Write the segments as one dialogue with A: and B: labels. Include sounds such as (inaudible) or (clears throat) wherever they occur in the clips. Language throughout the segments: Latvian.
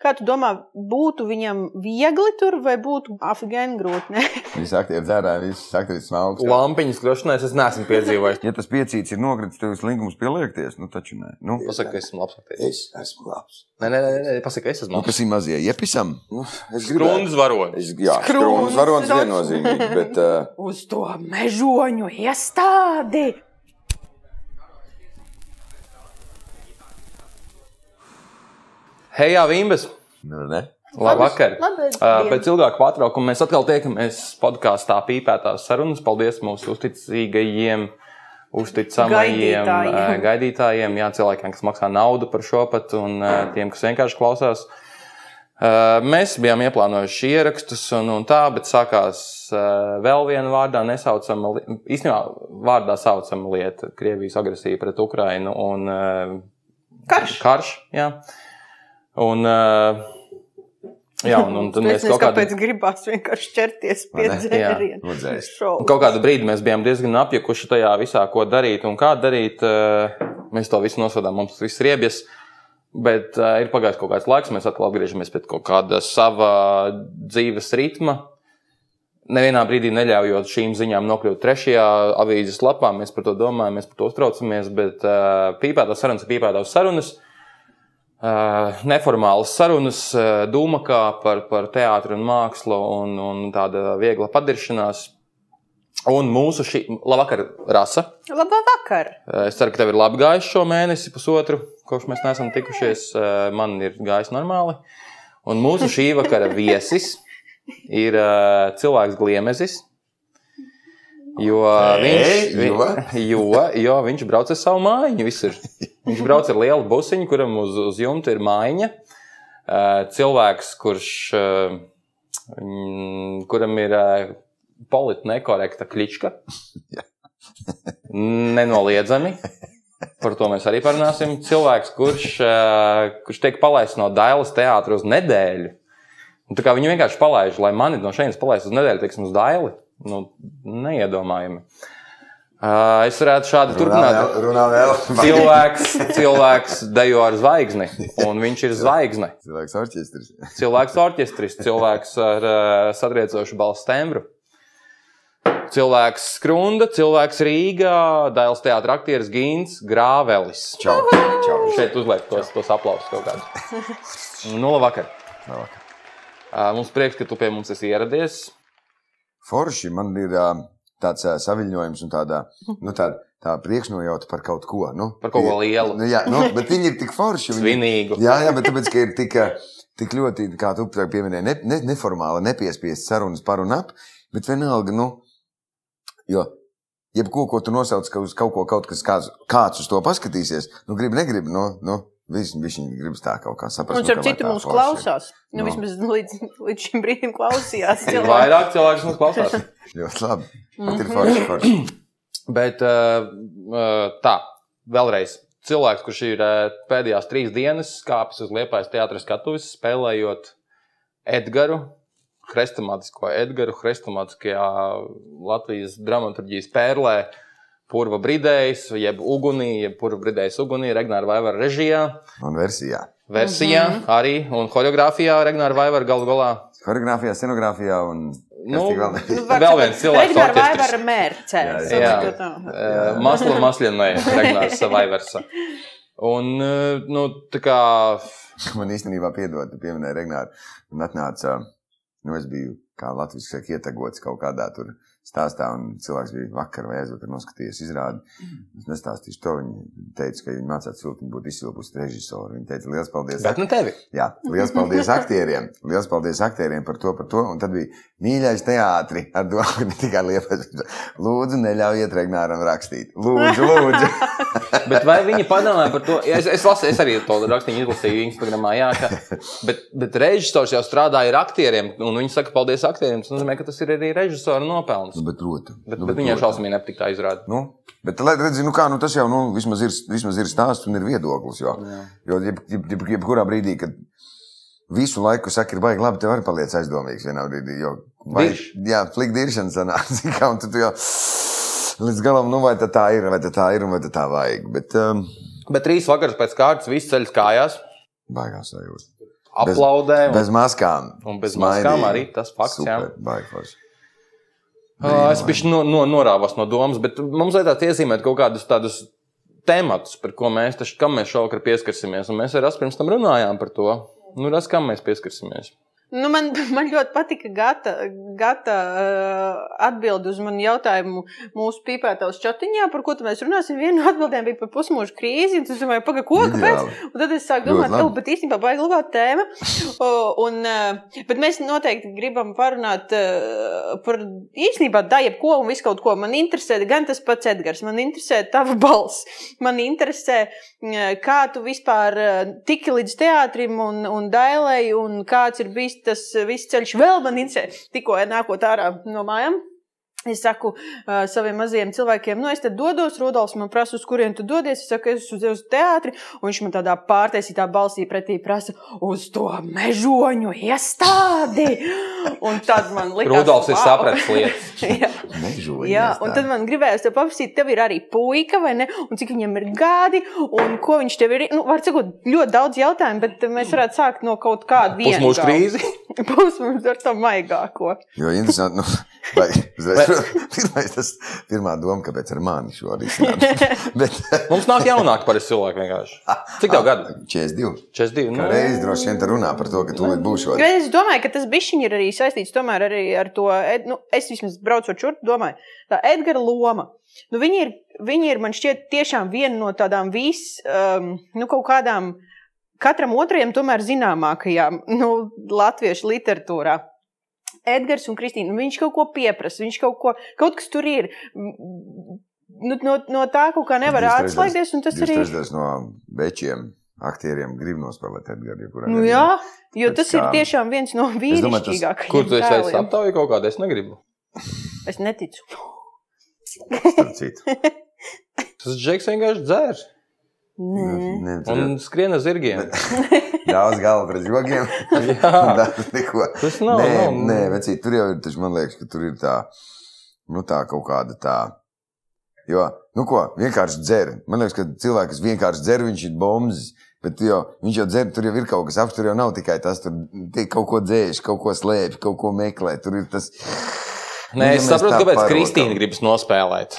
A: Kā tu domā, būtu viņam viegli tur vai būtu afgāņu grūti?
B: Viņš aktīvi dzērāja, viņš aktīvi smelks.
C: Lampiņas krošanās es neesmu piedzīvojis.
B: Ja tas piecīts ir nokritis, tev uz līgumus pieliekties, nu taču nē. Nu,
C: Pasaka, ka esmu labs. aktieris.
D: Es esmu labs.
C: Nē, nē, nē, nē, pasaka, es esmu
B: nu
C: labs.
B: kas ir mazie iepisam?
D: Nu, es
C: Skrūns varonis.
D: Es, jā,
A: Skrūns.
D: skrūns varons viennozīmīgi, bet uh,
A: (laughs) Uz to mežoņu iestādi!
C: Hei, jā, Vimbas!
B: Nu, ne?
C: Labvakar!
A: Labas
C: Uh,
A: dienas.
C: Pēc ilgāka pārtraukuma mēs atkal tiekamies podkāstā pīpētās sarunas. Paldies mūsu uzticīgajiem, uzticamajiem
A: Gaidītājiem.
C: gaidītājiem, gaidītājiem jā, cilvēkiem, kas maksā naudu par šo pat, un uh, tiem, kas vienkārši klausās. Uh, Mēs bijām ieplānojuši ierakstus, un, un tā, bet sākās uh, vēl viena vārdā nesaucama, li- īstenībā vārdā saucama lieta - Krievijas agresija pret Ukrainu un uh,
A: Karš!
C: karš jā. Un, uh, jā, un, un tad
A: Es
C: mēs
A: nezinu,
C: kaut kādā,
A: kāpēc gribās vienkārši ķerties pie
B: Vai ne?
C: Jā.
A: dzērienu.
B: Nodzēst.
A: Šovu.
C: kaut kādā brīdī mēs bijām diezgan apjukuši tajā visā, ko darīt un kā darīt. Uh, mēs to visu nosodām, mums tas viss ir riebies. Bet uh, ir pagājis kaut kāds laiks, mēs atkal atgriežamies pie kaut kāda sava dzīves ritma. Nevienā brīdī neļaujot šīm ziņām nokļūt trešajā avīzes lapā, mēs par to domājam, mēs par to uztraucamies. Bet uh, pīpētās sarunas, ir pīpētās sarunas, uh, neformālas sarunas, uh, dūmakā par, par teātru un mākslu un, un tāda viegla padiršanās. Un mūsu šī labvakar rasa.
A: Labā vakar!
C: Eh, Es ceru, ka tev ir labi gājis šo mēnesi, pusotru, kopš mēs neesam tikušies. Eh, Man ir gājis normāli. Un mūsu šī vakara viesis ir eh, cilvēks Gliemezis. Jo viņš, vi, (laughs) jo, jo viņš brauc ar savu mājiņu. visur. Viņš brauc ar lielu busiņu, kuram uz, uz jumta ir mājiņa. Eh, Cilvēks, kurš, eh, mm, kuram ir eh, politiski nekorekta klička. Nenoliedzami. Par to mēs arī parunāsim. Cilvēks, kurš, eh, kurš tiek palaists no Dailas teātra uz nedēļu. Un tā kā viņu vienkārši palaiž, lai mani no šejienes palaistu uz nedēļu, teiksim, uz Daili. Nu, neiedomājami. Eh, Es varētu šādi
B: Runā
C: turpināt.
B: vēl, runā
C: (laughs)
B: vēl.
C: Cilvēks, cilvēks dejo ar zvaigzni, un viņš ir zvaigzne.
B: Cilvēks orķestris.
C: Cilvēks orķestris, cilvēks ar ā, satriecošu balss tembru. Cilvēks skrunda, cilvēks Rīgā, Dāles teātris, aktieris Gins Grāvelis.
B: Čau. Čau.
C: Šeit uzliek tos, tos aplausus kaut kādus. Nu, labvakar.
B: Labvakar.
C: Ā, Mums prieks, ka tu pie mums esi ieradies.
B: Forši man ir ā, tāds ā, saviņojums un tāda, nu, tāda tā priekšnojauta par kaut ko. Nu,
C: Par kaut ko
B: Tie-
C: lielu.
B: Nu, jā, nu, bet viņi ir tik
C: (laughs)
B: forši. viņi-
C: Svinīgu.
B: Jā, jā, bet tāpēc, ka ir tik, eh, tik ļoti, kā tu tā pieminēji, ne, ne, neformāli, nepiespiesti sarunas par un ap, bet vienalga, nu, jo jebko, ko tu nosauc, ka uz kaut ko kaut kas kāds, kāds uz to paskatīsies, nu, grib, negrib, nu, nu viņš gribas tā kaut kā saprast.
A: Un ar
B: nu, kamēr
A: citu
B: tā
A: mums
B: forši ir.
A: klausās. Nu,
B: Nu.
A: vismaz (laughs) līdz, līdz šim brīdim klausījās.
C: Ir
A: cilvēki. Mhm.
C: vairāk cilvēku, kas mums klausās.
B: Ļoti labi. Bet ir forši, forši.
C: Bet uh, uh, tā, vēlreiz. Cilvēks, kurš ir uh, pēdējās trīs dienas kāpis uz liepais teātras skatuves, spēlējot Edgars, hrestomātisko Edgars, hrestomātiskajā Latvijas dramaturgijas pērlē, Purva Bridējs, jeb Ugunī, jeb Purva Bridējs Ugunī, Regnāra Vaivara režijā,
B: Un versijā.
C: versijā mm -hmm. arī un horeogrāfijā Regnāra Vaivara galu galā.
B: Choreogrāfijā, scenogrāfijā un kas
C: Nu,
B: tik vēl ne-
A: Nu,
C: Vēl viens cilvēks
A: Regnāra
C: orķestris.
A: Vaivara mērcē.
B: Jā,
A: Es
C: jā.
A: saprotu, tā.
C: Maslo maslienai, Regnārs Survivors. Un, eh, nu, tā kā,
B: Man īstenībā piedod, tu pieminēji Regnāru. Un atnāca, nu, es biju, kā Latvijas saka, ietegots kaut kādā tur stāstā, un cilvēks bija vakar vai aizvakar noskatījies izrādi. Es nestāstīšu to. Viņa teica, ka viņa mācās siltiņu būt izsilpusi režisoru. Viņa teica, liels paldies!
C: bet ne tevi.
B: Jā, liels paldies aktieriem. Liels paldies aktieriem par to, par to. Un tad bija mīļais teātris ar domu, ne tikai liepais. Lūdzu, neļaujiet Regnāram rakstīt. Lūdzu, lūdzu.
C: Bet vai viņi padomāja par to? Ja Es, es, lasu, es arī to rakstīju, izlasīju Instagramā, jā, ka, bet, bet režisors jau strādāja ar aktieriem, un viņi saka, paldies aktieriem. Tas nozīmē, ka tas ir arī režisora nopelns.
B: Nu, (laughs) bet, protams,
C: Bet,
B: nu,
C: bet viņai šausmīgi nepatīk tā izrāda.
B: Nu, bet, lai redzi, nu kā, nu tas jau nu, vismaz, ir, vismaz ir stāsts un ir viedoklis. Jo, jo jeb, jeb, jeb, jebkurā brīdī, kad visu laiku saka, ir baigi, labi, tev arī paliec aizdomīgs vienā brīdī. Jo,
C: Dirš.
B: jā, flikta diršana sanāca, (laughs) kā un tu, tu jau līdz galam, nu vai tā, tā ir, vai tā, tā ir, un vai tā, tā vajag. Bet, um,
C: Bet trīs vakaras pēc kārtas viss ceļš kājās.
B: Baigās sajūta.
C: aplaudē. un-
B: Bez maskām.
C: Un bez maskām arī tas fakts, jā.
B: Super, baigi forši.
C: Ā, Es biju no, no, norāvās no domas, bet mums vajadzētu iezīmēt kaut kādus tādus tematus, par ko mēs, taču, kam mēs šovakar pieskarsimies. Un mēs ar Asu pirms tam runājām par to. Nu, ras, kam mēs pieskarsimies?
A: Nu, man, (laughs) man ļoti patika Gata, gata uh, atbildi uz manu jautājumu mūsu pīpētājas čatiņā, par ko tad mēs runāsim. Viena no atbildēm bija par pusmūžu krīzi, un tas domāju, pagaidi, ko? Kāpēc?
B: Ideāli.
A: Un tad es sāku
B: Ļoti
A: domāt,
B: labi.
A: ka tā īstenībā baigi labā
B: (laughs)
A: tēma. O, un, eh, bet mēs noteikti gribam parunāt eh, par īstenībā da jebko un visu kaut ko. Man interesē gan tas pats Edgars, man interesē tava balss. Man interesē, eh, kā tu vispār eh, tiki līdz teātrim un, un dailēji, un kāds ir bijis tas eh, viss ceļš. Vēl man interesē, tikko nākot ārā no mājām. Es saku uh, saviem mazajiem cilvēkiem, nu, es te dodos, Rudolfs man prasa, uz kurien tu dodies. Es saku, es uz, uz teātri, un viņš man tādā pārtaisītā balsī pretī prasa, uz to mežoņu iestādi. Un tad man likās,
C: Rudolfs ir sapratis lietas.
A: (laughs) Jā,
B: Mežoņu
A: jā,
B: iestādi.
A: un tad man gribējās te paprasīt, tev ir arī puika, vai ne? Un cik viņam ir gadi, un ko viņš tev ir. Nu, var cikot, ļoti daudz jautājumu, bet mēs varētu sākt no kaut kāda viena. (laughs)
C: Pusmūža krīzi.
A: Pusmūža ar to maigāko.
B: Jo interesanti, nu, vai, uzreiz, (laughs) pirmais, tas, pirmā doma, kāpēc ar mani šo arī
C: (laughs)
B: strādāt. Bet,
C: (laughs) Mums nāk jaunāk par cilvēku vienkārši. Cik tev
B: (laughs)
C: gadu?
B: 42.
C: 42.
B: Kā
C: Nu,
B: reiz droši vien te runā par to, ka tu būšu šodien.
A: Bet es domāju, ka tas bišķiņš ir arī saistīts tomēr arī ar to, Ed- nu, es vismaz braucot šurp, domāju, tā Edgara loma. Nu, viņa, ir, viņa ir, man šķiet, tiešām viena no tādām vis, um, nu, kaut kādām katram otrajam tomēr zināmākajām nu, latviešu literatūrā. Edgars un Kristīna, nu, viņš kaut ko pieprasa, viņš kaut ko, kaut kas tur ir. Mm, Nu, no, no tā kaut kā nevar
B: Divas trešdaļas-
A: atslēgties, un tas
B: Jūs
A: arī.
B: trešdaļas no bečiem aktieriem grib nospēlēt Edgars, jebkurā
A: Nu,
B: gadījumā.
A: jā, jo
B: Bet
A: tas ir
B: kā-
A: tiešām viens no
B: domāju, tas-
A: vīrišķīgākajiem.
C: Kur tu esi
A: tēliem.
C: veicis aptauju kaut kādu? Es negribu.
A: Es neticu.
B: starp
C: (laughs)
B: citu.
C: Tas džeks vienkārši dzērs
A: Nē.
B: Ne, tur
C: Mm. un
B: ir
C: skrien ar zirgiem.
B: (laughs) Daudz galvu pret žogiem.
C: (laughs) Jā.
B: Daudz neko.
C: Tas nav.
B: nē,
C: nav.
B: nē vecīt, tur jau ir. Taču, man liekas, ka tur ir tā, nu, tā kaut kāda tā. Jo, nu, ko vienkārši dzer. Man liekas, ka cilvēks, kas vienkārši dzer, viņš ir bombs. Bet jo, viņš jau dzer, tur jau ir kaut kas apstākļos. Tur jau nav tikai tas, tur tie kaut ko dzēš, kaut ko slēpj, kaut ko meklē. Tur ir tas. Nu,
C: Nē,
B: ja
C: es
B: mēs
C: saprotu,
B: tā
C: kāpēc
B: parokam.
C: Kristīna gribas nospēlēt.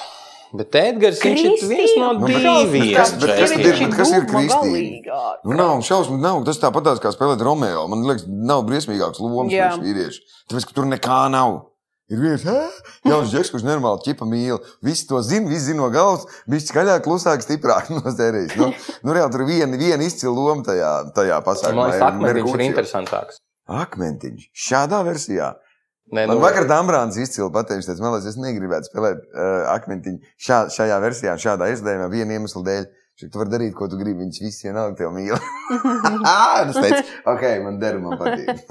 C: Bet Edgars viņš ir viens no
B: Nu, bet-
C: diviem.
B: kas- bet kas tad ir-
C: džeksiem.
B: bet kas ir Kristīna? Nu, nav šausmu, nav. Tas tāpat tās, kā spēlēt Romeo. Man liekas, nav briesmīgāks lomas
A: Jā.
B: priekš vīriešu. Tāpēc, ka tur nekā nav. Ir viens "Ā, jauns džeks, kurš normāli ķipa mīl. Visi to zina, visi zina no galvas. Viņš skaļāk, klusāk, stiprāk (laughs) nozdērījis. Nu, nu, reāli tur viena, viena izcila loma tajā, tajā
C: Man
B: pasākumā.
C: liekas, akmeņš Nu, ir interesantāks.
B: Akmentiņš. Šādā versijā.
C: Nē, nu,
B: Man vakar Dāmbrāns izcili pateicis, teica, man liekas, es negribētu spēlēt uh, akmentiņu šā, šajā versijā, šādā izdevumā, viena iemesla dēļ. Šeit tu vari darīt, ko tu gribi. Viņš visi vienalga tev mīl. Ah, tas teica, ok, man der, man patīk.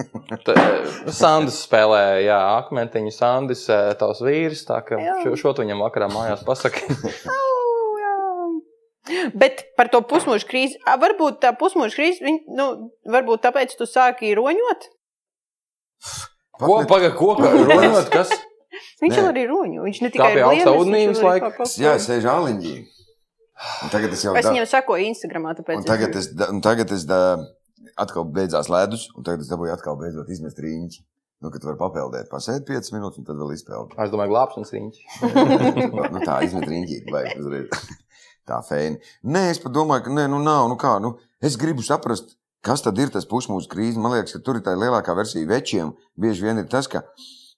C: T- eh, Sandis spēlē, jā, akmentiņu. Sandis, eh, tavs vīrs. Tā kā
A: Jā.
C: šo, šo tu viņam vakarā mājās pasaki.
B: (laughs)
A: Bet par to pusmužu krīzi, ā, varbūt tā pusmužu krīze, viņ- nu, varbūt tāpēc tu sāki roņot.
C: Ko pagaidi, ko
B: (laughs)
C: runāt? Kas?
A: Viņš
B: Nē.
A: jau arī roņo. Viņš ne tikai
C: Kāpj augstā
A: blienes,
C: ūdenī
A: viņš
C: visu
A: arī
C: laiku?
A: kā kaut
B: Jā,
A: ko.
B: es sēžu āliņģī. Un Tagad es jau
A: Es
B: da-
A: viņam sakoju Instagramā, tāpēc.
B: un tagad es, da- un tagad es da- atkal beidzās ledus, un tagad es dabūju atkal beidzot izmest rīņķi. Nu, kad tu vari papeldēt, pasēdi 5 minūtes, un tad vēl izpeldi.
C: Ah, Es domāju, glābšanas riņķis.
B: (laughs) nu, tā izmet rīņķi, vajag uzreiz. (laughs) Tā feina. Nē, es pat domāju, ka nē, nu nav, nu kā, nu, es gribu saprast, kas tad ir tas pusmūža krīze. Man liekas, ka tur ir tā lielākā versija večiem. Bieži vien ir tas, ka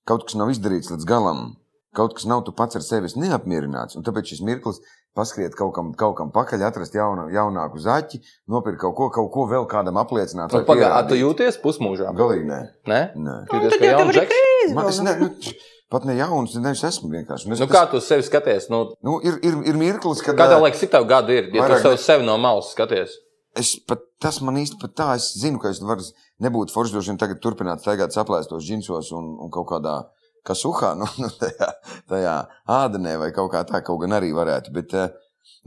B: kaut kas nav izdarīts līdz galam. Kaut kas nav tu pats ar sevi esi neapmierināts, un tāpēc šis mirklis paskriet kaut kam, kaut kam pakaļ, atrast jaunu, jaunāku zaķi, nopirkt kaut ko, kaut ko vēl kādam apliecināt. vai
C: Pagaidi, Nu, tu
B: pierādīt.
C: jūties pusmūžā?
B: Galīgi nē.
C: Nē?
B: nē.
A: Nu,
C: Jūties
A: tad
C: kā
A: jau tev
C: jauns
A: arī
C: džeks?
A: krīze.
B: Man, es
A: vēl
B: ne,
A: nav.
B: nu, pat ne jauns, ne es esmu vienkārši. Un Es,
C: Nu, kā tu sevi skaties? Nu,
B: nu, ir, ir, ir mirklis, kad.
C: kā
B: ā,
C: tev liekas, cik tev gadu ir? Ja tu
B: Vairāk
C: sev
B: ne-
C: sevi no malas skaties.
B: Es pat, tas man īstenībā tā, es zinu, ka es varu nebūt forši droši vien tagad turpināt staigāt saplēstos džinsos un, un kaut kādā kasuhā, (laughs) nu, nu, tajā, tajā ādenē vai kaut kā tā, kaut gan arī varētu. Bet, eh,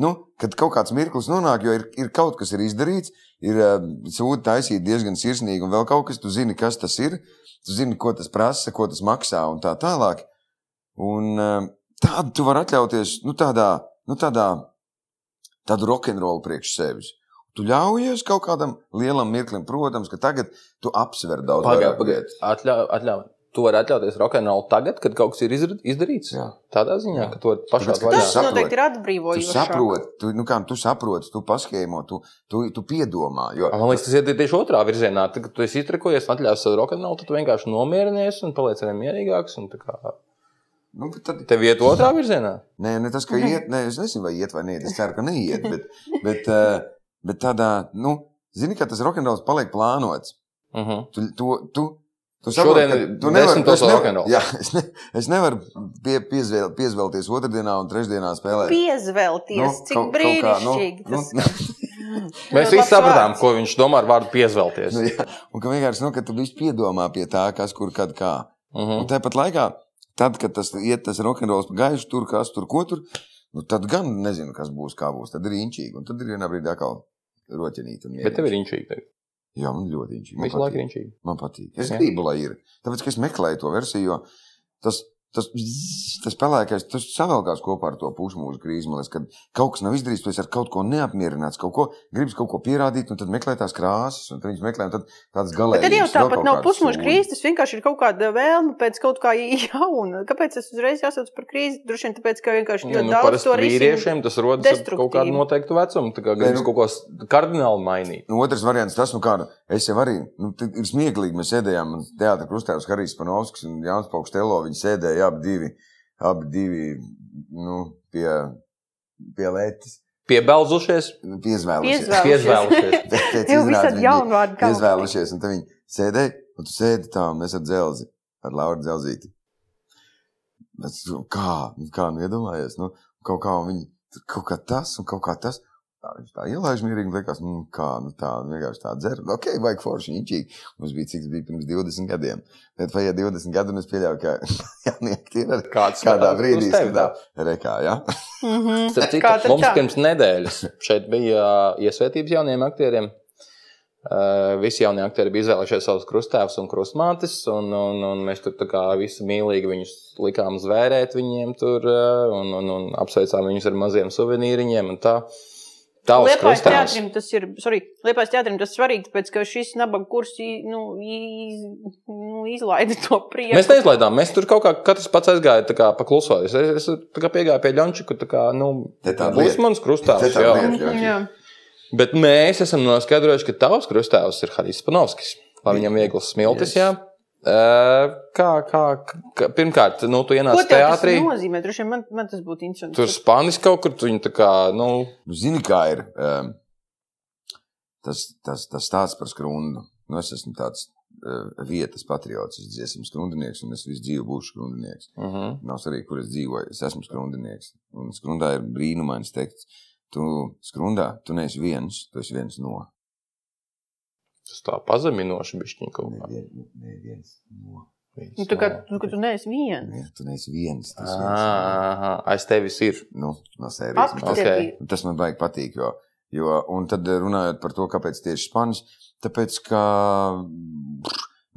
B: nu, kad kaut kāds mirklis nonāk, jo ir, ir kaut kas ir izdarīts, ir eh, sūdi taisīt diezgan sirsnīgi un vēl kaut kas, tu zini, kas tas ir, tu zini, ko tas prasa, ko tas maksā un tā tālāk. Un eh, tādu tu vari atļauties, nu, tādā, nu, tādā, tādu rokenrolu priekš sevis. Tu ļaujies kaut kādam lielam mirklim, protams, ka tagad tu apsver daudz
C: Pagaidiet,
B: vairāk
C: pagaidiet.
B: lietas.
C: Atļauj, atļauj. Tu vari atļauties rokenrolu tagad, kad kaut kas ir izr- izdarīts.
B: Jā.
C: Tādā ziņā,
B: Jā.
C: ka to pašā
B: Tāpēc, ka
C: vaļā.
B: tas-
A: Tas
B: saproti.
A: noteikti ir
B: Tu
A: atbrīvojoši.
B: saproti, tu, nu kā, tu saproti, tu paskaidro, tu, tu, tu piedomā. Jo,
C: Man liekas, tas ir tieši otrā virzienā. Tad, kad tu esi iztrakojies, atļaujies savu rokenrolu, tad tu vienkārši nomierinies un paliec arī mierīgāks. un tā kā-
B: nu, bet tad,
C: Tev iet otrā virzienā.
B: Nē, ne tas, ka iet, ne, es nezinu, vai iet vai nē, es ceru, ka neiet.
A: (laughs)
B: Bet, bet, eh, bet tādā, nu, zini, ka tas rokenrols paliek plānots.
C: Uh -huh.
B: Tu, tu, tu, tu
C: Šodien
B: saproti, ka tu
C: ir
B: nevari-
C: desmitos
B: es nevaru-
C: rokenrols.
B: Jā, es, ne, es nevaru pie, piezvēl, piezvēlties otrdienā un trešdienā spēlēt. Nu,
A: Piezvelties, cik
B: kaut- kaut kā, nu,
A: brīnišķīgi.
B: nu, (laughs)
A: tas-
C: Mēs
A: Labs
C: visi sapratām,
A: vārds.
C: ko viņš domā ar vārdu piezvelties.
B: Nu, jā, un ka vienkārši, nu, ka tu viss piedomā pie tā, kas kur, kad, kā.
C: Uh
B: Un
C: -huh.
B: tāpat laikā, tad, kad tas iet, tas rokenrols gaišs tur, kas tur, ko tur, nu, tad gan nezinu, kas būs, kā būs. Tad ir inčīgi, un tad ir vienā brīdī atkal roķenīta. un
C: Bet tev ir
B: mierīgs.
C: inčīgi. tagad.
B: Jā, man ļoti viņš
C: Visu laiku ir inčīgi.
B: Man patīk. Es
C: Jā.
B: jā. gribu, lai ir. Tāpēc, ka es meklēju to versiju, jo tas, tas, zzz, tas pelēkais, tas savelkās kopā ar to pušmūžu krīzi. Man liekas, kad kaut kas nav izdarīts, tu esi ar kaut ko neapmierināts, kaut ko gribas kaut ko pierādīt, un tad meklē tās krāsas, un tad viņš meklē un tad tādas
A: Bet
B: galējas.
A: tad jau
B: vēl
A: tāpat
B: kaut
A: nav
B: kādas
A: pusmuža
B: sūdi.
A: krīze, tas vienkārši ir kaut kāda vēlme pēc kaut kā jauna. Kāpēc tas uzreiz jāsauc par krīzi? Droši vien tāpēc, ka vienkārši ļoti
C: Nu,
A: daudz
C: Parasti
A: to risinu.
C: vīriešiem tas rodas ar kaut kādu
A: destruktīvi.
C: noteiktu vecumu. Tā kā
B: Nē,
C: gribas
B: nu-
C: kaut ko s- kardināli mainīt.
B: Nu, otrs variants, tas, nu, kāda es jau arī, nu, tad ir smieklīgi. Mēs sēdējām teātrī krustēvs Harijs Panovskis un Jānis Paukstelo. Viņi sēdēja abi divi, abi divi, nu, pie, pie lētas, nu,
C: Piebelzušies,
B: piezvēlušies. (laughs)
A: Piezvēlušies.
C: piezvēlušies.
B: Pēc
A: Tev
B: izrādes
A: visādi
B: viņi bija-
A: jaunu vārdu galvā.
B: izvēlušies. Un tad viņi sēdēja, un tu sēdi tā, un mēs ar dzelzi, ar Lauru dzelzīti. Es, nu, kā, nu, kā nu iedomājies, nu, kaut kā un viņi, tur kaut kā tas un kaut kā tas. Tā, viņš tā ielaiž mierīgi, un liekas, nu, kā, nu, tā, nu, vienkārši tā dzer. Nu, Ok, vajag forši, inčīgi. Mums bija, cik tas bija pirms 20 gadiem. Bet vai ja 20 gadu, un es pieļauju, ka (laughs) jaunieki (laughs) ir arī kādā
C: Kāds skatās
B: brīdī
C: uz tevi,
B: skatā. Rekā, jā?
A: Mhm.
C: Starp citu,
A: Kā tad
C: mums
A: tā?
C: pirms nedēļas šeit bija ā, iesvētības jauniem aktieriem. Ā, Visi jaunie aktieri bija izvēlējušies savus krustēvus un krustmātes, un, un, un mēs tur tā kā visi mīlīgi viņus likām zvērēt viņiem tur, ā, un, un, un apsveicām viņus ar maziem suvenīriņiem. un Tā Tavs
A: Liepais
C: krustēvs.
A: teātrim tas ir, sorry, Liepais teātrim tas ir svarīgi, tāpēc, ka šis nabaga kurs, i- nu, iz, nu, izlaida to prieku.
C: Mēs neizlaidām, mēs tur kaut kā katrs pats aizgāja tā kā paklusoties. Es, es tā kā piegāju pie Ļančika, tā kā, nu,
B: Te tā
C: būs
B: lieta.
C: mans
B: Te
C: krustēvs.
B: tā
C: jā.
B: lieta.
A: Jā.
C: Bet mēs esam noskaidrojuši, ka tavs krustēvs ir Harijs Panovskis. Lai viņam viegls smiltis,
B: Yes.
C: jā. Eh, Kā, kā, kā, pirmkārt, nu, tu
A: Ko
C: ienāc
A: tev tas
C: teātrī,
A: nozīmē? Droši vien man, man tas būtu interesanti.
C: tur spānis kaut kur, tu viņu tā kā, nu,
B: Nu, zini, kā ir um, tas, tas, tas stāsts par skrundu. Nu, es esmu tāds uh, vietas patriots, es esmu skrundinieks, un es visu dzīvi būšu skrundinieks.
C: uh -huh.
B: Nav svarīgi, kur es dzīvoju, es esmu skrundinieks. Un skrundā ir brīnumains teksts. Tu skrundā, tu neesi viens, tu esi viens no.
C: tas tā pazeminoši bišķiņ kaut kā.
B: Nevien, neviens no.
A: Nu, tā kā, nu, ka tu neesi viens.
B: Ne, tu neesi viens, tas ir viens. no.
C: Ā, ā, aiz tevis ir.
B: Nu, no sērijas.
A: Ak,
B: Nu,
A: okay.
B: tas-
A: tev
C: Ok.
A: bija. (laughs)
B: Tas man baigi patīk. Jo, jo, un tad runājot par to, kāpēc tieši Spānis. Tāpēc, ka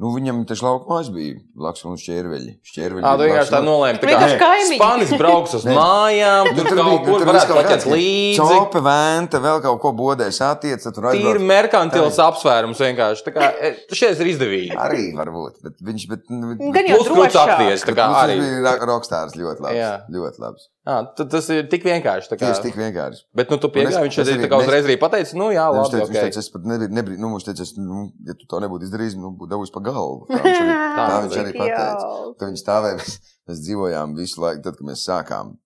B: nu, viņam tieši laukumā bija laks un šķērveļi. Šķērveļi
C: Ā, tu
B: bija
C: vienkārši tā nu,
B: lakšana.
C: nolēma, tā
A: Vienkārši kaimiņi.
C: spānis brauks
B: (laughs)
C: uz
B: Nē.
C: mājām, tur
B: Nu, tur
C: kaut
B: bija-
C: kur
B: tur bija
C: varētu
B: kaut
C: paķēt
B: kāds, ka
C: līdzi.
B: Copa vēnta, vēl kaut ko bodēs attieca, tur
C: Tīri
B: aizbrauc.
C: merkantils apsvērums vienkārši. Tā kā, eh, šeit ir izdevīgi.
B: Arī varbūt, bet viņš, bet, nu, bet,
A: Gan jau
C: Plus kļūts
A: drošāk.
C: akties, tā kā
B: nu,
C: arī.
B: viņš bija ra- rokstārs ļoti labs.
C: Jā.
B: Ļoti labs.
C: À, Ah, tas ir tik vienkārši. tā Kā,
B: Tieši tik vienkārši.
C: Bet nu, tu
B: Un es-
C: piegāji, viņš
B: es
C: arī tā
B: arī-
C: kā
B: mēs-
C: uzreiz arī pateica, nu jā,
B: Viņš
C: labi.
B: teica, viņš
C: Okay.
B: teica, es pat nebiju, nebiju nu, viņš teica, es, nu, ja tu to nebūtu izdarījis, nu, būtu devis pa galvu. Tā viņš arī, tā viņš arī
A: Cik
B: pateica.
A: jauki.
B: Tad viņi stāvēja. (laughs) Mēs, mēs dzīvojām visu laiku, tad, kad mēs sākām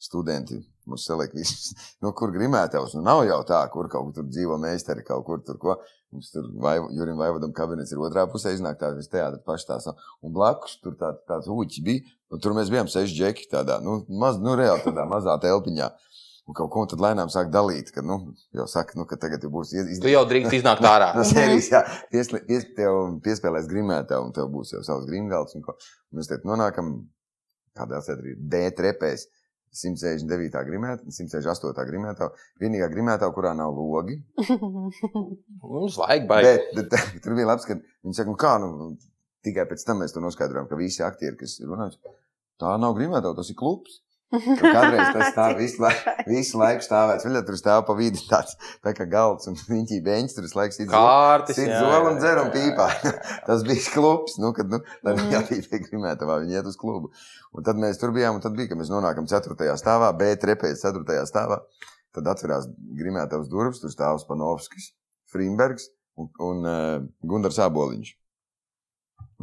B: studenti. Mums selekti visus, no kur grimētājs. Nu, nav jau tā, kur kaut kur dzīvo meistari, kaut kur tur ko. Mums tur vai, Jurim Vaivadam kabinets ir otrā pusē, iznāk tā viss teātris paštās. Un blakus tur tā, tāds uķis bija. Un tur mēs bijām seši džeki tādā, nu, maz, nu reāli tādā mazā telpiņā. Un kaut ko un tad lēnām sāk dalīt, ka, nu, jau saka, nu, ka tagad jau būs iz-
C: Tu jau
B: (laughs)
C: drīkst iznākt ārā.
B: No sērijas, jā, Piesli- pies, tev piespēlēs grimētā, un tev būs jau savs grimgals. un ko. Un Mēs te nonākam kādā sēdrī D trepēs. 169. grimētā, 168. grimētā. Vienīgā grimētā, kurā nav logi.
A: (laughs)
C: Mums vajag baigties.
B: Bet, bet tur bija labi, ka viņi saka, nu kā, nu, tikai pēc tam mēs to noskaidrojām, ka visi aktieri, kas runājuši, tā nav grimētā, tas ir klubs. Tur kādreiz tas tā visu laiku, visu laiku stāvēts. Viņa tur stāv pa vidu tāds, tā kā galds un (laughs) viņa beņķis tur visu laiku sit zolā.
C: (laughs) Kārtas,
B: Sit
C: jā,
B: zolā un
C: jā,
B: dzer un
C: jā,
B: pīpā.
C: jā,
B: (laughs) Tas bija klubs, nu, kad, nu, lai
A: Mhm.
B: viņi attīstītu grimētavā, viņi iet uz klubu. Un tad mēs tur bijām, un tad bija, ka mēs nonākam 4. stāvā, B trepējas 4. stāvā. Tad atverās grimētavas durvis, tur stāv Spanovskis, Frimbergs un, un uh, Gundars Aboliņš.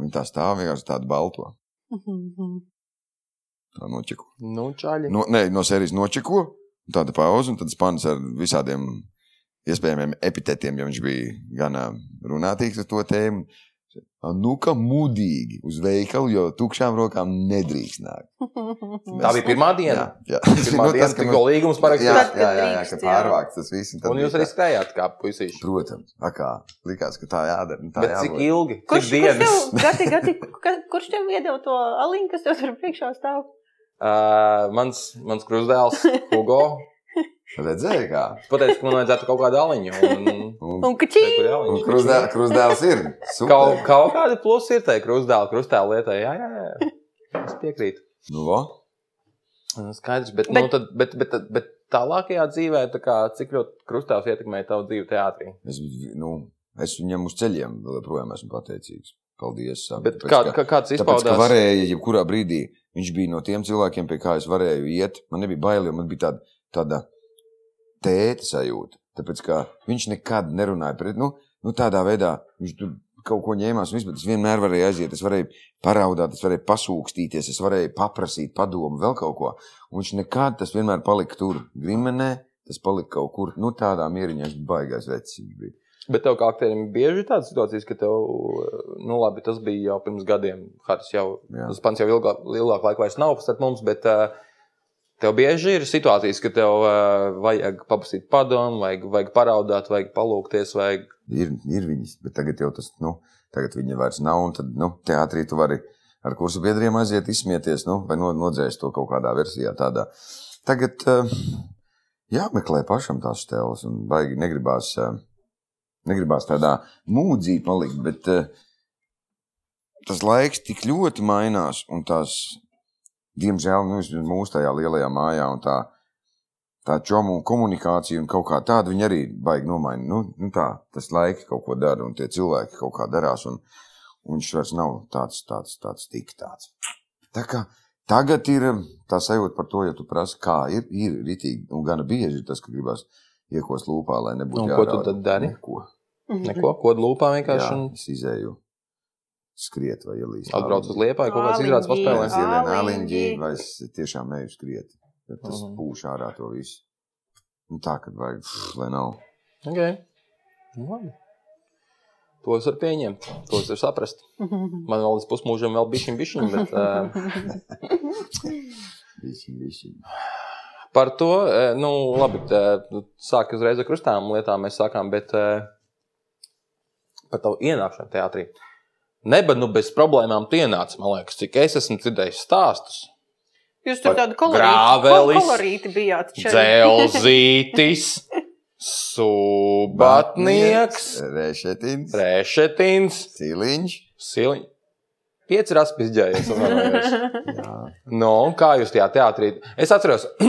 B: Viņi tā stāv vienkārši tādu balto, tā noķeku.
C: (laughs) Nu, čaļi.
B: No, nē, no sērijas nočiko, un tāda pauze, un tad spānis ar visādiem iespējamiem epitetiem, ja viņš bija gan ā, runātīgs ar to tēmu. Nu, kā mudīgi uz veikalu, jo tukšām rokām nedrīkst nākt.
C: Tā bija pirmā diena.
B: jā. Tas bija,
C: Pirmā
B: (laughs) nu,
C: diena,
B: tas, ka mums-
C: kad tikko
B: jā,
C: līgums
A: Tad,
C: parakstīts.
A: kad
B: jā, jā, jā,
A: drīkst,
B: ka
A: jā.
B: pārvākts tas viss. un tad
C: Un
B: bija
C: jūs arī
B: tā.
C: stējāt kā puisīši.
B: Protams, tā kā likās, ka tā jādara. un Tā
C: Bet cik
B: jābūt.
C: ilgi? Cik
A: Kurš, kurš,
C: dienas?
A: tev, gati, gati, ka- kurš tev iedeva to aliņu, kas tev tur priekšā stāv?
C: Uh, mans mans
A: (laughs)
C: krustdēls, Hugo,
B: Redzēji, kā?
C: pateica, ka man vajadzētu kaut kādu aliņu. Un...
A: (laughs)
B: Un,
A: Un
C: Nē,
A: kačī!
C: kur
B: un
C: jāliņš?
B: krustdēl- krustdēls
C: (laughs)
B: ir.
C: Kaut,
B: Super.
C: kaut kāda plusa ir tajā krustdēlā, krustdēlā lietā. Jā, jā, jā. Es piekrītu.
B: Nu, vo.
C: Nu, Skaidrs, bet, bet,
A: Bet-
C: nu, tad, bet, bet, tad- bet tālākajā dzīvē, tā kā, cik ļoti krustdēls ietekmēja tavu dzīvi teātrī?
B: Es, nu, es viņam uz ceļiem vēl joprojām esmu pateicīgs. Paldies. Savi,
C: Bet
B: tāpēc,
C: kā,
B: ka-
C: kā, kāds
B: Tāpēc, ka
C: izpaudās?
B: varēja, jebkurā brīdī viņš bija no tiem cilvēkiem, pie kā es varēju iet. Man nebija bail, jo man bija tāda, tāda tēta sajūta. Tāpēc, ka viņš nekad nerunāja pret, nu, nu tādā veidā viņš tur kaut ko ņēmās, un viss, bet es vienmēr varēju aiziet. Es varēju paraudāt, es varēju pasūkstīties, es varēju paprasīt padomu, vēl kaut ko. Un viņš nekad tas vienmēr palika tur grimenē. Tas palika kaut kur, nu, tādā mieriņā, viņš bija baigās vecs. Viņš bija.
C: Bet tev kā aktierim bieži ir tādas situācijas, ka tev, nu labi, tas bija jau pirms gadiem, Haris jau,
B: Jā.
C: tas pants jau ilgāk, ilgāk laika vairs nav starp mums, bet ā, tev bieži ir situācijas, ka tev ā, vajag paprasīt padomu, vajag, vajag paraudāt, vajag palūkties, vajag
B: ir, ir viņas, bet tagad jau tas, nu, tagad viņa vairs nav. Un tad, nu, teātrī tu vari ar kursu biedriem aiziet, izsmieties, nu, vai no, nodzēst to kaut kādā versijā. Tādā. Tagad eh, jāmeklē pašam tās stēles, un baigi negribās, eh, negribās tādā mūdzī palikt, bet eh, tas laiks tik ļoti mainās, un tās, diemžēl, nu, vismaz mūsu tajā lielajā mājā un tā. Tā čomu un komunikācija un kaut kā tāda viņa arī baigi nomaina. Nu, nu tā, tas laika kaut ko dara un tie cilvēki kaut kā darās. Un, un viņš vairs nav tāds, tāds, tāds, tik tāds. Tā kā tagad ir um, tā sajūta par to, ja tu prasi, kā ir, ir ritīgi un gana bieži ir tas, ka gribas iekos lūpā, lai nebūtu.
C: Un ko tu
B: jārauda
C: tad dari?
B: Neko.
A: Mhm.
C: neko, ko lūpā
B: Jā,
C: vienkārši un
B: es izēju skriet vai ielīst.
C: atbrauc uz liepa, kaut kāds
A: Āliņģi.
C: izrādes
B: Vai
C: paspēlē.
B: es ielienu
A: Āliņģi.
B: āliņģi, vai es tiešām eju skriet. Tad tas
C: Mhm.
B: pūš ārā to visu. Un tā, kad vajag, pff, lai nav.
C: Okay. Nu, labi. Tos var pieņemt, tos var saprast. Man vēl līdz pusmūžam vēl bišķiņ bišķiņ, bet uh,
B: Visi, visi.
C: Par to, eh, nu, labi, sākām uzreiz ar krustām lietām, mēs sākām, bet eh, par tavu ienākšanu teātrī. Neba, nu, bez problēmām tu ienāci, man liekas, cik es esmu dzirdējis stāstus.
A: Jūs tur
C: Pat
A: tādu kolorītu,
C: grāvelis.
A: kol- kolorīti bijāt. čaļi.
C: Dzelzītis, subatnieks,
B: Rešetins,
C: rešetins,
B: ciliņš.
C: siliņš. Pieci raspis ģērbs.
B: Jā,
C: Nu, un kā jūs tajā teātrī? Es atceros, (clears throat)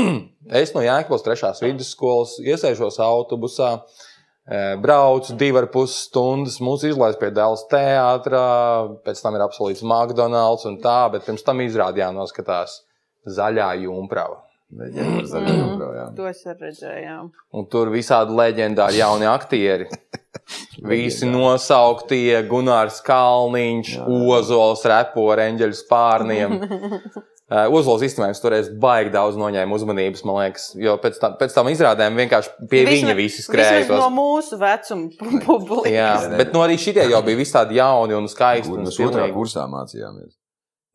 C: es no Jāņķpils trešās vidusskolas iesaistos autobusā. eh, Braucu divas ar pus stundas, mūsu izlaiž pie dēla teātrā, pēc tam ir apsolīts McDonald's un tā, bet pirms tam izrādījās noskatās zaļā jumprava.
B: leģenda
A: Mm.
B: zaļajā jūrā.
A: (laughs) To es arī redzēju.
C: Un tur visādi leģendāri jauni aktieri.
B: (laughs)
C: Visi
B: Leģendāri.
C: nosauktie Gunārs Kalniņš,
B: Jā, jā.
C: Ozols, Repo, Renģeļs
B: (laughs)
C: pārniem. Uh, Ozols īstenībā es toreiz baigi daudz noņēma uzmanības, man liekas, jo pēc tam, pēc tam izrādēm vienkārši pie
A: Vismaz-
C: viņa visi skrēja.
A: Vismaz no
C: tos-
A: mūsu vecuma publikas.
C: Jā, bet no arī šitie jau bija visi tādi jauni un skaisti. Un
B: Mēs otrā
C: stilīgi.
B: kursā mācījāmies.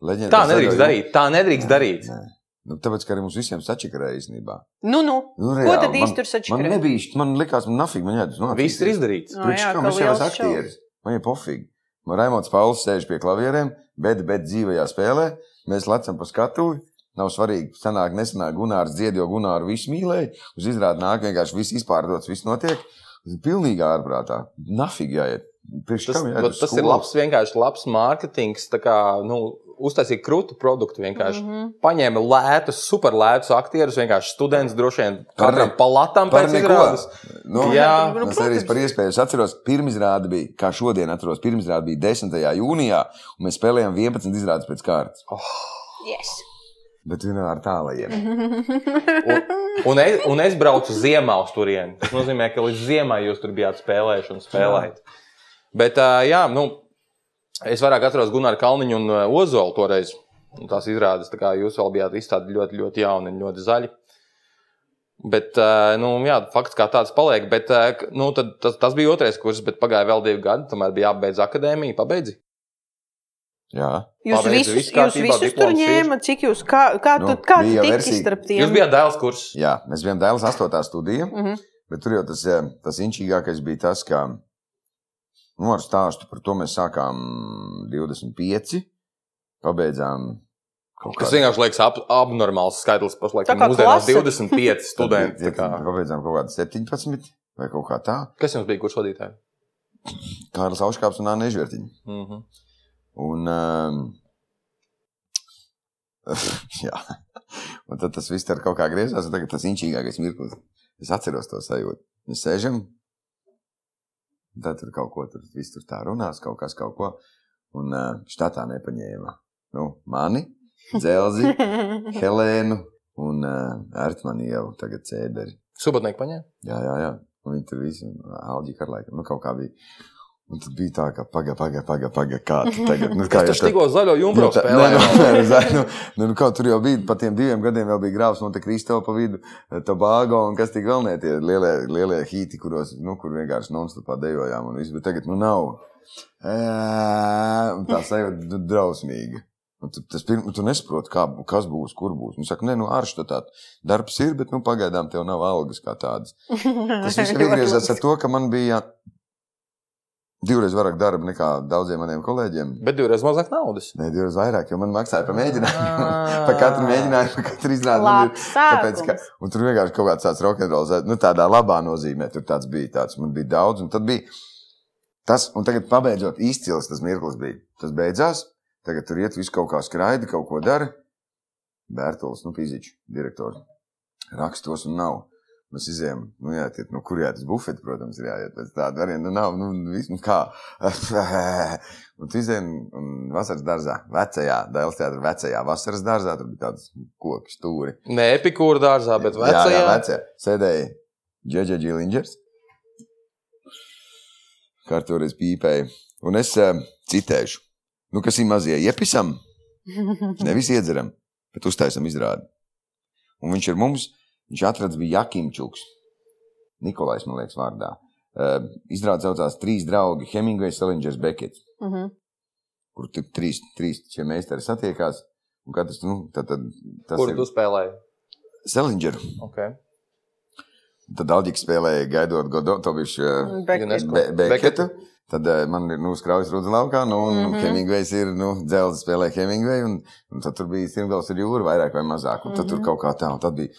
B: Leģenda
C: tā
B: zaļajā jūrā.
C: nedrīkst darīt. Tā nedrīkst darīt.
B: Nē. Nu, tāpēc, ka arī mums visiem sačakarēja īstenībā.
A: Nu, nu. Ko
B: Nu, reāli,
A: tad
B: man-
A: īsti tur
B: Man
A: sačakarē?
B: nebija, šķ- man likās, man nafīgi, man jādara.
C: Viss ir izdarīts.
A: Nā,
B: Priekš
A: Nu jā,
B: kā
A: ka
B: mēs jau
A: liels
B: esam aktieri. Man ir pofīgi. Man Raimons Pauls sēž pie klavierēm, bet, bet dzīvajā spēlē mēs lecam pa skatuvi. Nav svarīgi, sanāk, nesanāk, Gunārs dzied, jo Gunāru visu mīlēja. Uz izrādi nāk vienkārši viss izpārdots, viss notiek. Pilnīgi ārprātā. Nafīgi jāiet. Priekš
C: Tas,
B: kam jāiet
C: vat
B: uz
C: tas ir
B: skolu?
C: labs, vienkārši labs mārketings. tā Kā, nu, uztaisīja krūtu produktu. Vienkārši mm
A: Mhm.
C: -hmm. paņēma lētus, superlētus aktierus, vienkārši students droši vien katram
B: ne-
C: palatām
B: Par
C: pēc
B: neko.
C: izrādes.
B: Nu,
C: Jā.
A: Nu,
B: tas arī
A: protams.
B: par iespēju. Es atceros, pirmizrāde bija, kā šodien atceros, pirmizrāde bija 10. jūnijā, un mēs spēlējām 11 izrādes pēc kārtas.
A: Yes. Mhm.
B: Bet vienā ar tālajiem.
C: Un,
B: (laughs)
C: un, es, un es braucu ziemā uz turieni. Tas nozīmē, ka līdz ziemai jūs tur bijāt spēlējuši un spēlējot. Bet, ā, jā, nu, es vairāk atceros Gunārs Kalniņu un ā, Ozolu toreiz. Un tās izrādes, tā kā jūs vēl bijāt izstādi ļoti, ļoti jauni un ļoti zaļi. Bet, ā, nu, jā, fakts kā tāds paliek. Bet, ā, k- nu, tad, tas, tas bija otrais kurs, bet pagāja vēl divi gadi. Tomēr bija jābeidz akadēmija, pabeidz.
B: Jā,
A: Jūs
C: Pabeidz,
A: Pabeidz, visus,
C: viss
A: jūs
C: kārtībā,
A: visus tur
C: diploms ir.
A: ņēmat, cik jūs, kā, kā
B: Nu,
A: tu, kā tu
B: bija
A: tiki
B: versija.
A: starp tiem?
C: Jūs
A: (laughs)
C: bijāt dēls kurs.
B: jā mēs bijām dēls 8. studijā,
A: Mhm.
B: bet tur jau tas, eh, tas inčīgākais bija tas, ka nu, ar stāstu par to mēs sākām 25, pabeidzām kaut
C: Tas
B: kādā.
C: vienkārši liekas ab, abnormāls skaitlis. Pašlaik
A: Tā kā
C: mūsdienās
A: klase. (laughs)
C: 25 studenti. tā kā.
B: Pabeidzām kaut kādu 17 vai kaut kā tā.
C: Kas jums bija kurš vadītājs?
B: Kārlis Auškāps un Anna Ežvertiņa.
C: Mm -hmm.
B: Un, um, (laughs) jā, un tad tas viss tur kaut kā griezās. un Tagad tas inčīgākais mirklis. Es atceros to sajūtu. Mēs sēžam, un tad tur kaut ko tur viss tur tā runās, kaut kas, kaut ko. Un uh, štatā nepaņēma nu, mani, dzelzi,
A: (laughs)
B: Helēnu un uh, Ertmanu jau tagad cēderi.
C: Subatnieki paņēma.
B: Jā, jā, jā. Un viņi tur visi alģija karlaika. Nu, kaut kā bija. Un tad bija tā, ka pagaidi, pagaidi, pagaidi, paga, kā tu tagad. Nu, kā
C: Kā
B: jau
C: tas tikko zaļo jumbro
B: tā- nē,
C: spēlē?
B: nu, nē, zā- nu, nu, nu, kā tur jau bija, pa tiem diviem gadiem vēl bija grāvs Monte Kristo pa vidu, eh, Tobago un kas tik vēl ne tie lielie, lielie hīti, kuros, nu, kur vienkārši nonstopā dejojām un viss, bet tagad, nu, nav. Ē, Un tā sajūta nu, drausmīga. Un tu, tas pirms, tu nesaproti, kā, bū- kas būs, kur būs. Nu, saka, nē, nu, arš tā darbs ir, bet, nu, pagaidām tev nav algas kā tādas. Tas viss
A: Ļoti
B: atgriezās ar
A: labi.
B: to, ka man bija divreiz vairāk darba nekā daudziem maniem kolēģiem.
C: (laughs) Bet divreiz mazāk naudas. Ah.
B: Nē, divreiz vairāk, jo man maksāja par mēģinājumu.
C: Ā.
B: Par katru mēģinājumu, par katru izrādi. man ir-
A: Labs
B: Tāpēc, ka,
A: sākums.
B: un tur vienkārši kaut kāds tāds rokenrols, nu, tādā labā nozīmē, tur tāds bija. Tāds. Man bija daudz, un tad bija tas, un tagad pabeidzot izcils tas mirklis bija. Tas beidzās, tagad tur iet viss kaut kā skraida, kaut ko dara. Bērtols, nu, fizičs, direktors. Rakstos un nav. Mēs izējām, nu, jā, tiet, nu, kur jāiet uz bufeti, protams, ir jāiet pēc tāda varianta. Nu, nav, nu, viss, nu, kā. (laughs) un tu izējām, un vasaras dārzā, vecajā, Dēls teātra vecajā vasaras dārzā, tur bija tāds koks stūri.
C: Ne epikūra dārzā, bet
B: Jā, jā,
C: vecajā.
B: vecajā. Sēdēja Džeģeģa Džilingers. Kā tur es pīpēju. Un es eh, citēšu. Nu, kas ir mazie iepisam,
C: (laughs)
B: nevis iedzeram, bet uztaisam izrādi. Un viņš ir mums, viņš atrads bija Jakimčuks. Nikolais, man liekas, vārdā. Uh, izrādi saucās trīs draugi - Hemingway, Selingers, Bekets
A: Mhm.
B: kur tur trīs, trīs šie meistari satiekās. Un katrs, nu, tad, tad, tas
C: Kur tu
B: ir
C: spēlēji?
B: Selingers.
C: Okay.
B: Tad Aldis spēlēja gaidot Godoviču
A: Bekets.
C: Ko?
B: eh, Be- Beketu.
C: Beketu?
B: Tad eh, man ir nu, uzkrājas rudas laukā, nu, un mm
A: Mhm.
B: -hmm. Hemingvejs ir nu, dzelzs, spēlēja Hemingveju, un, un tad tur bija Simgals ar jūru vairāk vai mazāk, un tad tur
A: Mhm.
B: kaut kā tā, un tad bija.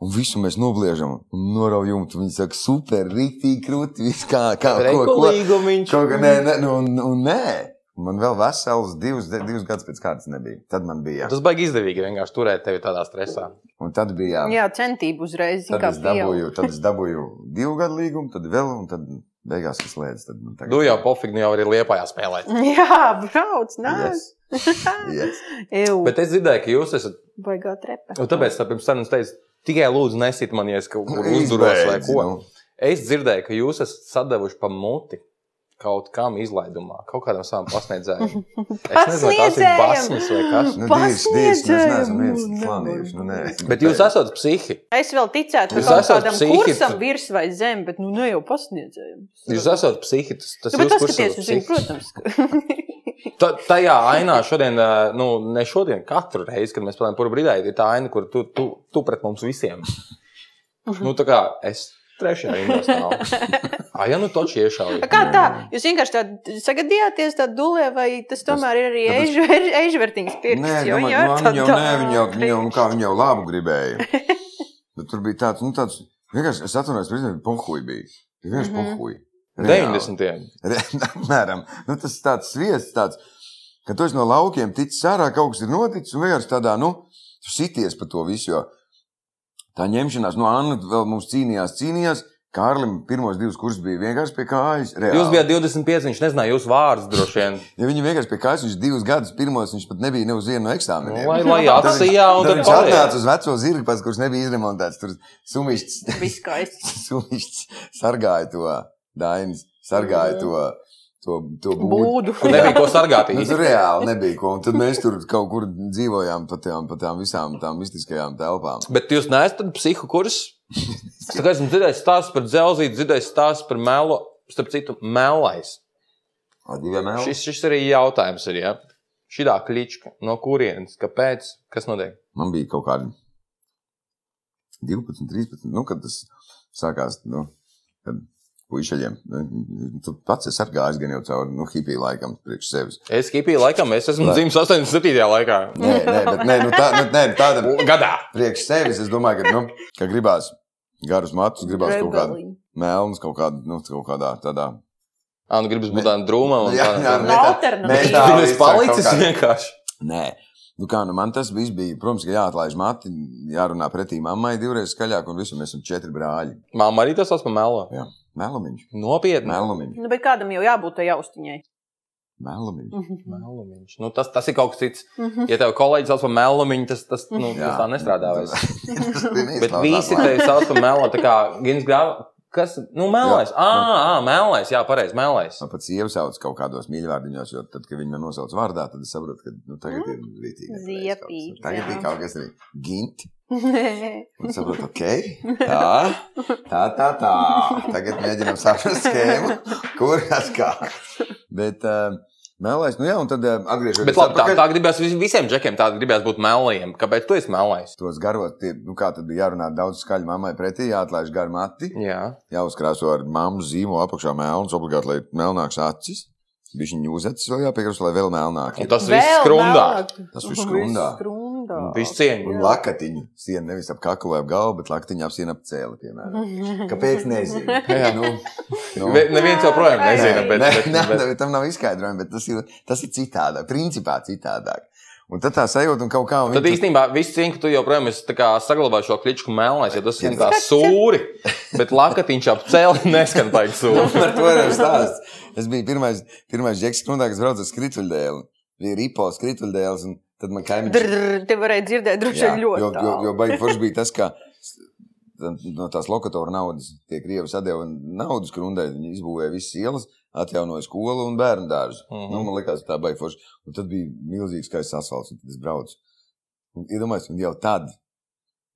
B: Un visu mēs nobliežam, un noraujam, tad viņi saka, super, rīktīgi krūti, viss kā, kā, ko, ko.
C: Rekulīgu viņš.
B: Kaut kā, nē, nē, nu, un, un nē. Man vēl vesels divus, divus gadus pēc kārtas nebija. Tad man bija.
C: Tas baigi izdevīgi vienkārši turēt tevi tādā stresā.
B: Un tad bija.
A: nu, Jā, centību uzreiz. zini,
B: Tad
A: kā
B: es,
A: pieaug.
B: dabūju, tad es dabūju divu gadu līgumu, tad vēl, un tad beigās es slēdzu. Tad man tagad-
C: Tu Nu, jau pofīgi jau arī liepājā spēlēt.
A: (laughs) Jā, brauc, nē.
B: Yes. Yes.
A: Ew,
C: Bet es dzirdēju, ka jūs esat.
A: baigā trepa.
C: un Tāpēc tā pirms tam es teicu, tikai lūdzu nesit man, ja es kaut (laughs) kur uzduros vai
B: Izbeidz,
C: ko.
B: nu.
C: Es dzirdēju, ka jūs esat sadevuši pa muti kaut kam izlaidumā, kaut kādam savam
A: (laughs)
C: pasniedzējam. Es nezinu, kas ir
A: Pasniedzējam!
C: basmas vai kas.
B: Nu, divas, divas, mēs neesam viens
A: Pasniedzējumu
B: planījuši. Nu, nē, es-
C: Bet jūs esat psihi.
A: Es vēl ticētu, ka
C: Jūs
A: kaut
C: esat
A: kādam
C: psihiatrs.
A: kursam virs vai zem, bet nu ne jau pasniedzējums.
C: Jūs esat psihi. Tas, tas
A: Nu, bet
C: jūs kurs
A: paskaties
C: esat
A: uz viņu,
C: psihi.
A: protams.
B: (laughs)
C: Ta- Tajā ainā šodien, ā, nu, ne šodien, katru reizi, kad mēs spēlējam puru brīdī, ir tā aina, kur tu, tu, tu pret mums visiem. Nu, tā kā es trešajā rindā stāvu.
A: (laughs)
C: Ai, ja nu toči
A: ka-
C: iešauju.
A: Kā tā? Jūs vienkārši tādā sagadījāties tādā dulē, vai tas tomēr ir arī
B: tāpēc-
A: (laughs) eiž- eižvertiņas pirks?
B: Nē,
A: Jo
B: domāju,
A: viņa ir
B: nu,
A: tāda-
B: viņa jau, nē, viņa jau, viņa jau, nu, kā viņa jau labu
A: (laughs)
B: gribēja. Bet tur bija tāds, nu, tāds, vienkārši es atvainojos, ka viņš pohuji bija. Viņš vienkārši
A: Mhm.
B: pohuji. Reāli. (laughs)
C: 90.
B: Re- Apmēram. Nu, tas tāds sviests, tāds. Kad tu esi no laukiem ticis ārā, kaut kas ir noticis, un vienkārši tādā, nu, tu sities par to visu. Jo tā ņemšanās, nu, Anna vēl mums cīnījās, cīnījās. Kārlim pirmos divus kursus bija vienkārši pie kājas. Reāli.
C: Jūs bijat 25, viņš nezināja jūsu vārdus droši vien.
B: Ja viņam vienkārši pie kājas, viņš divus gadus pirmos, viņš pat nebija ne uz vienu no eksāmeniem.
C: Nu, Lai, lai atsijā un
B: Tad
C: tad
B: viņš atnāca uz veco zirgu, pēc kuras nebija izremontēts. Tur sumišķis, (laughs)
A: Viss skaisti.
B: sumišķis sargāja to dainis, sargāja to, to, to būdu.
A: Būdu.
C: Tur nebija ko sargāt.
B: Nu,
C: īsti.
B: tur reāli nebija ko. Un tad mēs tur kaut kur dzīvojām pa tām, pa tām visām tām mistiskajām telpām.
C: Bet jūs neesat psihu
B: (laughs)
C: kurs. Es tikai esmu dzirdējis stāstu par dzelzīti, dzirdējis stāstu par melo. Starp citu, melais.
B: Ar diviem elkiem.
C: Šis, šis arī jautājums ir. Ja? Šitā klička, no kurienes, kāpēc, kas notiek?
B: Man bija kaut kādi 12, 13, nu, kad tas sākās. Nu, kad puišaļiem. nu, Tu pats esi atgājis gan jau cauri nu, hipiju laikam priekš sevis.
C: Es kipīju laikam, es esmu
B: Vai.
C: dzimis 87. laikā.
B: Nē, nē, bet nē, nu, tā, nu, nē, nu, tādam
C: Gadā.
B: priekš sevis es domāju, ka, nu, ka gribās garus matus, gribās kaut kādu melnu, kaut, kādu, nu, kaut kādā tādā.
C: Jā, nu gribas būt tādam drūmam. un
B: Jā,
C: tādam-
B: jā,
A: No alternatīvas.
C: (laughs)
B: Nē, tā.
C: Tur es
B: viss
C: palicis
B: kaut kā-
C: vienkārši.
B: Nē, nu, kā, nu, man tas viss bija. Protams, ka jāatlaiž mati, jārunā pretī mammai divreiz skaļāk, un visam mēs esam četri brāļi.
C: Māma arī tas esmu melo.
B: Melumiņš,
C: Nopietni.
B: melumiņš,
A: Nu, bet kādam jau jābūt tajā austiņai.
B: melumiņš.
C: Melumiņš. Nu, tas, tas ir kaut kas cits.
A: Mhm.
C: Ja tev kolēģis sauc par melumiņu, tas, tas, nu, tas tā nestrādā. (laughs) Vairs. Bet visi te sauc par melo. Tā kā Gins Grāvs. Kas? Nu, melnais.
B: Jā.
C: Ah, melnais. Jā, pareizi, melnais.
B: Man pat sieva sauc kaut kādos mīļvārdiņos, jo tad, kad viņi man nosauc vārdā, tad es saprotu, ka nu, tagad ir rītīgi.
A: Ziepīts,
B: Tagad
A: jā.
B: ir kaut kas arī gint.
A: Nē.
B: Un saprotu, ok, tā, tā, tā, tā. Tagad mēģinām saprast schēmu, kur kas kā. Bet uh, melais, nu jā, un tad uh, atgriežoties.
C: Bet labi, tā,
B: atpakaļ.
C: tā gribēs vis- visiem džekiem, tā gribēs būt melniem. Kāpēc tu esi melnais?
B: tos garos, tie, nu, kā tad bija jārunā daudz skaļi mammai pretī, jāatlaiž garu mati,
C: Jā,
B: jāuzkrāso ar mammas zīmolu apakšā melns, obligāti, lai melnāks acis. Viņš viņu uzacis vēl jāpiekrust, lai vēl melnāk.
C: un
A: (laughs)
C: tas viss skrundā.
B: Tas viss skrundā.
A: skrundā.
C: Viss cieņa.
B: Un lakatiņu sienu nevis ap kaklu vai ap galvu, bet lakatiņu ap sienu ap cēli, piemēram. (laughs) Kāpēc nezinu?
C: Jā.
B: Nu, nu.
C: Ve- Neviens joprojām nezina, bet,
B: Nē,
C: bet,
B: nē,
C: bet,
B: nē, tam nav izskaidrojumi, bet tas ir, tas ir citādāk, principā citādāk. Un tad tā sajūta un kaut kā.
C: Tad
B: viņa-
C: īstenībā viss cīņa, ka tu joprojām esi tā kā saglabājis šo kličku melnais, ja tas ir tā
A: Skats, jā.
C: sūri, bet lakatiņš ap cēli (laughs) neskan baigi sūri.
B: (laughs) Par to jau stāsts. Es biju pirmais, pirmais džeks, stundā, kas brauca uz skrituļdēlu. Bija ripo skrituļdēls, un tad man kaimiņš.
A: Drrr, Te varēja dzirdēt, droši vien ļoti.
B: jo, jo,
A: tālu.
B: jo baigi
A: (laughs)
B: forši bija tas, ka no tās lokatora naudas tie krievi sadeva naudas krundē. Viņi izbūvēja visas ielas, atjaunoja skolu un bērnu dārzu. Mm -hmm. nu,
C: Mhm.
B: man liekas, tā baigi forši. Un tad bija milzīgs skaists asfalts, un tad es braucu. Un Iedomājos, un jau tad.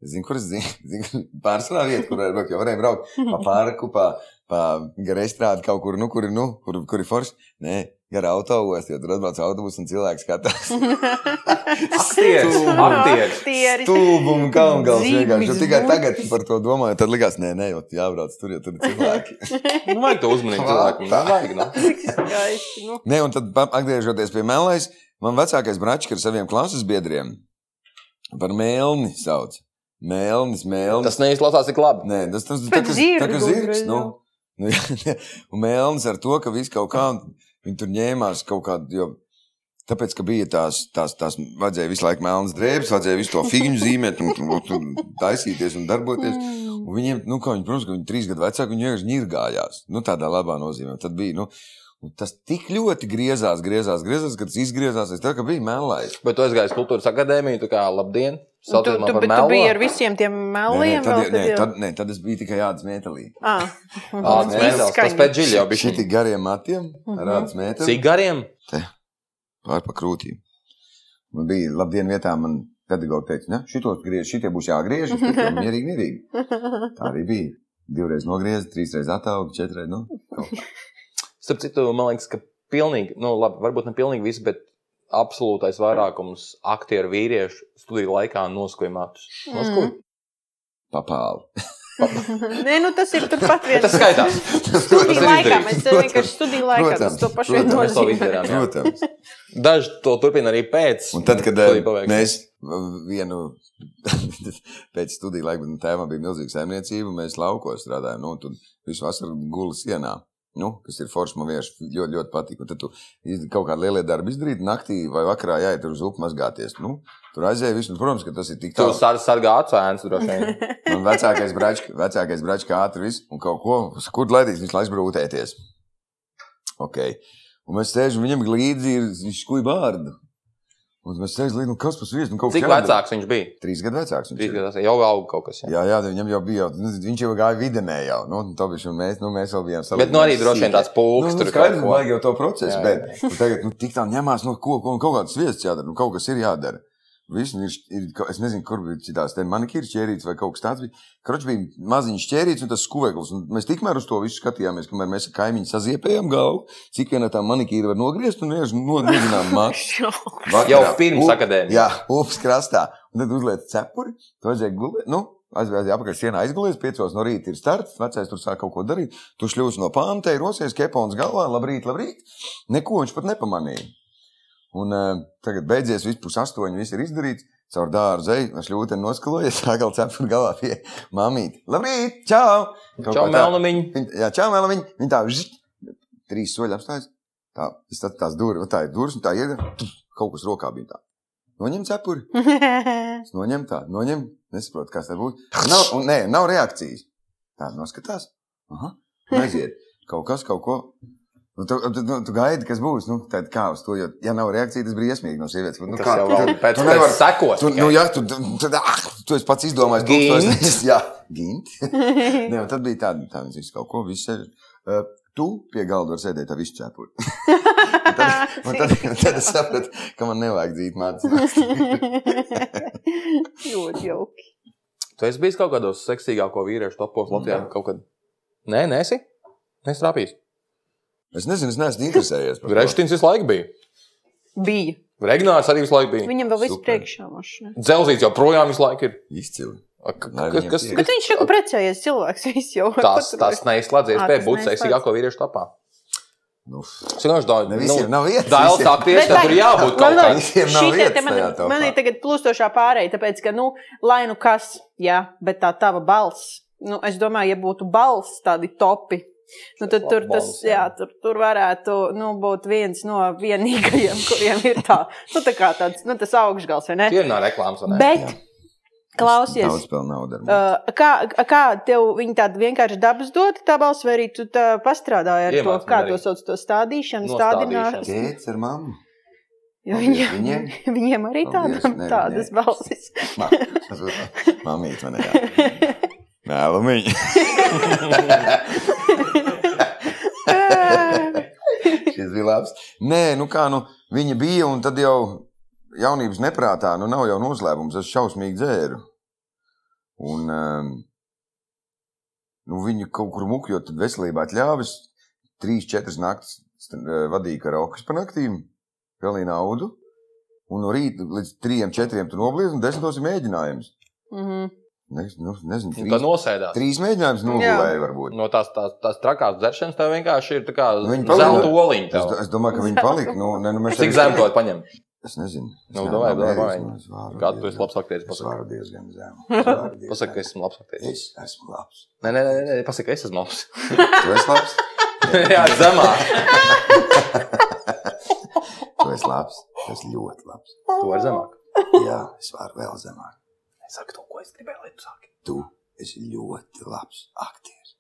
B: Es zinu, kur es zinu, (laughs) zinu pārsvarā vieta, kur varēja braukt. Jau varēja braukt pa parku, pa, pa garu estrādi kaut kur, nu, kur, ir, nu, kur, kur ir forši. Nē, gara autobusā, jo tur atbrauc autobusu un cilvēks skatās.
C: Aktieris, (laughs) aktieris.
A: Aktieris.
B: Stulbumu kalngals
A: Dzīvis
B: vienkārši. Jo Tikai
A: būs.
B: tagad par to domāju, tad likās, nē, nē, jau jābrauc tur, jo tur ir cilvēki.
C: Nu, vajag to uzmanīgi cilvēkam.
B: Tā.
C: Nu, vajag, nu.
A: Cik skaisti. Nu.
B: Nē, un tad pa- atgriežoties pie melnais, man vecākais brāčs ar saviem klases biedriem par mēlni sauc. Mēlnis, mēlnis.
C: Tas neizklausās tik labi.
B: Nē, tas tas ir
A: Par
B: tas, kas
A: zirgu
B: ir zirgs.
A: uzreiz,
B: Nu, nu, (laughs) un mēlnis ar to, ka viss kaut kā un viņi tur ņēmās kaut kādu. Jo, Tāpēc, ka bija tās, tās, tās vajadzēja visu laiku melnas drēbes, vajadzēja visu to figūru zīmēt, un, un, un, un taisīties un darboties.
A: Mm.
B: Un viņiem, nu, kā viņi, protams, ka viņi trīs gadu vecāki, viņi vienkārši ņirgājās. Nu, tādā labā nozīmē. Tad bija, nu, un tas tik ļoti griezās, griezās, griezās, ka tas izgriezās. Es tā kā bija melnais.
C: Bet tu esi gājis kultūras akadēmijā, tu kā labdien.
A: Tu, tu,
C: Sauciet man par
A: bet tu biji ar
C: melu.
A: visiem tiem
B: Nē, nē,
A: meliem.
B: tad,
A: vēl
B: nē,
A: tad jau?
B: tad, nē, tad es biju tikai jādas metālī.
A: Ah.
C: (laughs) Ah,
A: Mhm.
C: Mēlis, Tas
A: Izskaņa.
C: pēc dziļi jau bija.
B: Šī tik gariem matiem,
A: Mhm.
B: ar ādas metālu.
C: Cigariem?
B: pār pa krūtīm. Man bija labdien vietā, man pedagogs teica, ne, šitos griež, šitie būs jāgriež.
A: (laughs)
B: Es teicu, mierīgi, mierīgi. Tā arī bija. Divreiz nogriezta, trīsreiz attēlot, četreiz. Nu.
C: Starp citu, man liekas, ka pilnīgi, nu, labi, varbūt ne pilnīgi viss, bet absolūtais vairākums aktieru vīriešu studiju laikā noskoja matus.
A: Mm.
C: Noskoja.
B: Papāli.
A: Nē, nu tas ir turpat
C: Bet
A: viens.
C: Tas
A: (laughs)
C: skaitās.
A: Studiju
C: Tas
A: laikā
C: izdarīts.
A: mēs vienkārši studiju laikā mēs to pašu
B: Protams,
C: Mēs to
A: nozīmējam.
C: izdarām. jā.
B: Protams.
C: Daži to turpina arī pēc.
B: Un tad, kad
C: studiju
B: eh,
C: pabeigšanas.
B: mēs eh, vienu (laughs) pēc studiju laika, man tēvam bija milzīga saimniecība, mēs laukos strādājām, nu, un tur visu vasaru gulēja sienā. Nu, kas ir forši, man vienkārši ļoti, ļoti patīk. Un Tad tu iz- kaut kādā lielā darbā izdarīji, naktī vai vakarā jāiet uz upi mazgāties. Nu, tur aizēja viss, un, protams, ka tas ir tik
C: Tu
B: tālu.
C: sar- sargā acēns droši
A: (laughs)
C: vien.
B: Man vecākais bračs, vecākais bračs kā ātris un kaut ko, uz kur laidīs, viņš laiks brūtēties. Ok. Un mēs sēžam, viņam līdzi ir viņš skuja bārdu. Un mēs sēžam līdzi, nu kas tas vies, nu kaut kas
C: Cik vecāks viņš bija?
B: Trīs gadu vecāks. viņš
C: Trīs
B: ir.
C: gadus jau auga kaut kas. Jā.
B: Jā, jā, viņam jau bija, jau, nu, viņš jau gāja videnē jau, nu, un to bišķi, un mēs, nu, mēs vēl bijām savā.
C: Bet nu arī droši vien tāds pulks
B: Nu,
C: tur
B: nu, skaidrs,
C: kaut ko.
B: vajag jau to procesu,
C: Jā,
B: bet nu, tagad nu, tik tā ņemās no kaut kā, kaut kādas vietas jādara, nu, kaut kas ir jādara. Viss nu, ir, ir, ka- es nezinu, kur bija citās, te manikīra ķērīts vai kaut kas tāds bija. Kroč bija maziņš ķērīts un tas skuveklis. Un mēs tikmēr uz to visu skatījāmies, kamēr mēs ar kaimiņu saziepējām galvu, cik viena tā manikīra var nogriezt un vienkārši nodrošinām mākslu.
A: (laughs)
C: Jau pirms akadēmijas.
B: Jā, upes krastā. Un tad uzliek cepuri, to vajadzēja gulēt. Nu, Aizgājis apakšā sienā, aizgulējis, piecos no rīta ir starts. Vecais tur sāk kaut ko darīt. Tu šļūsi no pānta, ir rosies, kepons galvā, labrīt, labrīt. Neko viņš pat nepamanīja. Un uh, tagad beidzies, viss pus astoņi, viss ir izdarīts. Caur dārzu eju, no šļūtiem noskalojies, (laughs) atkal cepuri galvā pie mamītes. Labrīt, čau! Kaut
C: Čau,
B: kā tā.
C: Melnumiņ.
B: Viņa, jā, čau, mēlam, viņa, viņa tā, žit, trīs soļi apstājas. Tā, es tad tās durvis, tā ir durvis, un tā ir kaut kas rokā bija tā. Noņem cepuri, es noņem tā, noņem, nesaprotu, kas tas būs. Nav, un, nē, nav reakcijas. Tā noskatās. Aha, un aiziet. Kaut kas, kaut ko. Nu, tu, tu, tu, tu gaidi, kas būs. Nu, tad kā uz to, jo, ja nav reakcija, tas briesmīgi no sievietes. Nu,
C: Tas
B: kā,
C: jau
B: tu-
C: vēl pēc
B: tu
C: tam
B: nevari-
C: sekos.
B: Tu, nu,
C: tikai.
B: jā, tu, tu, tad, ah, tu esi pats izdomājis,
C: Gint.
B: tūkstošnieks. Jā, gint. Nē, un tad bija tāda, tā viņš kaut ko visu sēž. Uh, tu pie galda vari sēdēt ar visu cepuri. Un tad, un tad, un tad es sapratu, ka man nevajag dzīt mācīt.
A: Ļoti jauki.
C: Tu esi bijis kaut kādos seksīgāko vīriešu topos Latvijā.
B: Jā.
C: Kaut kad. Nē, nē, esi. Nestrāpījis.
B: Es nezinu, es neesmu interesējies par to.
C: Grešķins visu laiku bija.
A: Bija.
C: Regnārs arī visu laiku bija.
A: Viņam vēl viss
B: Super.
A: priekšā mašīna.
C: Dzelzīts joprojām visu laiku ir.
B: Izcili.
C: Ak,
B: Lai
C: Kas,
B: viņam
C: kas,
B: tiek.
A: Bet viņš jau precējies cilvēks. Viņš jau
C: Tas, tas neizslēdzies
A: Ā,
C: pēc
A: tas
C: būt
A: neizslēdz.
C: seksīgāko vīriešu topā.
B: Nu,
C: Es vienkārši daudz.
B: ne visiem nav vietas.
C: Dāļu
B: visiem.
C: tā tieši tā, tur jābūt kaut kādam.
B: Visiem nav vietas
A: man,
B: tajā telpā.
A: man ir tagad plūstošā pārēja, tāpēc, ka, nu, lai nu kas, jā, bet tā tava balss, nu, es domāju, ja būtu balss tādi topi, nu, tad
C: Laba
A: tur tas,
C: balss,
A: jā,
C: jā.
A: tur, tur varētu, nu, būt viens no vienīgajiem, (laughs) kuriem ir tā, nu, tā kā tāds, nu, tas augšgals, vai ne?
C: Tie ir no reklāmas. vai ne?
A: Bet,
B: jā.
A: klausies,
B: Daudz vēl naudas.
A: Uh, kā, kā tev viņa tāda vienkārši dabas dota, tā balss, vai arī tu tā pastrādāji ar to,
C: Iemācījumi
A: kā to
C: darīt.
A: sauc, to stādīšanu,
C: Nostādīšanu.
A: stādināšanu?
B: Tēvs ar mammu.
A: Jo
B: Paldies
A: Viņiem,
B: viņiem.
A: (laughs) viņiem arī
B: Paldies,
A: tādam,
B: ne,
A: tādas
B: (laughs)
A: balsis.
B: Mamīt man ir. Mēlumiņ. Šis bija labs. Nē, nu kā nu, viņa bija, un tad jau jaunības neprātā, nu nav jau noslēpums, es šausmīgi dzēru. Un um, nu, viņa kaut kur mukļot, tad veselībā atļāvis. Trīs, četras naktis st- eh, vadīja karaokas pa naktīm, pelnīja naudu. Un no rīta līdz trijiem, četriem tur noblīdz, un desmitos ir mēģinājums.
A: Mhm.
B: Ne, nu, nezinu,
C: Un Tā
B: trīs,
C: nosēdās.
B: trīs mēģinājums nogulēja varbūt.
C: No tās, tās, tās trakās dzeršanas tev vienkārši ir tā kā
B: Nu, viņi
C: zelta
B: palika.
C: oliņa.
B: Es,
C: tev.
B: es domāju, ka viņi palika. Nu, ne, nu, mēs
C: Cik
B: tagad-
C: zemu to paņem?
B: Es nezinu.
C: Nu, davai, davai. Kādu tu esi labs
B: labs?
C: aktieris?
B: Es
C: pasaki?
B: varu diezgan zemu.
C: (laughs) Pasaka, ka esmu labs aktieris.
B: Es esmu labs.
C: Nē, nē, nē, nē, pasaka, ka es esmu labs.
B: Tu esi labs.
C: (laughs) Jā, zemā.
B: Tu esi labs. Tu esi ļoti labs.
C: Tu vari zemāk.
B: Jā, es varu vēl zemāk.
C: Es saku to, ko es gribēju, lai tu saki.
B: Tu esi ļoti labs aktieris.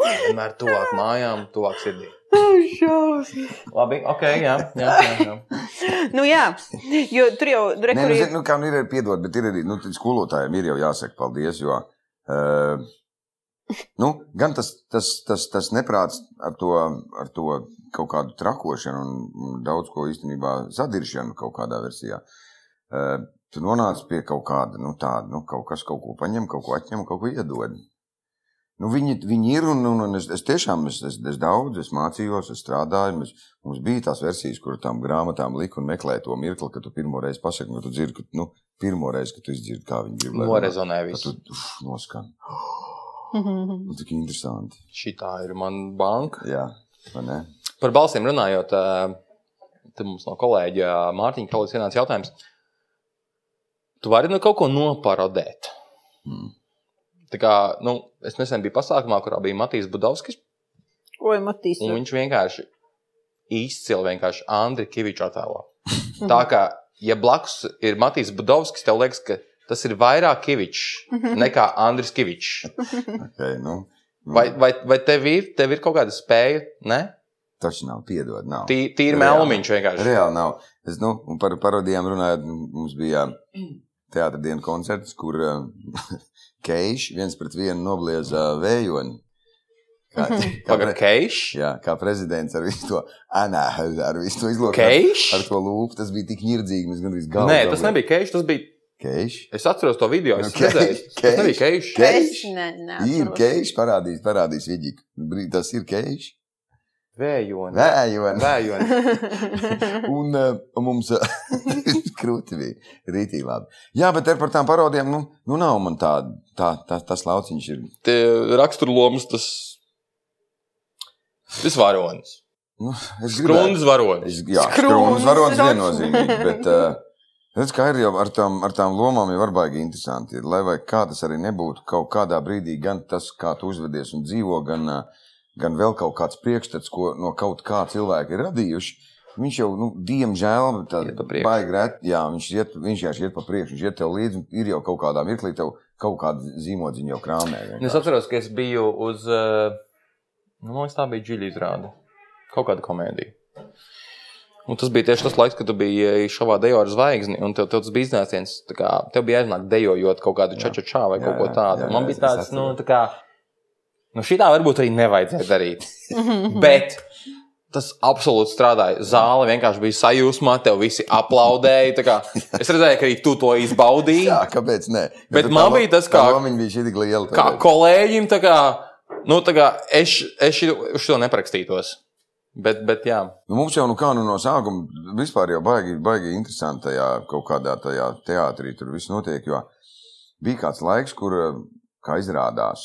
C: Vienmēr tuvāk mājām, tuvāk sirdī.
A: Ai, šausmas.
C: Labi, ok, jā. jā, jā, jā.
A: Nu jā, jo tur jau
B: Nē, nu,
A: rekurija.
B: zini, nu, kā nu ir arī piedod, bet ir arī nu, tad skolotājiem ir jau jāsaka paldies, jo uh, nu, gan tas, tas, tas, tas neprāts ar to, ar to kaut kādu trakošanu un, un daudz ko īstenībā sadiršanu kaut kādā versijā. Uh, tu nonāc pie kaut kāda, nu, tāda, nu, kaut kas kaut ko paņem, kaut ko atņem, kaut ko iedod. Nu, viņi, viņi ir, un, un, un es, es tiešām es, es, es daudz es mācījos, es strādāju. Es, mums bija tās versijas, kur tam grāmatām lika un meklēja to mirkli, kad tu pirmo reizi pasaki, ka tu dzirdi, ka, nu, pirmo reizi, kad tu izdzirdi, kā viņi grib. lai runā.
C: Norezonē
B: Kad
C: viss.
B: tu uf, noskan.
A: Mhm.
B: Nu, tik interesanti.
C: Šitā ir man banka.
B: Jā, vai ne?
C: Par balsīm runājot, ā, te mums no kolēģa eh, Mārtiņa Kalīša ienāca jautājums. Tu vari nu kaut ko noparodēt?
B: Mm.
C: Tā kā, nu, es nesen biju pasākumā, kurā bija Matīs Budovskis.
A: Oi, Matīs.
C: Un viņš vienkārši izcili vienkārši Andriu Kaviču attēlā. Tā kā, ja blakus ir Matīs Budovskis, tev liekas, ka tas ir vairāk Kavičs nekā Andris Kavičs.
B: Okay, nu, nu,
C: Vai, vai, vai tev, ir, tev ir kaut kāda spēja? Nē,
B: Tas Mm, nav piedod. Nav.
C: Tī, tīri
B: Reāli.
C: melniņš vienkārši.
B: Reāli nav. Es, nu, un par parodijām runājot, nu, mums bija
C: Mm.
B: teātris dienas koncerts, kur (laughs) uh, Keišs viens pret vienu noblieza vējoni. Kā,
C: Mhm.
B: (laughs) kā,
C: Pagaidām,
B: pre,
C: keiš.
B: jā, kā prezidents ar visu to, anā, ar visu to izlūkošanu.
C: Keiš?
B: Ar to lūpu tas bija tik nirdzīgi. Mēs gandrīz galvu.
C: Nē, tas nebija keiš. Tas bija.
B: Keišs.
C: Es atceros to video. Es
B: Nu, (laughs)
C: okay.
B: keiš,
C: redzēju, tas
B: keiš,
C: nebija keiš.
B: keiš.
A: Es nezinu.
B: Ir keišs, parādīs, parādīs vidīgi. Tas ir keišs.
C: Vējoni.
B: Vējoni.
C: Vējoni.
B: Un uh, mums uh, (laughs) krūti bija rītī labi. Jā, bet ar par tām parodijām, nu, nu nav man tāda, tā, tā, tas lauciņš ir.
C: Te Raksturloms tas.
B: (laughs)
C: Tas varonis.
B: Nu, es gribētu.
C: Krūns varonis.
B: Es, jā,
A: Skrūns.
B: skrūns varots viennozīmīgi, bet, uh, redz, kā ir jau ar tām, ar tām lomām jau var baigi interesanti. ir. Lai vai kā tas arī nebūtu, kaut kādā brīdī gan tas, kā tu uzvedies un dzīvo, gan, uh, gan vēl kaut kāds priekšstats, ko no kaut kā cilvēki ir radījuši. Viņš jau, nu, diemžēl, bet
C: Iet
B: tā
C: pa priekšu.
B: baigi reti. Jā, viņš iet, viņš vienkārši iet pa priekšu, viņš iet tev līdzi. un Ir jau kaut kādā mirklī, tev kaut kāda zīmodziņa jau krāmē.
C: Un Nu, Es
B: vienkārši.
C: atceros, ka es biju uz. eh, Nu, man liekas, tā bija dziļa izrāde. Kaut kāda komēdija. Un tas bija tieši tas laiks, kad tu biji eh, šovā dejojā ar zvaigzni, un tev, tev tas bija iznāciens. tā kā, Tev bija jāiznāk dejojot kaut kādu
B: Jā.
C: čačačā vai
B: Jā,
C: kaut ko
B: jā,
C: tādu.
B: jā,
C: Man
B: jā,
C: bija
B: es- es
C: tāds, nu,
B: atceros.
C: tā kā. Nu, šī tā varbūt arī nevajadzēja
B: (laughs)
C: darīt. Bet tas absolūti strādāja. Zāle vienkārši bija sajūsmā, tev visi aplaudēja. tā kā. Es redzēju, ka arī tu to izbaudīji.
B: Jā, kāpēc nē? Jo
C: Bet
B: tā
C: man
B: lo-
C: bija tas,
B: tā
C: kā-
B: Lomiņa bija šī tik liela.
C: kā
B: tāpēc.
C: kolēģim, tā kā, nu, tā kā es, es šito- uz to neprakstītos. Bet, bet jā,
B: Nu, mums jau nu kā nu no sākuma vispār jau baigi, baigi interesanti tajā kaut kādā tajā teātrī tur viss notiek. Jo bija kāds laiks, kur, eh, kā izrādās,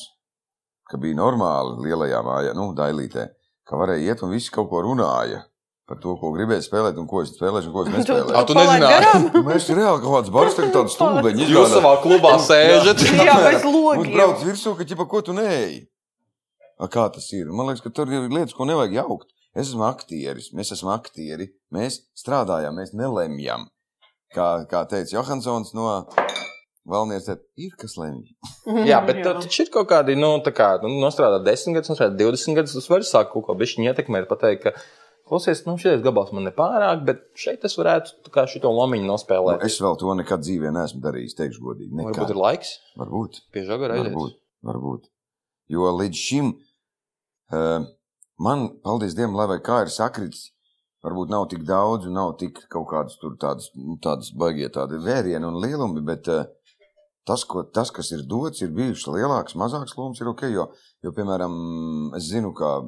B: ka bija normāli lielajā mājā, nu, dailītē, ka varēja iet un visi kaut ko runāja par to, ko gribēja spēlēt un ko es spēlēšu
A: (laughs)
B: un ko es
C: Ā,
B: nespēlēšu. Nu,
C: tu nezināji?
B: (laughs) Mēs reāli kaut kāds bars, tagad tāds stūbeņi.
C: jūs
B: izrādās.
C: savā (laughs) klubā sēžat.
A: Jā, bez
B: Mums
A: logiem.
B: brauc virsū, ka ķipa, ko tu neeji. A, kā tas ir? Man liekas, ka tur ir lietas, ko nevajag jaukt. Es esmu aktieris, mēs esam aktieri, mēs strādājam, mēs nelemjam. Kā, kā teica Johansons no Valnijas, ir kas lemj.
A: Mhm,
C: jā, bet tev taču ir kaut kādi, nu, tā kā, nu, nostrādā 10 gadus, nostrādā 20 gadus, tas var sākt kaut ko bišķiņu ietekmēt, pateikt, ka, klausies, nu, šitais gabals man nepārāk, bet šeit es varētu, tā kā, šito lomiņu
B: Nu,
C: nospēlēt.
B: es vēl to nekad dzīvē neesmu darījis, teikšu godīgi. Nekad.
C: Varbūt ir laiks
B: Varbūt.
C: pie žaga
B: Varbūt,
C: reizes.
B: varbūt. Jo līdz šim uh, man, paldies Dievam, lai vai kā ir sakritis, varbūt nav tik daudz, un nav tik kaut kādas tur tādas, nu, tādas baigie tādi vērieni un lielumi, bet uh, tas, ko, tas, kas ir dots, ir bijušas lielākas, mazākas lomas, ir ok. Jo, jo, piemēram, es zinu, ka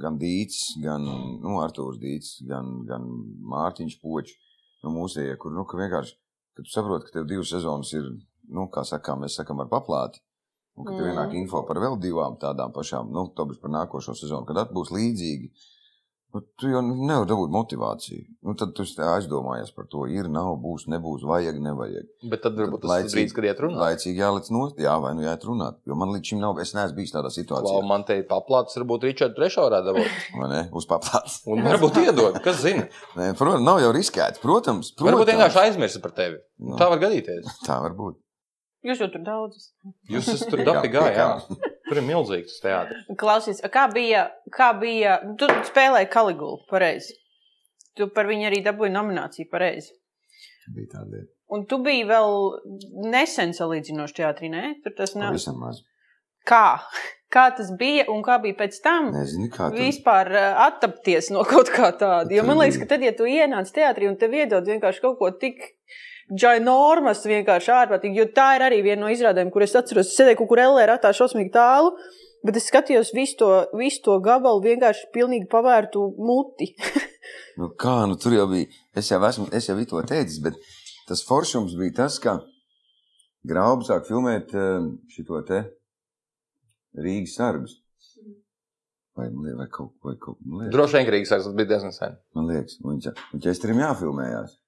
B: gan Dīts, gan nu, Artūrs Dīts, gan, gan Mārtiņš Počs, nu, mūsējie, kur nu, ka vienkārši, kad tu saproti, ka tev divas sezonas ir, nu, kā sakām, mēs sakam ar paplāti. Un, kad mm.
A: Mm.
B: ienāk info par vēl divām tādām pašām, nu, tomēr par nākošo sezonu, kad at- būs līdzīgi, nu, tu jau nevari dabūt motivāciju. Nu, tad tu tā aizdomājies par to, ir, nav, būs, nebūs, vajag, nevajag.
C: Bet tad varbūt tas ir
B: Laicīgi.
C: brīdis, kad iet runāt.
B: Laicīgi jāliec no, jā, vai nu jāiet runāt. Jo man līdz šim nav, es neesmu bijis tādā
C: Klau,
B: situācijā,
C: man te ir paplāts, varbūt Ričardu trešā varētu dabūt.
B: vai ne? Uz paplātes.
C: Un varbūt iedod, kas zina.
B: Nē, Protams, nav jau riskēts. Protams, protams.
C: Varbūt vienkārši aizmirsu par tevi.
B: Nu,
C: Tā var gadīties.
B: tā var būt.
A: Jūs jau tur daudzas.
C: (laughs) Jūs esat tur
B: Pie kā-
C: dabai
B: pie
C: gājis.
B: kā?
C: Tur ir milzīgs tas teātris.
A: Klausies, kā bija, kā bija, tu spēlēji Kaligulu, pareizi. Tu par viņu arī dabūji nomināciju, pareizi.
B: Bija tāda lieta.
A: Un tu biji vēl nesen salīdzinoši teātrī, nē? Tur tas nav.
B: Pavisam maz.
A: Kā? (laughs) Kā tas bija un kā bija pēc tam?
B: Nezinu, kā tur.
A: Vispār uh, attapties no (laughs) kaut kā tāda. Jo man
B: Tur
A: liekas, ka tad, ja tu ienāc teātrī un tev iedod vienkārši kaut ko tik ginormas, vienkārši ārprātīgi, jo tā ir arī viena no izrādēm, kur es atceros, es sēdēju kaut kur LR ratā šausmīgi tālu, bet es skatījos visu to, visu to gabalu vienkārši pilnīgi pavērtu muti.
B: Nu, kā nu tur jau bija? Es jau esmu, es jau biju to teicis, bet tas foršums bija tas, ka graubi sāk filmēt eh, šito te Rīgas sargus. Vai, man liekas, vai kaut ko tādu?
C: Droši vien Rīgas sāks, tas bija diezgan sen.
B: Man liekas, un viņš un ķēstrim jāfilmējās.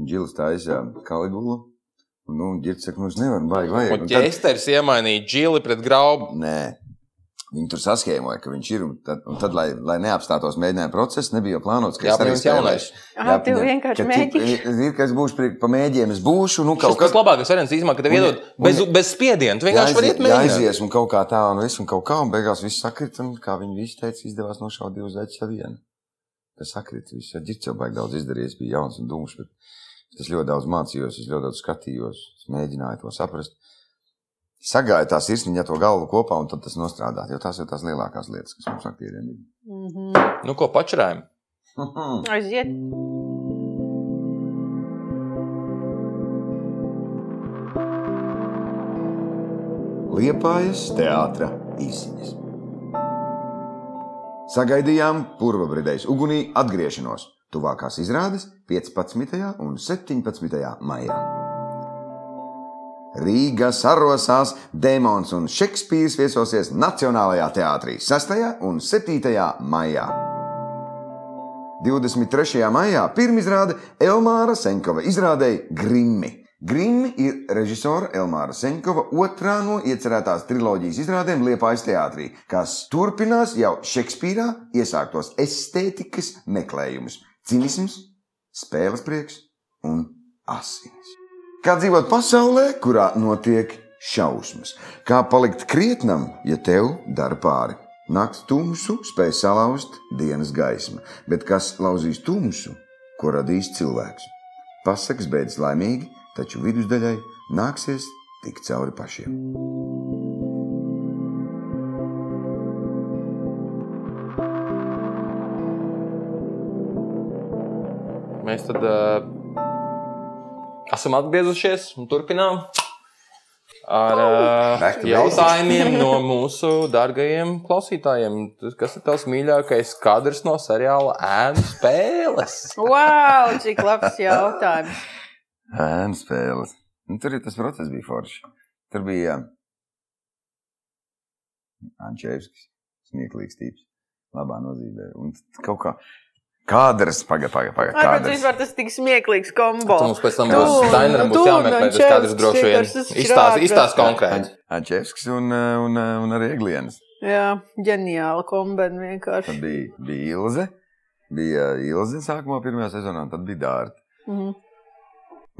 B: Un Džils taisīja kaligulu. Un, nu, Džils saka, nu, es nevaru, vajag, vajag.
C: Un ķēsters iemainīja džili pret graubu.
B: Nē, Viņi tur saskēmoja, ka viņš ir. Un tad, un tad lai, lai neapstātos mēģinājuma process, nebija jau plānots, ka
C: Jā,
B: es arī
C: paņemt jaunais.
B: spēlēšu.
A: Ah, tu vienkārši
B: ka tik-
A: mēģini.
B: Ir, ka es būšu pri- pa mēģiem, es būšu, nu
C: Kaut
B: kaut
C: kas
B: kas
C: labākais variants īstenībā, ka tev
B: Un-
C: iedod
B: un-
C: bez, bez spiediena. Tu vienkārši vari iet mēģināt.
B: aizies un kaut kā tā, un viss, un kaut kā, un beigās viss sakrit, un kā viņi visi teica, izdevās nošaut divus zaķus ar vienu. Tas sakrit, viss, ja ģirts jau baigi daudz izdarījis, bija jauns un dūmšs, bet es ļoti daudz mācījos, es ļoti daudz skatījos, es mēģināju to saprast. Sagāja tā sirsniņa to galvu kopā, un tad tas nostrādāt, jo tās ir tās lielākās lietas, kas mums aktieriem ir.
A: Mhm.
C: Nu, ko pačurājam?
B: (laughs)
A: Aiziet.
B: Liepājas teātra īsiņas. Sagaidījām purvabridējas ugunī atgriešanos tuvākās izrādes 15. un 17. maijā. Rīga sarosās, Dēmons un Šekspīrs viesosies Nacionālajā teātrī 6. un 7. maijā. 23. maijā pirmizrāde Elmāra Senkova izrādēja Grimmi. Grimmi ir režisora Elmāra Senkova otrā no iecerētās triloģijas izrādēm Liepājas teātrī, kas turpinās jau Šekspīrā iesāktos estētikas meklējumus - cinisms, spēles prieks un asinis. Kā dzīvot pasaulē, kurā notiek šausmas? Kā palikt krietnam, ja tev dara pāri? Nakts tumsu spēj salauzt dienas gaisma, bet kas lauzīs tumsu, ko radīs cilvēks? Pasakas beidzas laimīgi, taču vidusdaļai nāksies tikt cauri pašiem.
C: Mēs tad uh, esam atgriezušies un turpinām ar uh,
B: Back to
C: jautājumiem no mūsu dārgajiem klausītājiem. Tas- Kas ir tavs mīļākais kadrs no seriāla ēnu spēles?
A: Wow, cik labs jautājums.
B: Ēnu spēles. Nu, tur ir tas process, bija forši. Tur bija Ančēvskis, smieklīgs tīps, labā nozīmē. Un t- kaut kā kādras, pagaidi, pagaidi. Paga,
A: Ai, bet
B: kādras.
A: vispār tas tik smieklīgs
C: Tu
A: kombo.
C: mums pēc tam
A: Tu,
C: būs Dainera
A: tu
C: būs jāmeklē
A: un
C: tas kadrs
A: Čevskis
C: droši vien.
A: vienkārši tas
C: Izstāsti
A: šrāpes.
C: izstāst konkrēti.
B: Ančēvskis un, eh, un, eh, un arī Eglienas.
A: Jā, ģeniāla kombinācija vienkārši.
B: Tad bija, bija Ilze. Bija Ilze sākumā pirmajā sezonā, un tad bija Dārta.
A: Mhm.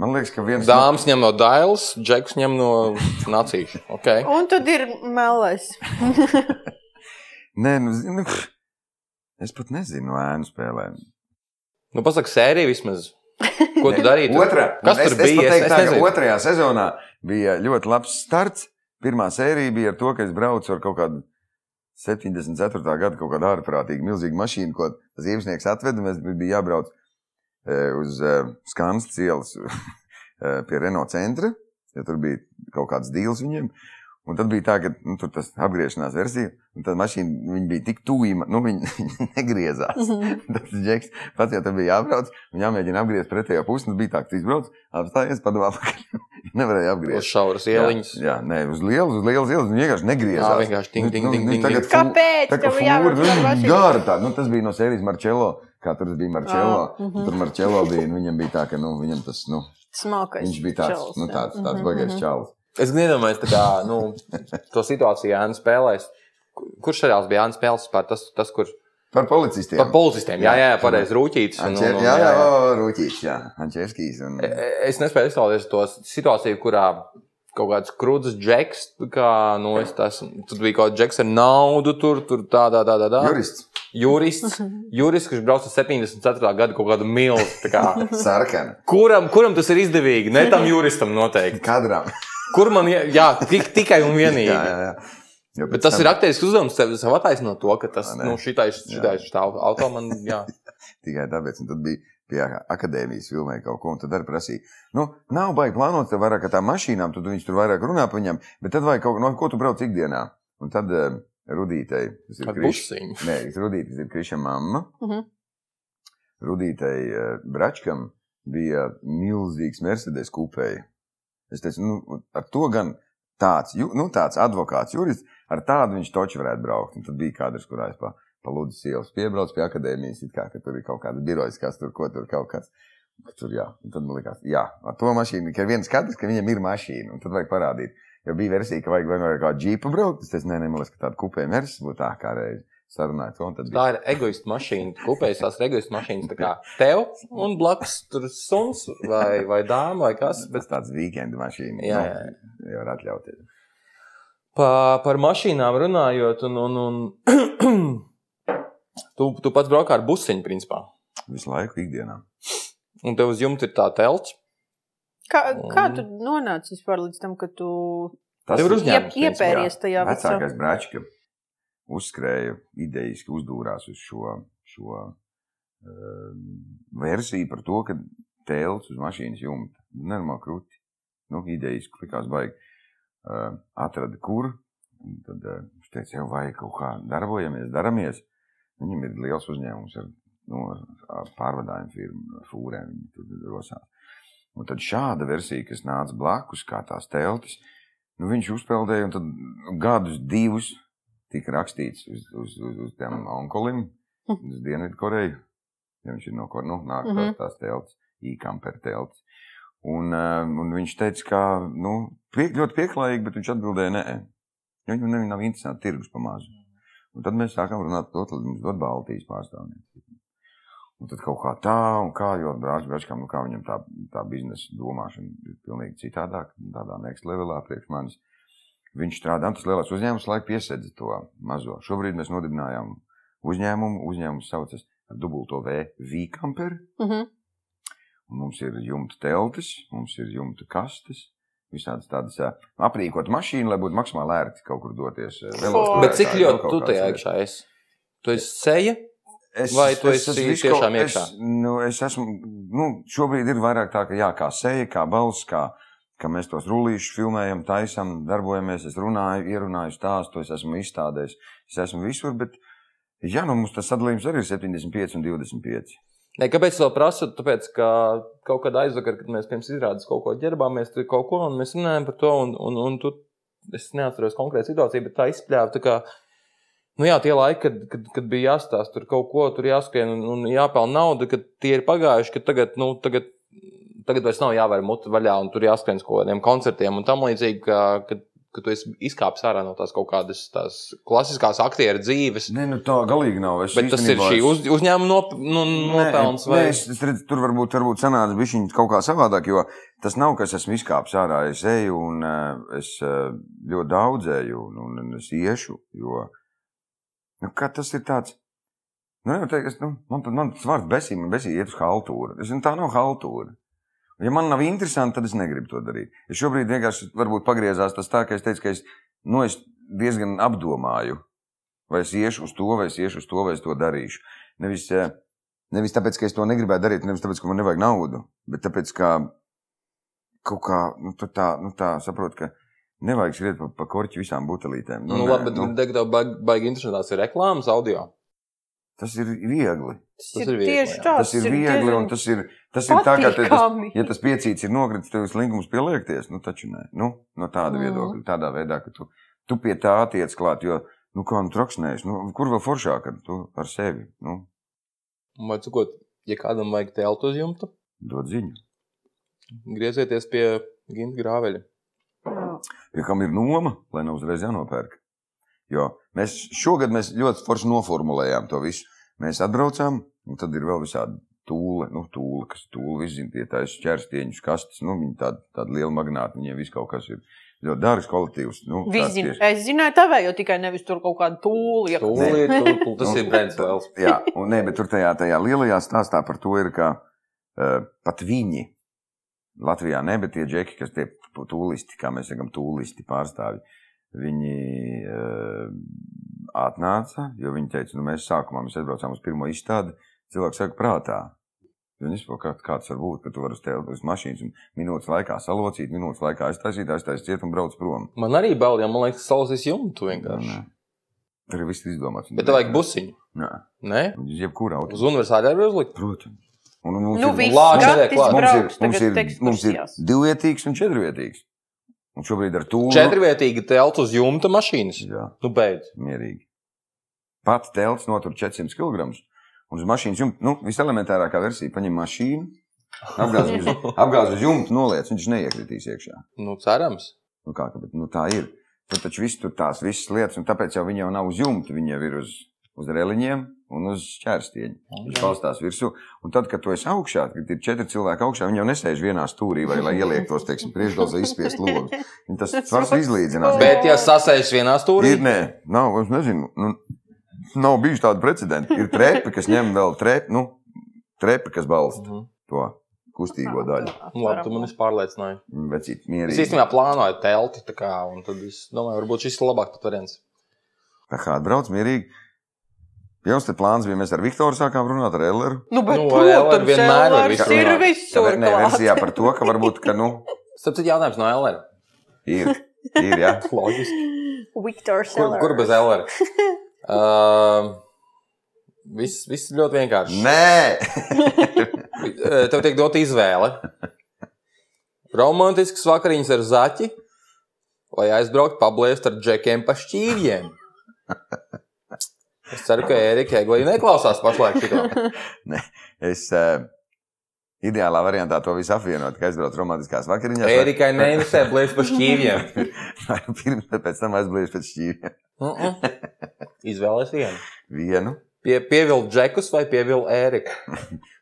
B: Man liekas, ka viens no-
C: Dāmas ņem no Dailas, Džeks ņem no Nācijas. Okay.
A: Un tad ir melēs.
B: Nē, nu, zini, nu, pff, es pat nezinu ēnu spēlēm.
C: Nu, Pasaka, sērija vismaz. Ko tu darīji? tur?
B: Otra,
C: Kas
B: es,
C: tur bija?
B: Es, es, es teiktu,
C: nezinu.
B: ka otrajā sezonā bija ļoti labs starts. Pirmā sērija bija ar to, ka es braucu ar kaut kādu 74. gada kaut kādu ārprātīgu, milzīgu mašīnu, ko tas īpašnieks atveda. Mēs bijām jābrauc e, uz e, Skanas ielas (laughs) e, pie Renault centra, jo tur bija kaut kāds dīls viņiem. Un tad bija tā, ka nu, tur bija apgriešanās versija, un tā mašīna viņa bija tik tuvu, nu, (laughs) viņa negriezās. Tas ir ģērbs. Pats jau tur bija jābrauc, un jāmēģina apgriezt pretējo pusi. Un bija tā, ka tu izbrauc, apstājies, padomā, (laughs) ka nevarēja
C: Uz
B: apgriezt.
C: šauras
B: Jā,
C: ieliņas.
B: Jā, nē, uz lielas, uz lielas ielas. Viņa vienkārši negriezās.
C: Jā, vienkārši ting, ting,
B: Nu,
C: ting,
B: nu,
C: ting,
B: tagad
C: ting.
B: fū-
A: Kāpēc?
B: Tā kā
A: Tev jābrauc
B: fūra,
A: ar mašīnu.
B: nu, gara tā. Nu, tas bija no sērijas Marčelo. Kā tur bija Marčelo.
A: Ah, mhm.
B: Tur Marčelo bija. Nu, viņam bija tā, ka nu, viņam tas, nu,
A: Smalkais.
B: viņš bija tāds,
A: čalis,
B: nu,
A: jā.
B: tāds, tāds
A: Mhm,
B: bagāts
A: mhm.
B: čalis.
C: Es nedomāju, tā kā nu, to situāciju Jānis spēlēs. Kur- Kurš seriāls bija Jānis Spēles? Par tas, tas, kur
B: Par policistiem.
C: par policistiem. Jā, jā, jā pareizi. Rūķītis. un-
B: Anče...
C: un- un-
B: Jā, jā, o, Rūķis, jā, Ančevskis. Un...
C: E- e- Es nespēju iztēloties to situāciju, kurā kaut kāds krūzes džeks, kā nu, es tas, tur bija kaut kāds džeks ar naudu, tur, tur tādā, tādā, tādā.
B: Jurists.
C: Jurists. Jurists, kurš brauc ar 74. gadu kaut kādu milzu. tā
B: (laughs)
C: Kā.
B: Sarkana.
C: Kuram, kuram tas ir izdevīgi? Ne tam juristam noteikti.
B: Kadram.
C: Kur man jā, jā tik, tikai un vienīgi.
B: jā, jā, jā. Jo
C: Bet
B: pēc
C: tas
B: tam-
C: ir aktieris uzdevums sev, sev attaisnot to, ka tas
B: Nē.
C: nu, šitais, šitais, šitā auto man
B: (laughs)
C: jā.
B: tikai tāpēc, un tad bija pie akadēmijas filmē kaut ko, un tad arī prasīja, nu, nav baigi plānot te vairāk ar tām mašīnām, tad viņš tur vairāk runā par viņām, bet tad vajag kaut ko, no ko tu brauc ikdienā. Un tad uh, Rudītei, tas ir
C: ar
B: Krišs,
C: pusiņu.
B: nē, Rudītei, tas ir Kriša mamma,
A: Mhm.
B: Rudītei uh, Bračkam bija milzīgs Mercedes kupēji. Es teicu, nu, ar to gan tāds, ju- nu, tāds advokāts, jurists, ar tādu viņš taču varētu braukt. Un tad bija kadrs, kurā es pa, pa Ludus ielas piebraucu pie akadēmijas, it kā ka tur ir kaut kāds birojs, kas tur kaut kur kaut kas. Tur, jā, Un tad man liekas, jā, ar to mašīnu, ka ir viens skatījums, ka viņam ir mašīna, un tad vajag parādīt. Jo bija versija, ka vajag vai nu ar kādu džipu braukt. Es teicu, nē, nē, man liekas, ka tāda kupē versija būtu tā kā reiz sarunāja to. un Tad bija
C: Tā ir egoistiska mašīna. Kopējas tās ir egoistiska mašīnas. Tā kā tev un blakus tur ir suns vai, vai dāma vai kas. Bet
B: tas tāds weekend mašīna.
C: Jā, jā.
B: Nu, jau var atļauties.
C: pa, par mašīnām runājot, un, un, un (clears throat) tu, tu pats braukā ar busiņu, principā.
B: Visu laiku, ikdienā.
C: Un tev uz jumta ir tā telts.
A: Kā, kā
C: Mm.
A: tu nonāci vispār līdz tam, ka tu
C: Tev ir
A: iep,
C: uzņēmums. principā.
A: iepēries tajā visā?
B: Vecākais brāļš ka uzskrēja idejas, ka uzdūrās uz šo, šo um, versiju par to, ka tēlus uz mašīnas jumta. Normāli krūti. Nu, idejas ka likās baigi. Uh, atrada, kur. Un Tad uh, viņš teica, jau vajag kaut kā darbojamies, daramies. Viņam ir liels uzņēmums ar, nu, ar- ar pārvadājumu firmu, ar fūrēm. Viņi tur drosās. Un tad šāda versija, kas nāca blakus, kā tās teltis, Nu, viņš uzpeldēja, un tad gadus, divus tika rakstīts uz, uz, uz, uz tiem onkulim, uz Dienvidkoreju. Ja viņš ir no kur, nu, nāk mm
A: Mhm.
B: -hmm. tās telts, īkamper telts. Un, eh, un viņš teica, ka nu, pie, ļoti pieklājīgi, bet viņš atbildēja, nē, Jo viņam nevi- nav interesanti tirgus pamazs. Un tad mēs sākām runāt par to, lai mums dod Baltijas pārstāvniecību. Un tad kaut kā tā, un kā jau brāļš Bračkam, nu kā viņam tā, tā biznesa domāšana ir pilnīgi citādāk, tādā next levelā priekš manis. Viņš strādā, tas lielais uzņēmums, lai piesedz to mazo. Šobrīd mēs nodibinājām uzņēmumu, uzņēmums saucas ar dubulto V, Vīkamper.
A: Mhm.
B: Un Mums ir jumta teltis, mums ir jumta kastes, visādas tādas ā, aprīkot mašīnu, lai būtu maksimāli ērti kaut kur doties. ā, velos
A: Forši.
C: Bet cik
B: turētāji, vēl
C: ļoti
B: kaut
C: tu
B: kādas
C: tajā
B: lietas.
C: iekšā esi? Tu esi seja.
B: Es,
C: Vai tu
B: es
C: esi
B: esmu visu
C: tiešām
B: kaut-
C: iekšā?
B: Es, nu, es esmu, nu, šobrīd ir vairāk tā, ka jā, kā seja, kā balss, kā, kā mēs tos rullīšus filmējam, taisām, darbojamies. Es runāju, ierunāju stāstu, es esmu izstādējis. Es esmu visur, bet jā, nu, mums tas sadalījums arī ir 75 un 25.
C: Ne, kāpēc es to prasu? Tāpēc, ka kaut kādā aizvakarā, kad mēs pirms izrādes kaut ko ģērbāmies, tur kaut ko un mēs runājām par to. Un, un, un tu, es neatceros konkrēti situāciju, bet tā izspļāva. tā kā, Nu jā, tie laiki, kad, kad, kad bija jāstāsta tur kaut ko, tur jāskrien un, un jāpelnā nauda, kad tie ir pagājuši, ka tagad, nu, tagad, tagad vairs nav jāvērt muti vaļā un tur jāskrien uz kaut kādiem koncertiem un tam līdzīgi, ka, kad, kad tu esi izkāpis ārā no tās kaut kādas tās klasiskās aktieru dzīves.
B: Nē, nu tā galīgi nav. Es
C: Bet tas ir
B: īstenībā
C: šī
B: es-
C: uz, uzņēmuma nop, nu, nopelns.
B: Nē,
C: vai-
B: nē, es, es redzu, tur varbūt, varbūt sanāca bišķiņ kaut kā savādāk, jo tas nav, ka es esmu izkāpis ārā. Es eju un eh, es eh, ļoti daudz eju un, un, un es iešu. Jo, nu, kā tas ir tāds? Nu, jau teikt, es, nu, man, pat- man tas vārds besī, man besī iet uz haltūru. Es, nu, tā nav haltūra. Ja man nav interesanti, tad es negribu to darīt. Es šobrīd vienkārši varbūt pagriezās tas tā, ka es teicu, ka es, nu, es diezgan apdomāju, vai es iešu uz to, vai es iešu uz to, vai es to darīšu. Nevis, eh, nevis tāpēc, ka es to negribēju darīt, nevis tāpēc, ka man nevajag naudu, bet tāpēc, ka kaut kā nu, tu tā, nu, tā saprot, ka nevajag skriet pa, pa korķu visām butelītēm.
C: Nu, nu, labi, bet nu. tev baigi, baigi interesantās ir reklāmas audio.
B: tas ir viegli.
A: Tas ir
C: viegli,
A: tieši
C: jā.
A: tā.
B: Tas ir viegli un tas ir, tas ir tā, ka te, tas, ja tas piecīts ir nokritis, tev ir slinkums pieliekties. Nu, taču nē, nu, no tāda
A: Mm.
B: viedokļa, tādā veidā, ka tu, tu pie tā attiec klāt. Jo, Nu, kā nu traksnējies? Nu, kur vēl foršāk ar, tu, ar sevi? Nu,
C: Vai cikot, ja kādam vajag teltu uz jumta,
B: dod ziņu.
C: griezieties pie Ginta grāveļa.
B: Ja kam ir noma, lai nav uzreiz jānopērk. Jo mēs šogad mēs ļoti forši noformulējām to visu. Mēs atbraucām, un tad ir vēl visādi tūle, nu, tūle kas tūle izzina tie taisa ķērstieņus, kastes. Nu, viņi tādi, tādi lieli magnāti, viņiem viss kaut kas ir ļoti dārgs kolektīvs. Nu, tāds
A: Vizina.
B: tieši-
A: Es zināju, tā vēl jau tikai nevis tur kaut kāda tūlī.
C: Tūlīt, tu- tu- Tas
B: Nu,
C: ir Brents Vēls.
B: Jā, un nē, bet tur tajā, tajā lielajā stāstā par to ir, ka uh, pat viņi, Latvijā ne, bet tie džeki, kas tie tūlisti, kā mēs sakām, tūlisti pārstāvji, viņi uh, atnāca, jo viņi teica, nu mēs sākumā mēs atbraucām uz pirmo izstādi, cilvēks saka prātā. Viņi saprot, kā, kāds var būt, ka tu vari uz tēlu, uz mašīnas un minūtes laikā salocīt, minūtes laikā aiztaisīt, aiztaisīt ciet un brauc prom.
C: Man arī bail, ja man liekas, salasīs jumtu vienkārši.
B: Nē. Tur ir viss izdomāts.
C: Bet tev vajag busiņu.
B: Nē,
C: Ne?
B: jebkurā auto.
C: Uz universitāti arī uzlikt.
B: Protams. Un mums
A: Nu,
B: ir-
A: viss
C: lāči
A: ir
C: neliek klāt.
B: mums ir,
A: kārtībā.
B: mums ir, mums ir divvietīgs un četrvietīgs. Un šobrīd ar tūlu.
C: Četrvietīgi teltu uz jumta mašīnas.
B: Jā,
C: Nu, beidz.
B: mierīgi. Pats telts notur 400 kg. Un uz mašīnas jumta, nu, viselementārākā versija, paņem mašīnu, apgāz uz, apgāz uz jumta, noliec, viņš neiekritīs iekšā.
C: Nu, cerams.
B: Nu, kā, bet, nu, tā ir. Tur taču viss tur tās visas lietas, un tāpēc jau viņi jau nav uz jumta, viņi jau ir uz, uz reliņiem un uz ķērstieņa. Viņš balstās virsū. Un tad, kad tu esi augšā, kad ir četri cilvēki augšā, viņi jau nesēž vienā stūrī vai lai ieliektos, teiksim, priekšgalvā izspiest logus. Viņi Tas svars izlīdzinās.
C: Bet, ja sasēžas vienā stūrī,
B: Ir, nē, nav, es nezinu. Nu, nav bijuši tādi precedenti. Ir trepi, kas ņem vēl trepi, nu, trepi kas balsta
C: Mhm. Nu,
B: to kustīgo daļu.
C: labi, tu man esi pārliecinājis.
B: Vecīt,
C: Es
B: mierīgi.
C: īstenībā plānoju telti, tā kā, un tad es domāju, varbūt šis ir labāk pat variants.
B: Tā kā atbrauc mierīgi. Jums te plāns bija, mēs ar Viktoru sākām runāt ar Elleru.
A: Nu, bet,
C: Nu,
A: nu,
C: LR
A: protams,
C: vienmēr var
A: LRs
C: visur
A: ir
C: runāt.
A: visur.
B: Nē,
A: klāt.
B: versijā par to, ka varbūt, ka, nu,
C: Starp citu, jautājums no LR.
B: ir, ir,
C: (laughs)
B: jā.
C: Loģiski.
A: Viktors
C: Kur, kur bez LR? Uh, Viss vis ļoti vienkārši.
B: Nē!
C: Eh, Tev tiek dota izvēle. Romantisks vakariņas ar zaķi, vai aizbraukt pabliest ar džekiem pa šķīvjiem. Es ceru, ka Erika Eglīna neklausās pašlaik (laughs) šito.
B: Es uh, ideālā variantā to visu apvienot, ka aizbraucu romantiskās vakariņās. lai- (laughs)
C: Erikai neinteresē bliest pa šķīvjiem.
B: lai Pirmā pēc tam aizbraucu pēc šķīvja.
C: Mm -mm. Izvēlēs vienu.
B: Vienu.
C: Pie, pievilkt džekus vai pievilkt Eriku.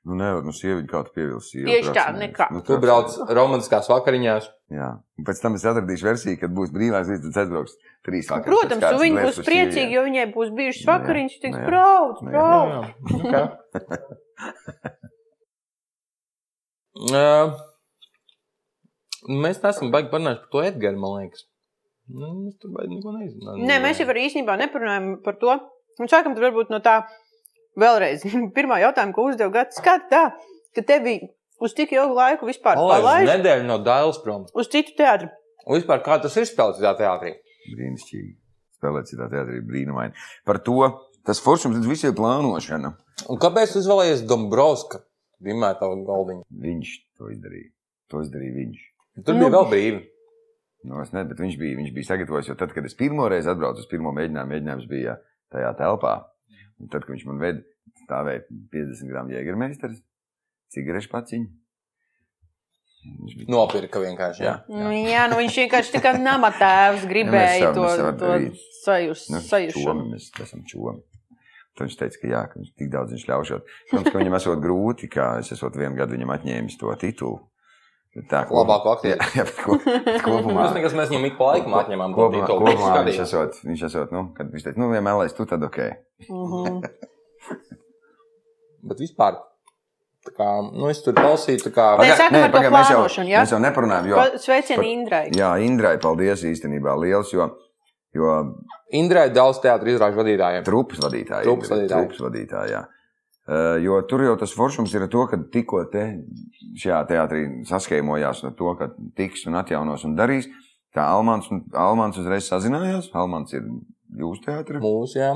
B: Nu, nevar, nu, sieviņu kaut kā pievilst. sievu,
A: Tieši
B: brauc,
A: tā,
B: nē.
A: nekā.
B: Nu,
C: Tu
B: tā-
C: brauc romantiskās vakariņās.
B: Jā. Un pēc tam es atradīšu versiju, kad būs brīvās vietas, tad aizbrauks trīs vakariņas.
A: Nu, Protams, un viņi būs priecīgi, jo viņai būs bijušas
B: Nu jā,
A: vakariņas. Tiks
B: nu jā,
A: brauc,
B: nu jā.
A: brauc.
C: Nu (laughs) kā? Uh, Mēs neesam baigi parunājuši par to Edgars, man liekas. Nu, Mēs tur baigi neko nezinām.
A: Nē, mēs jau arī īstenībā neparunājam par to. Un sākam tad varbūt no tā vēlreiz. (laughs) Pirmā jautājuma, ko uzdeva Gatis, kā tā, ka tevi uz tik ilgu laiku vispār
C: pārlaižam.
A: palaiž
C: Nedēļa no Dāvidas prom.
A: uz citu teātru.
C: Un vispār kā tas ir spēlēts tajā teātrī?
B: Brīnišķīgi. Spēlēt citā teātrī brīnumaini. Par to tas foršums, tas viss ir plānošana.
C: Un kāpēc tu izvēlējies Dombrovska? Vienmēr tā galdiņa.
B: Viņš to izdarīja. To izdarīja viņš.
C: Tur
A: Nu.
C: bija vēl brīvi.
B: Nu, es nezinu, bet viņš bija, viņš bija sagatavojis. Jo tad, kad es pirmo reizi atbraucu uz pirmo mēģinājumu, mēģinājums bija tajā telpā. Un tad, kad viņš man veda, stāvēja 50 gramu jēgermeistars, cigarešu paciņu. Viņš bija
C: Nopirka vienkārši. Jā.
B: Jā.
A: Nu, jā, nu viņš vienkārši tā kā
B: (laughs)
A: namatēvs gribēja
B: mēs
A: to,
B: varam- mēs varam
A: to
B: darīt.
A: sajus,
C: Mm,
B: Nu,
A: sajušanu.
B: čomi, mēs esam čomi. Tad viņš teica, ka jā, ka viņš tik daudz viņš ļaušot. Protams, ka viņam esot grūti, ka es esot vienu gadu viņam atņēmis to titulu. Bet Tā, kopumā-
C: Labāko aktieru.
B: (laughs)
C: Nu,
B: Jā, jā, bet ko, bet kopumā.
C: Tas nekas mēs viņam ik pa laikam atņemam. to
B: Kopumā,
C: titulu.
B: kopumā
C: Skatījās.
B: viņš esot, viņš esot, nu, kad viņš teica, nu, ja melēs tu, tad ok.
A: Mhm.
C: Bet vispār, tā kā, nu, es tur klausīju, tā kā
A: Nē, sākam ar to
B: pagaid, mēs jau,
A: plānošanu, jā?
B: mēs jau neparunājam, jo,
A: Pa- Sveicieni
B: par-
A: Indrai.
B: jā, Indrai, paldies īstenībā liels, jo, jo
C: Indrai daudz teātris izrāžu vadītājiem.
B: trupas vadītāji.
C: Trupas
B: ir,
C: vadītāji.
B: Trupas vadītāji jā. Uh, jo tur jau tas foršums ir ar to, ka tikko te šajā teātrī saskaņojās ar to, ka tiks un atjaunos un darīs. Tā Almāns, un- Almāns uzreiz sazinājās. Almāns ir jūsu teātris.
C: Mūsu, jā.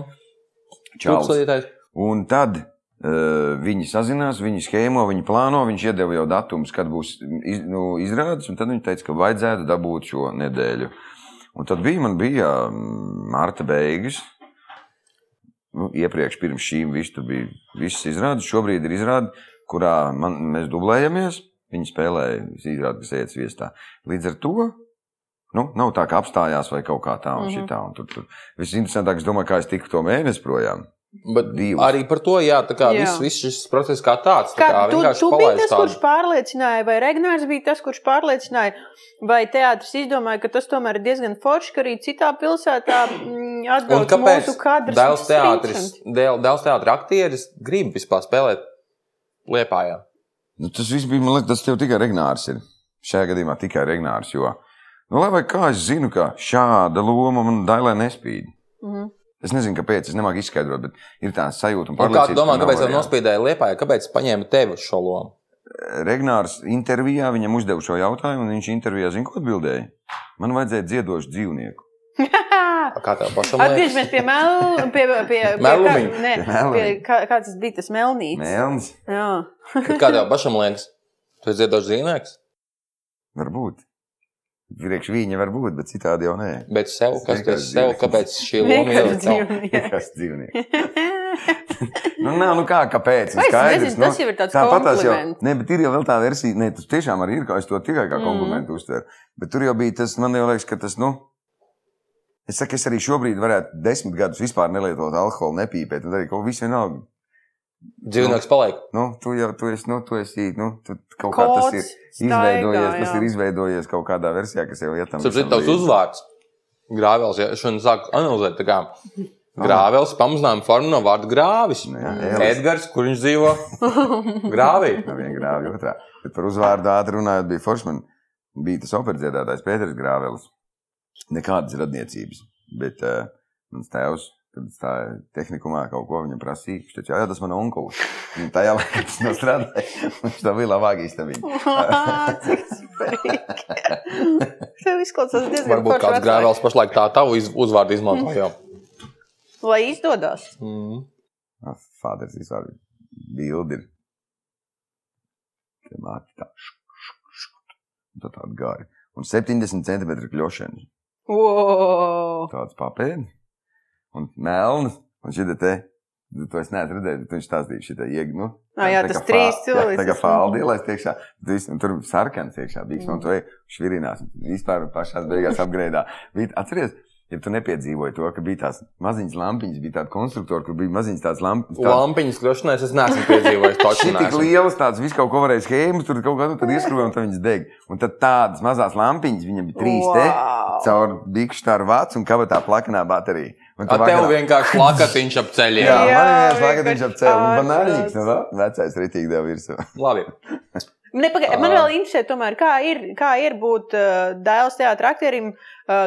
B: Čalis.
C: Tūkstošais.
B: Un tad uh, viņi sazinās, viņi schēmo, viņi plāno, viņš iedeva jau datumus, kad būs iz, nu, izrādes. un Tad viņi teica, ka vajadzētu dabūt šo nedēļu. Un tad bija, man bija mm, marta beigas. Nu, iepriekš, pirms šīm visu tur bija visas izrādes. Šobrīd ir izrāde, kurā man, mēs dublējamies. Viņi spēlēja izrādi, kas iet viestā. Līdz ar to nu, nav tā, ka apstājās vai kaut kā tā un
A: Mhm.
B: mm -hmm. šitā. Un tur, tur. Visinteresantākais, domāju, kā es tiku to mēnesi projām.
C: Bet
B: Divus.
C: arī par to, jā, tā kā
A: Jā.
C: viss vis šis process kā tāds. tā
A: Kā, tu
C: vienkārši
A: tu biji
C: palaist
A: tas,
C: tādu-
A: kurš pārliecināja, vai Regnars bija tas, kurš pārliecināja, vai teātris izdomāja, ka tas tomēr ir diezgan forši, ka arī citā pilsētā mm,
C: Un
A: atbrauc
C: kāpēc
A: mūsu kadrs.
C: Dēls
A: Tas ir
C: teātris,
A: interesanti.
C: Dēl- Dēls teātris aktieris grib vispār spēlēt Liepājā?
B: Nu, tas viss bija, man liekas, tas tev tikai Regnārs ir. Šajā gadījumā tikai Regnārs. Jo, nu, lai vai kā es zinu, ka šāda loma man dailē nespīd.
A: Mhm.
B: Es nezinu, kāpēc, es nemāku izskaidrot, bet ir tā sajūta un
C: Un Kā tu
B: pārliecība.
C: Nu, domā, kāpēc tev nospīdēja Liepājā? Kāpēc paņēma tevi uz šo lomu?
B: Regnārs intervijā viņam uzdeva šo jautājumu, un viņš intervijā zina, ko atbildēja. Man vajadzēja dziedošu dzīvnieku.
C: Kā tev pašam (laughs) liekas?
A: Atgriežamies pie melna. Pie, pie, pie,
C: Melumiņa.
A: kā- nē, pie,
B: Melumiņa.
A: kā, kāds tas bija tas melnīts?
B: Mēlnis,
A: Jā.
C: Kā tev pašam liekas? Tu esi dzirdējis zīmēks,
B: varbūt. Priekš viņa var būt, bet citādi jau nē.
A: (laughs)
C: bet sev, kas tu
B: Vienkārši
C: esi sev,
B: dzīvnieks.
C: kāpēc šī loma ir?
A: (laughs) Vienkārši
C: tev?
A: dzīvnieks.
B: Kas dzīvnieks? Nu, nā, nu kā, kāpēc? nu.
A: Vai es nezinu, tas jau ir tāds
B: Tāpatās jau,
A: kompliments. (laughs)
B: nē, bet ir jau vēl tā versija, nē, tas tiešām arī ir, kā es to tikai kā
A: Mm.
B: komplimentu uztveru. Bet tur jau bija tas, man jau liekas, ka tas, nu, es saku, es arī šobrīd varētu desmit gadus vispār nelietot alkoholu, nepīpēt, un arī kaut kas vienalga.
C: Dzīvnieks paliek.
B: Nu, tu jau, tu esi, nu, tu esi, nu, tu kaut kā tas ir izveidojies, tas ir izveidojies kaut kādā versijā, kas jau ietam.
C: Sapratu, tavs uzvārds. Grāvels, ja es šodien sāku
B: (laughs)
C: analizēt, tā kā grāvels pamazām formu no vārda grāvis.
B: Nu jā, Ēlis.
C: Edgars, kur viņš
B: (laughs)
C: dzīvo? Grāvī.
B: Nav viena grāva, otrā. Bet par uzvārdu ātri runājot, bija Forsman, bija tas operētājs Pēters Grāvels. Nekādas radniecības. Bet uh, mans tēvs, kad stāja tehnikumā, kaut ko viņam prasīja. Viņš teica, jā, jā, tas man onkulis. Viņam tajā laikā tas nav strādājis. (laughs) Viņš tā bija labāk īstenībā.
A: Cik svarīgi.
C: (laughs)
A: Tev izklausās diezgan
C: Varbūt
A: forši
C: kāds
A: vecāks.
C: grāvels pašlaik tā tavu iz- uzvārdu
B: (laughs)
C: izmanto jau.
A: Lai izdodas.
C: Mm.
B: Ah, Fāders vispār bildi ir. Te māte tā. šk, šk, šk, un Tā tāda gāra. Un 70 centimetru kļošana.
A: Wow.
B: tāds papēdi un melns. Un šī te, nu, to es neesmu redzējis, bet viņš stāstīja, šī te iegnu. Nu,
A: Ā, jā,
B: tā
A: tas
B: kā
A: trīs
B: fā-
A: cilvēks.
B: Jā, tā kā faldi ielaist iekšā, tad viss- un tur sarkans iekšā bija, un tu ej, švirinās. un Vispār pašās beigās apgrēdā. Bija- Atceries, ja tu nepiedzīvoji to, ka bija tās maziņas lampiņas, bija tāda konstruktora, kur bija maziņas tās lampiņas. Tādas...
C: Lampiņas kļūšanai es neesmu
B: (laughs)
C: piedzīvojis to
B: Šī tik
C: šādu.
B: lielas tādas, visu kaut ko varēja schēmas, tur kaut kādu tad ieskrūvēja, un tad viņas deg. Un tad tādas mazās lampiņas, viņam bija trīs wow. te,
A: Wow.
B: caur bikšu tādu vācu un kabatā plakanā baterija. Un tu
C: Ar tevi
B: vakarā-
C: vienkārši lakatiņš ap ceļiem.
B: Jā,
A: Jā,
B: man ir jāsaka,
A: vienkārši
B: viņš apceļ. Un
A: tāds.
B: banāņīgs, nu, vēl? vecais ritīgi devu virsū.
C: Labi.
A: Nepagaid, man
C: Ā.
A: vēl Nu, interesē, tomēr, kā ir, kā ir būt uh, dēls teātris aktierim uh,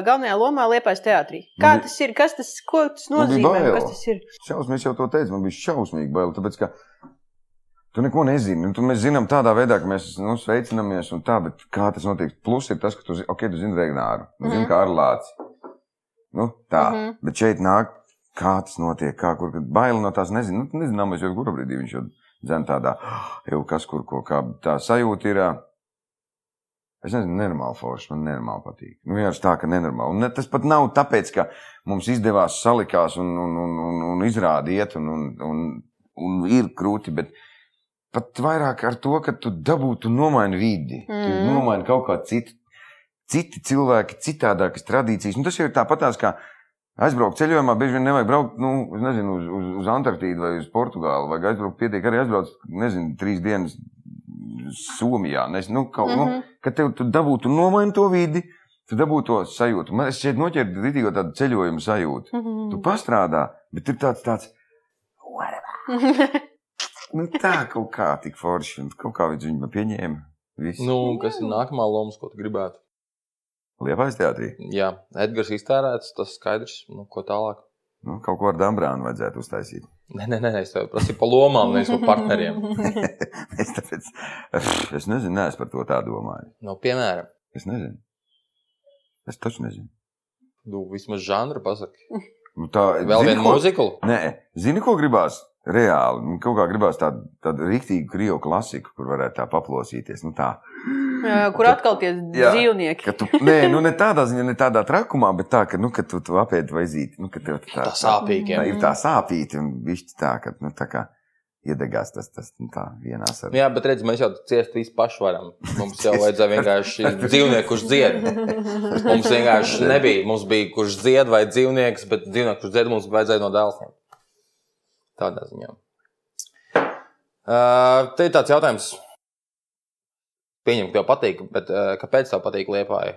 A: galvenajā lomā Liepais teātrī. Kā
B: Man bija-
A: tas ir? Kas tas, ko tas
B: Man bija
A: nozīmē?
B: bail.
A: Kas tas ir?
B: Šausmīgi, es jau to teicu, man bija šausmīgi bail, tāpēc, ka tu neko nezini. Nu, tu mēs zinām tādā veidā, ka mēs nu, sveicinamies un tā, bet kā tas notiek? Plus ir tas, ka tu, zi- okay, tu zini Regnāru, tu zini
A: Mhm.
B: kā ar Lāci. Nu, tā,
A: Mhm.
B: bet šeit nāk, kā tas notiek, kā kur, kad bail no tās nezinu. Nu, tu nezinām, es jau kuru brīdī viņš jau dzem tādā, (gasps) jau kas kur ko, kā tā sajūta ir. ā, Es nezinu, nenormāli forši. Man nenormāli patīk. Nu, vienkārši tā, ka nenormāli. Un ne, tas pat nav tāpēc, ka mums izdevās salikās un, un, un, un, un izrādīt, un, un, un, un ir grūti. Bet pat vairāk ar to, ka tu dabūtu nomaini vidi, mm. tu
A: Mhm.
B: nomaini kaut kā citu. Citi cilvēki, citādākas tradīcijas. Nu, tas jau ir tāpatās, kā aizbraukt ceļojumā. Bieži vien nevajag braukt nu, es nezinu, uz, uz, uz Antarktīdu vai uz Portugāli. Vajag aizbraukt, pietiek arī aizbraukt, nezinu, trīs dienas Somijā. Nes, nu, kaut, mm -hmm. nu,
A: Mhm.
B: ka tev tu dabūtu nomainīt to vidi, tu dabūtu to sajūtu. Man es šeit noķēru rītīgo tādu ceļojumu sajūtu.
A: Mm.
B: Tu pastrādā, bet ir tāds, tāds
A: Mhm.
B: nu, tā kaut kā tik forši, un kaut kā viņš viņu pieņēma. Viss. Nu.
C: Nu, kas ir nākamā loma, ko tu gribētu?
B: Liepais teātrī.
C: Jā, Edgars iztērēts, tas skaidrs. Nu, ko tālāk?
B: Nu, kaut ko ar Dambrānu vajadzētu uztaisīt. (laughs)
C: Nē, nē, nē es tev prasīju par lomām, nevis par partneriem.
B: es, tāpēc, es nezinu, nē, es par to tā domāju.
C: Nu, piemēram,
B: Es nezinu. Es taču nezinu.
C: tu Nu, vismaz žanru pasaki.
B: Nu, tā
C: Vēl
B: zini,
C: vienu
B: ko-
C: mūziku.
B: Nē, zini, ko gribās? Reāli. Nu, Kaut kā gribās tādu, tādu rīktīgu krievu klasiku, kur varētu tā paplosīties. Nu, tā.
A: (laughs) Ā, Kur atkal tie
B: Jā.
A: dzīvnieki?
B: Ka tu, nē, nu ne tādā ziņā, ne tādā trakumā, bet tā, ka, nu, ka tu, tu apēdi vai zīti. Nu, ka tev tā,
C: Tā
B: tā,
C: sāpīgiem.
B: ir tā sāpīta un višķi tā, ka nu, tā kā iedegās tas, tas nu, tā vienā
C: Nu,
B: sarunā.
C: Jā, bet redz, mēs jau ciest īsti paši varam. Mums jau vajadzēja vienkārši dzīvnieku, kurš dzied. Mums vienkārši nebija. Mums bija kurš dzied vai dzīvnieks, bet dzīvnieku, kurš dzied, mums vajadzēja no dēla. Tādā ziņā. Uh, te ir tāds jautājums. Pieņem, ka tev patīk, bet uh, kāpēc tev patīk liepāja?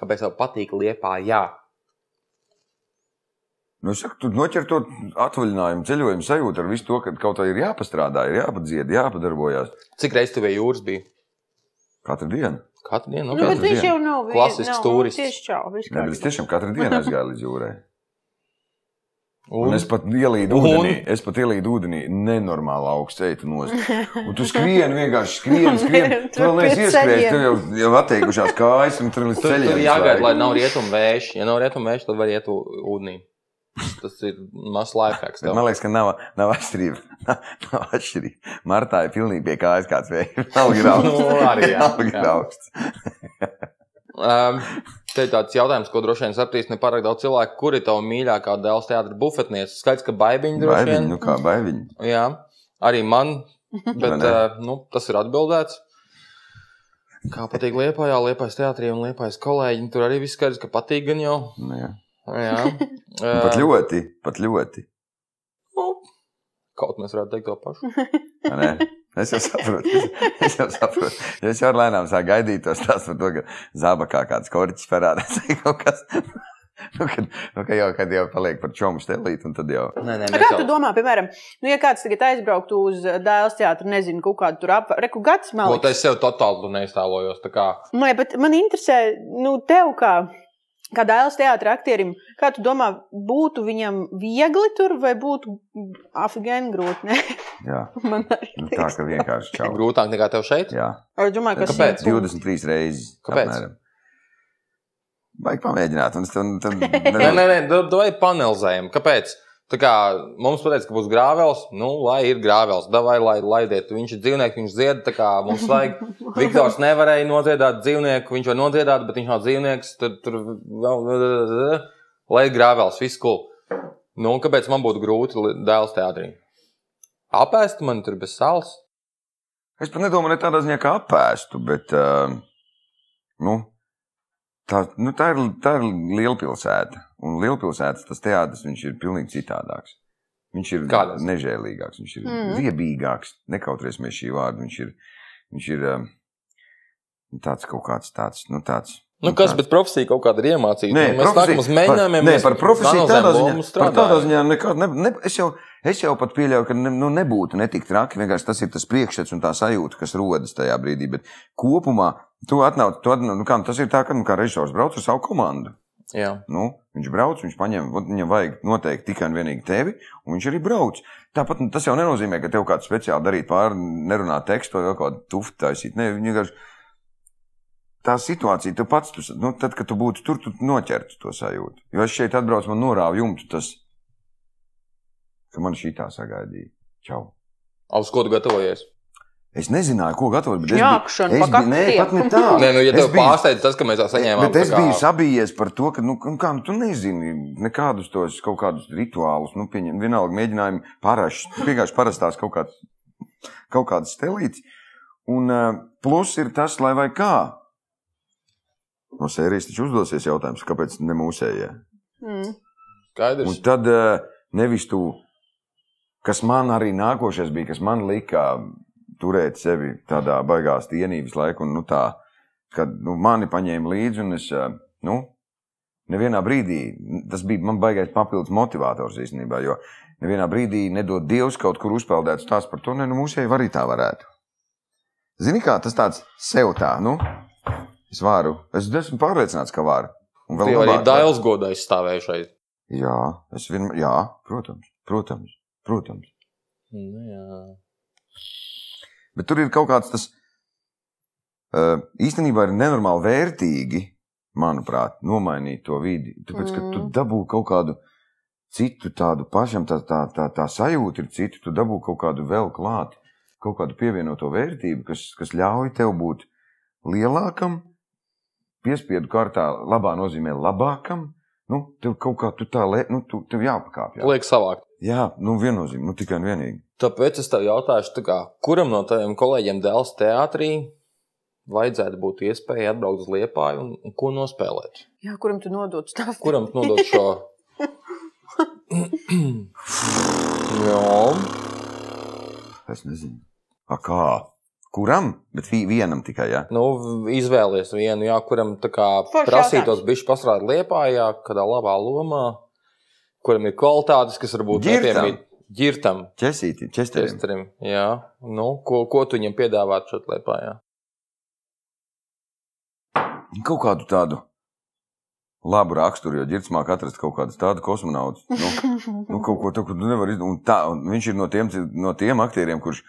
C: Kāpēc tev patīk liepājā?
B: Nu, es saku, tu noķer to atvaļinājumu, ceļojumu sajūtu ar visu to, ka kaut kā ir jāpastrādā, ir jāpadzied, jāpadarbojas
C: Cik reizes tev bija jūras? Bija?
B: katru dienu.
C: Katru dienu?
A: Nu,
C: Nu,
A: bet
B: Katru
A: viņš
B: dienu.
A: jau nav vie-
C: Klasisks
A: nav- nu,
C: turists.
A: Tieši čau. viss
B: Nē, bet es
A: kārtībā.
B: tiešām katru dienu aizgāju līdz jūrai. Un
C: un,
B: es pat ielīdu
C: Un?
B: ūdenī, es pat ielīdu ūdenī, nenormāli augstu ceļu no zemes. Un tu skrieni vienkārši, skrieni,
C: (laughs)
B: skrieni.
A: Tur
B: Tu vēl neesi
A: pie
B: ieskrējis,
A: ceļiem.
B: tev jau, jau atteikušās kājas, un tur līdz
C: Tur,
B: ceļiem.
C: tur
B: visu
C: jāgaida,
B: laiku.
C: lai nav rietumu vējš. Ja nav rietumu vējš, tad var iet u- ūdenī. Tas ir mazs lifehacks.
B: Bet
C: tev.
B: man liekas, ka nav, nav atšķirība. (laughs) Nav, nav atšķirība. Martā ir pilnīgi pie kājas (laughs)
C: (laughs)
B: kāds vējš. Nav grauds.
C: Nu, arī jā.
B: Nav
C: Jā.
B: grauds.
C: Um, Te ir tāds jautājums, ko droši vien sapratīs ne pārāk daudz cilvēku. Kur ir tava mīļākā dēls teātris bufetniece? Skaidrs, ka baigiņa droši
B: Baiviņi,
C: vien.
B: nu kā baiviņi.
C: Jā, arī man,
B: Vai
A: Mhm.
C: bet
B: ne?
C: uh, nu, tas ir atbildēts. Kā patīk Lietpā, Jā, Lietpā teātrī un Lietpā kolēģi. Tur arī viss skaidrs, ka patīk gan jau.
B: Nu, jā.
C: Jā,
A: (laughs)
C: Ehm,
B: Pat ļoti, pat ļoti.
C: Nu, kaut mēs varētu teikt to pašu.
B: vai ne? Es jau saprotu. Es jau saprotu. Ja es jau ar lēnām sāku gaidīt to stāstu par to, ka zābakā kāds korķis parādās (laughs) vai kaut kas. Nu, kad, nu, kad, jau, kad jau paliek par čomu stelīti, un tad jau.
C: Nē, nē,
A: Kā tu domā, piemēram, nu, ja kāds tagad aizbrauktu uz eh, dēls teātru, nezinu, kaut kādu tur apgabalu, reku gads, man
C: Ko
A: liekas,
C: es sev totāli neiztēlojos. tā kā.
A: Nē, bet man interesē, nu, tev kā, kā dēls teātris aktierim, kā tu domā, būtu viņam viegli tur vai būtu afigēni grūti? Nē,
B: Jā,
A: (laughs) man arī
B: nu, tā
A: liekas.
B: kā vienkārši čau.
C: Grūtāk nekā tev šeit?
B: Jā,
A: Es domāju, ka
C: Kāpēc?
A: tas ir
B: 23 reizes.
C: Kāpēc?
B: apmēram. Vajag pamēģināt, un tad. tad
C: (laughs) Nē, nē, nē, da- davai panelizējam. Kāpēc? Tā kā mums pateica, ka būs grāvels, nu, lai ir grāvels, davai, lai laidiet. Viņš ir dzīvnieks, viņš zied, tā kā mums
B: (laughs)
C: vajag. Viktors nevarēja nodziedāt dzīvnieku, viņš var nodziedāt, bet viņš nav dzīvnieks. Tur, tur vēl, lai ir grāvels, viss cool. Nu, un kāpēc man būtu grūti li- dēls teātrī? Apēst man tur bez sāls.
B: Es pat nedomāju, ne tādā ziņā, kā apēstu, bet ā, nu, tā, nu, tā, ir, tā ir liela pilsēta. Un liela pilsēta tas teātris viņš ir pilnīgi citādāks. Viņš ir
C: Kādas?
B: nežēlīgāks, viņš ir mm.
A: Mhm.
B: riebīgāks. Nekautrēsimies šī vārda. Viņš ir, viņš ir ā, nu, tāds kaut kāds tāds. Nu, tāds
C: Nu, kas, bet profesija kaut kāda ir iemācīta.
B: Nē,
C: Nu, mēs nākam uz mēģinājumiem.
B: Nē,
C: mēs
B: par profesiju
C: analizējam,
B: tādā
C: lomu
B: ziņā, par
C: strādājam.
B: tādā ziņā nekā, ne, ne, es, jau, es jau pat pieļauju, ka ne, nu, nebūtu netik traki. Vienkārši tas ir tas priekšstats un tā sajūta, kas rodas tajā brīdī. Bet kopumā tu atnāc, tu atnāc, nu, kā, nu, tas ir tā, ka nu, kā režisors brauc ar savu komandu.
C: Jā.
B: Nu, viņš brauc, viņš paņem, vot viņam vajag noteikti tikai un vienīgi tevi, un viņš arī brauc. Tāpat nu, tas jau nenozīmē, ka tev kāds speciāli darīt pāri, nerunāt tekstu vai vēl kaut kādu tuftu taisīt. Nē, viņa vienkārši tā situācija, tu pats, tu, s- nu, tad, kad tu būtu tur, tu noķertu to sajūtu. Jo es šeit atbraucu, man norāva jumtu tas, ka man šī tā sagaidīja. Čau!
C: A, Uz ko tu gatavojies?
B: Es nezināju, ko gatavot, bet es
A: Jākšana
B: biju, es
A: pa
B: biju, nē,
A: kaktiem.
B: pat ne tā.
C: Nē, nu, ja
B: Es
C: tev
B: biju-
C: pārsteidz tas, ka mēs tā saņēmām,
B: Bet es
C: tā kā-
B: biju sabijies par to, ka, nu, kā, nu, tu nezini, nekādus tos kaut kādus rituālus, nu, pieņem, vienalga mēģinājumi parašs, vienkārši parastās kaut kāds, kaut kāds stelīts. Un uh, plus ir tas, lai vai kā. No sērijas taču uzdosies jautājums, kāpēc ne mūsējie.
A: Mm.
C: skaidrs.
B: Un tad eh, nevis tu, kas man arī nākošais bija, kas man lika turēt sevi tādā baigā stienības laikā, un nu, tā, kad nu, mani paņēma līdzi, un es eh, nu, nevienā brīdī, tas bija man baigais papildus motivators īstenībā, jo nevienā brīdī nedod Dievs kaut kur uzpeldēts tās par to, ne, nu, mūsēji var arī tā varētu. Zini, kā tas tāds sev tā, nu, es varu, es esmu pārliecināts, ka varu. Un
C: Tu jau arī
B: labāk varu.
C: Dāļas godā aizstāvēju šeit.
B: Jā, es vienmēr, jā, protams, protams, protams.
C: Nu, jā.
B: Bet tur ir kaut kāds tas ā, īstenībā ir nenormāli vērtīgi, manuprāt, nomainīt to vidi. Tāpēc, ka tu
A: Mm.
B: dabū kaut kādu citu tādu pašam, tā, tā, tā, tā sajūta ir cita, tu dabū kaut kādu vēl klāt, kaut kādu pievienoto vērtību, kas, kas ļauj tev būt lielākam, piespiedu kārtā, labā nozīmē labākam. Nu, tev kaut kā tu tā, lē- nu, tu, tev jāpakāpjas.
C: Liek savākt.
B: Jā, nu viennozīmīgi, nu tikai un vienīgi.
C: Tāpēc es tev jautāšu, tā kā, kuram no taviem kolēģiem dēls teātrī vajadzētu būt iespēja atbraukt uz Liepāju un, un ko nospēlēt?
A: Jā, kuram tu nodod stāstu?
C: Kuram tu nodod
B: (laughs)
C: šo? (clears throat) Jā,
B: Es nezinu. A kā? Kuram? Bet vi- vienam tikai, jā.
C: nu, izvēlies vienu, jā, kuram tā kā
A: Foršs
C: prasītos bišķi pastrādāt Liepājā, kādā labā lomā, kuram ir kvalitātes, kas varbūt
B: Ģirtam.
C: nepiemīt ģirtam.
B: Česīti, čestēm.
C: Čestrim, jā. Nu, ko, ko tu viņam piedāvātu šeit lēpā? Jā?
B: Kaut kādu tādu labu raksturu, jo ģirts māk atrast kaut kādu tādu kosmonautu. Nu, nu kaut ko tādu, ko tu nevari izdomāt. Un tā, un viņš ir no tiem, cil- no tiem aktieriem, kurš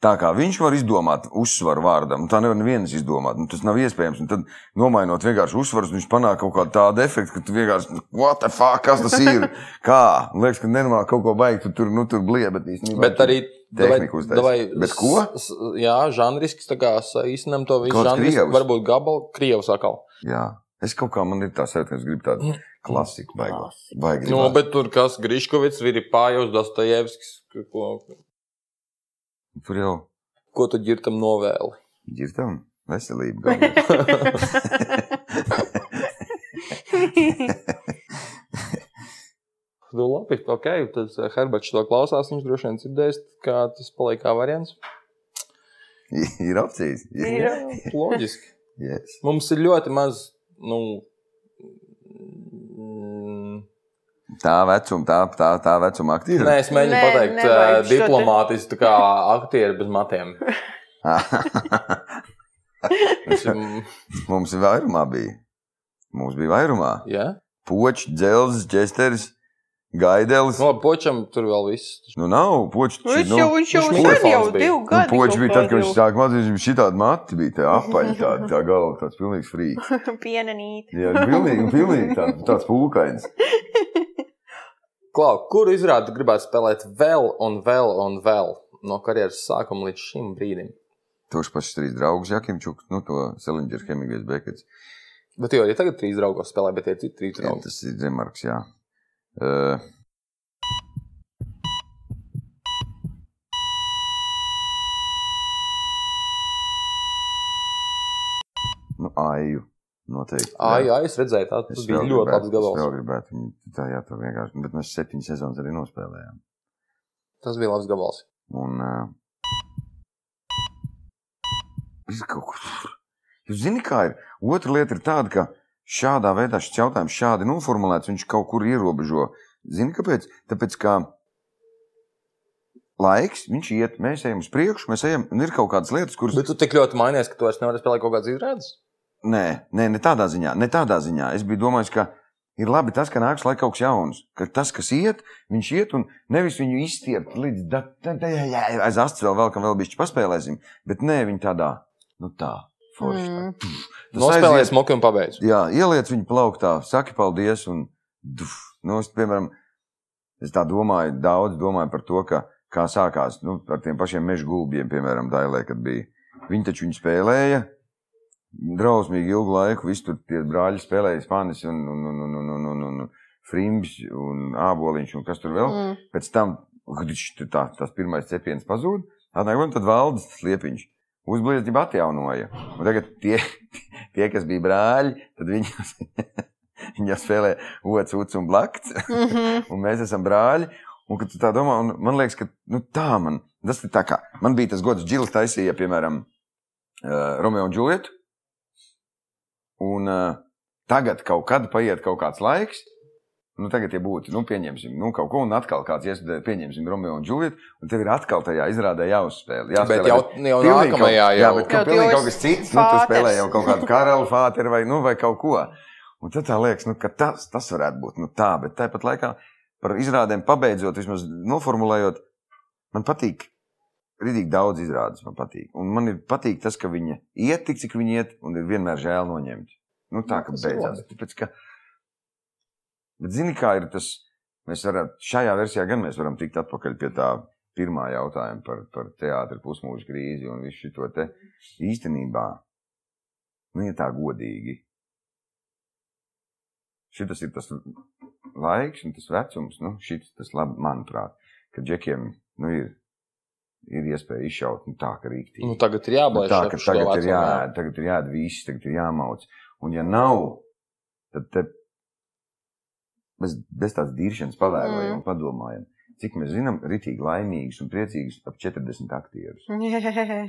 B: tā kā viņš var izdomāt uzsvaru vārdam, un tā nevar neviens izdomāt. Nu, tas nav iespējams. Un tad nomainot vienkārši uzsvarus, viņš panāk kaut kādu tādu efektu, ka tu vienkārši, nu, what the fuck, kas tas ir? Kā? Man liekas, ka nenormāli kaut ko baigi, tu tur, nu, tur bliebi, bet īstenībā.
C: Bet
B: tur-
C: arī
B: tehniku uztaisīt. Bet ko?
C: S, s- jā, žanriski tā kā saīsinām to visu.
B: Kāds
C: Žanriski,
B: Krievs?
C: varbūt gabalu, Krievs atkal.
B: Jā, Es kaut kā man ir tā sajūta, ka es gribu tādu klasiku, vai
A: (laughs)
B: arī
C: Nu, bet tur kas Griškovits, Viripājos, Dostojevskis, ko,
B: Tur jau
C: ko tu ģirtam novēli?
B: dzirdam
A: (laughs)
B: veselību. galvenais.
C: Nu, labi, ok, tad eh, Herberts to klausās, viņš droši vien dzirdēs, kā tas paliek kā variants.
B: ir opcijas.
A: (laughs) Ir.
C: Loģiski.
B: Yes.
C: Mums ir ļoti maz, nu, mm,
B: Tā vecuma, tā, tā, tā vecuma aktīva. (laughs)
C: Nē, es mēģinu
A: Nē,
C: Nē, pateikt,
A: nevajag
C: eh,
A: šo te-
C: diplomātiski, tā kā aktieri bez matiem.
B: Ah,
C: Viņš ir, mm,
B: Mums ir vairumā bija. Mums bija vairumā.
C: Jā,
B: Počs, dzelzs, ģesteris, gaidelis.
C: no počam Nu, tur vēl viss.
B: Nu, nav počs.
A: Viņš jau, viņš jau,
C: viņš
A: sen jau
C: mikrofons bija.
A: divu
B: Nu,
A: gadu.
B: Počs
A: kaut
B: bija tad, kad viņš
A: kādu
B: sāka mācīties, viņam šī tāda mati bija, tā apaļa, tā, tā galva, tāds pilnīgs frīks.
A: (laughs) Pienanīt.
B: Jā, pilnīgi, pilnīgi tā, tāds pūkains.
A: (laughs)
C: Klau, kur izrādi gribētu spēlēt vēl un vēl un vēl no karjeras sākuma līdz šim brīdim?
B: Tos pašus trīs draugus, Jakimčuks, nu, to Selingeru, Hemingvejs, Bekets.
C: Bet jau arī tagad trīs draugos spēlē, bet tie ir trīs
B: Jā,
C: draugi.
B: tas ir remarks, jā. Uh, nu, aju, noteikti.
C: Ai, jā, es redzēju, tā, tas bija
B: vēl
C: ļoti
B: gribētu-
C: labs
B: Es vēl
C: gabals.
B: gribētu viņu tā, jā, tā vienkārši. Bet mēs septiņas sezonas arī nospēlējām.
C: Tas bija labs gabals.
B: Un. Uh, es kaut kur. Jūs zināt, kā ir? Otra lieta ir tāda, ka šādā veidā šis jautājums, šādi noformulēts, viņš kaut kur ierobežo. Zini, kāpēc? Tāpēc, ka laiks, viņš iet, mēs ejam uz priekšu, mēs ejam, un ir kaut kādas lietas, kuras.
C: Bet tu tik ļoti mainies, ka tu vairs nevari spēlēt kaut kādas izrādes.
B: Nē, nē, ne tādā ziņā. Ne tādā ziņā. Es biju domājis, ka ir labi tas, ka nāks laik kaut kas jauns. Ka tas, kas iet, viņš iet un nevis viņu izstiept līdz da- da- da- jā, jā, aiz astes vēl, vēl, ka vēl bišķi paspēlēsim. Bet nē, viņi tādā, nu tā, forši. tā.
A: Mm.
B: Tas
C: Nospēlējies
B: aiziet-
C: moku un pabeidz.
B: Jā, ieliec viņu plauktā, saki paldies. Un, duf, nu, es, piemēram, es tā domāju, daudz domāju par to, ka, kā sākās nu, ar tiem pašiem meža gulbiem, piemēram, Dailē, kad bija. Viņi taču viņu spēlēja. Drausmīgi ilgu laiku visu tur tie brāļi spēlēja spānis un, un, un, un, un, un, un, un frimbs un āboliņš un kas tur vēl.
A: Mm.
B: Pēc tam gudž, tur tā, tas pirmais cepiens pazūd, atnāk un tad valdes sliepiņš. Uzblieztība atjaunoja. Un tagad tie, tie, kas bija brāļi, tad viņi, (laughs) viņi jau spēlē otrs, otrs un blakts,
A: (laughs) Mhm.
B: un mēs esam brāļi. Un, kad tu tā domā, un man liekas, ka nu, tā man, tas ir tā kā, man bija tas gods, Džils taisīja, piemēram, uh, Romeo un Džulietu. Un uh, tagad kaut kad paiet kaut kāds laiks. Nu, tagad, ja būtu, nu, pieņemsim, nu, kaut ko, un atkal kāds iestudē, pieņemsim, Romeo un Džulietu, un tev ir atkal tajā izrādē jāuzspēlē.
C: Bet jau, jau
B: Pilnīgi
C: nākamajā
B: kaut-
C: jau
B: Jā, bet
A: Jau
B: kaut,
A: tu
B: pilnīgi
A: jau
B: kaut kas
A: esi
B: cits, nu, tu spēlē
A: fāters.
B: jau kaut kādu karaļu fāteru vai, nu, vai kaut ko. Un tad tā liekas, nu, ka tas, tas varētu būt nu, tā, bet tāpat laikā par izrādēm pabeidzot, vismaz noformulējot, man patīk. Rītīgi daudz izrādes man patīk. Un man ir patīk tas, ka viņi iet tik, cik viņi iet, un ir vienmēr žēl noņemt. Nu, tā kā
C: Tas ir
B: beidzās. Tāpēc, ka... Bet zini, kā ir tas, mēs varam šajā versijā gan mēs varam tikt atpakaļ pie tā pirmā jautājuma par, par teātru pusmūža krīzi un visu šo te īstenībā. Nu, ja tā godīgi. Šis ir tas laiks un tas vecums, nu, šis tas labi, manuprāt, ka džekiem nu, ir, ir iespēja izšaut nu, tā, ka rīktī.
C: Nu, tagad ir jābūt
B: tā, ka tagad ir, jā, tagad ir jāēd viss, tagad ir jāmauc. Un ja nav, tad te bez, bez tādas diršanas pavērojam
A: Mm.
B: mm. un padomājam. Cik mēs zinām, ritīgi laimīgs un priecīgs ap 40 aktierus.
A: Jē.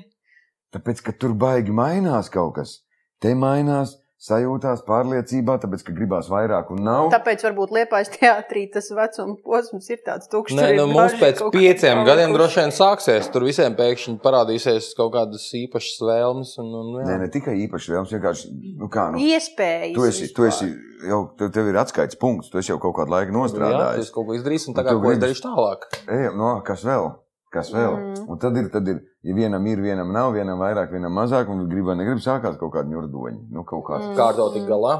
B: Tāpēc, ka tur baigi mainās kaut kas. Te mainās sajūtās, pārliecībā, tāpēc, ka gribās vairāk un nav.
A: Tāpēc varbūt Liepājas teātrī tas vecuma posms ir tāds tukšs.
C: Nē, nu, mums pēc pieciem gadiem droši vien sāksies. Tur visiem pēkšņi parādīsies kaut kādas īpašas vēlmes. Un, un, jā.
B: Nē, ne tikai īpaši liels, vienkārši, nu kā, nu,
A: Iespējas.
B: tu esi, tu esi jau, tev, tev ir atskaites punkts, tu esi jau kaut kādu laiku
C: Nu, Jā, tu
B: nostrādājis.
C: esi kaut ko izdarījis, un
B: Un
C: tā kā
B: tev
C: ko es
B: gribas.
C: darīšu tālāk.
B: Ej, no, kas vēl? Kas vēl?
A: Mm.
B: Mm. Un tad ir, tad ir, ja vienam ir, vienam nav, vienam vairāk, vienam mazāk, un gribā negrib sākās kaut kāda ņurdoņa. Nu, kaut kāds.
A: Mm.
B: Mm.
C: Kā ar to tik galā?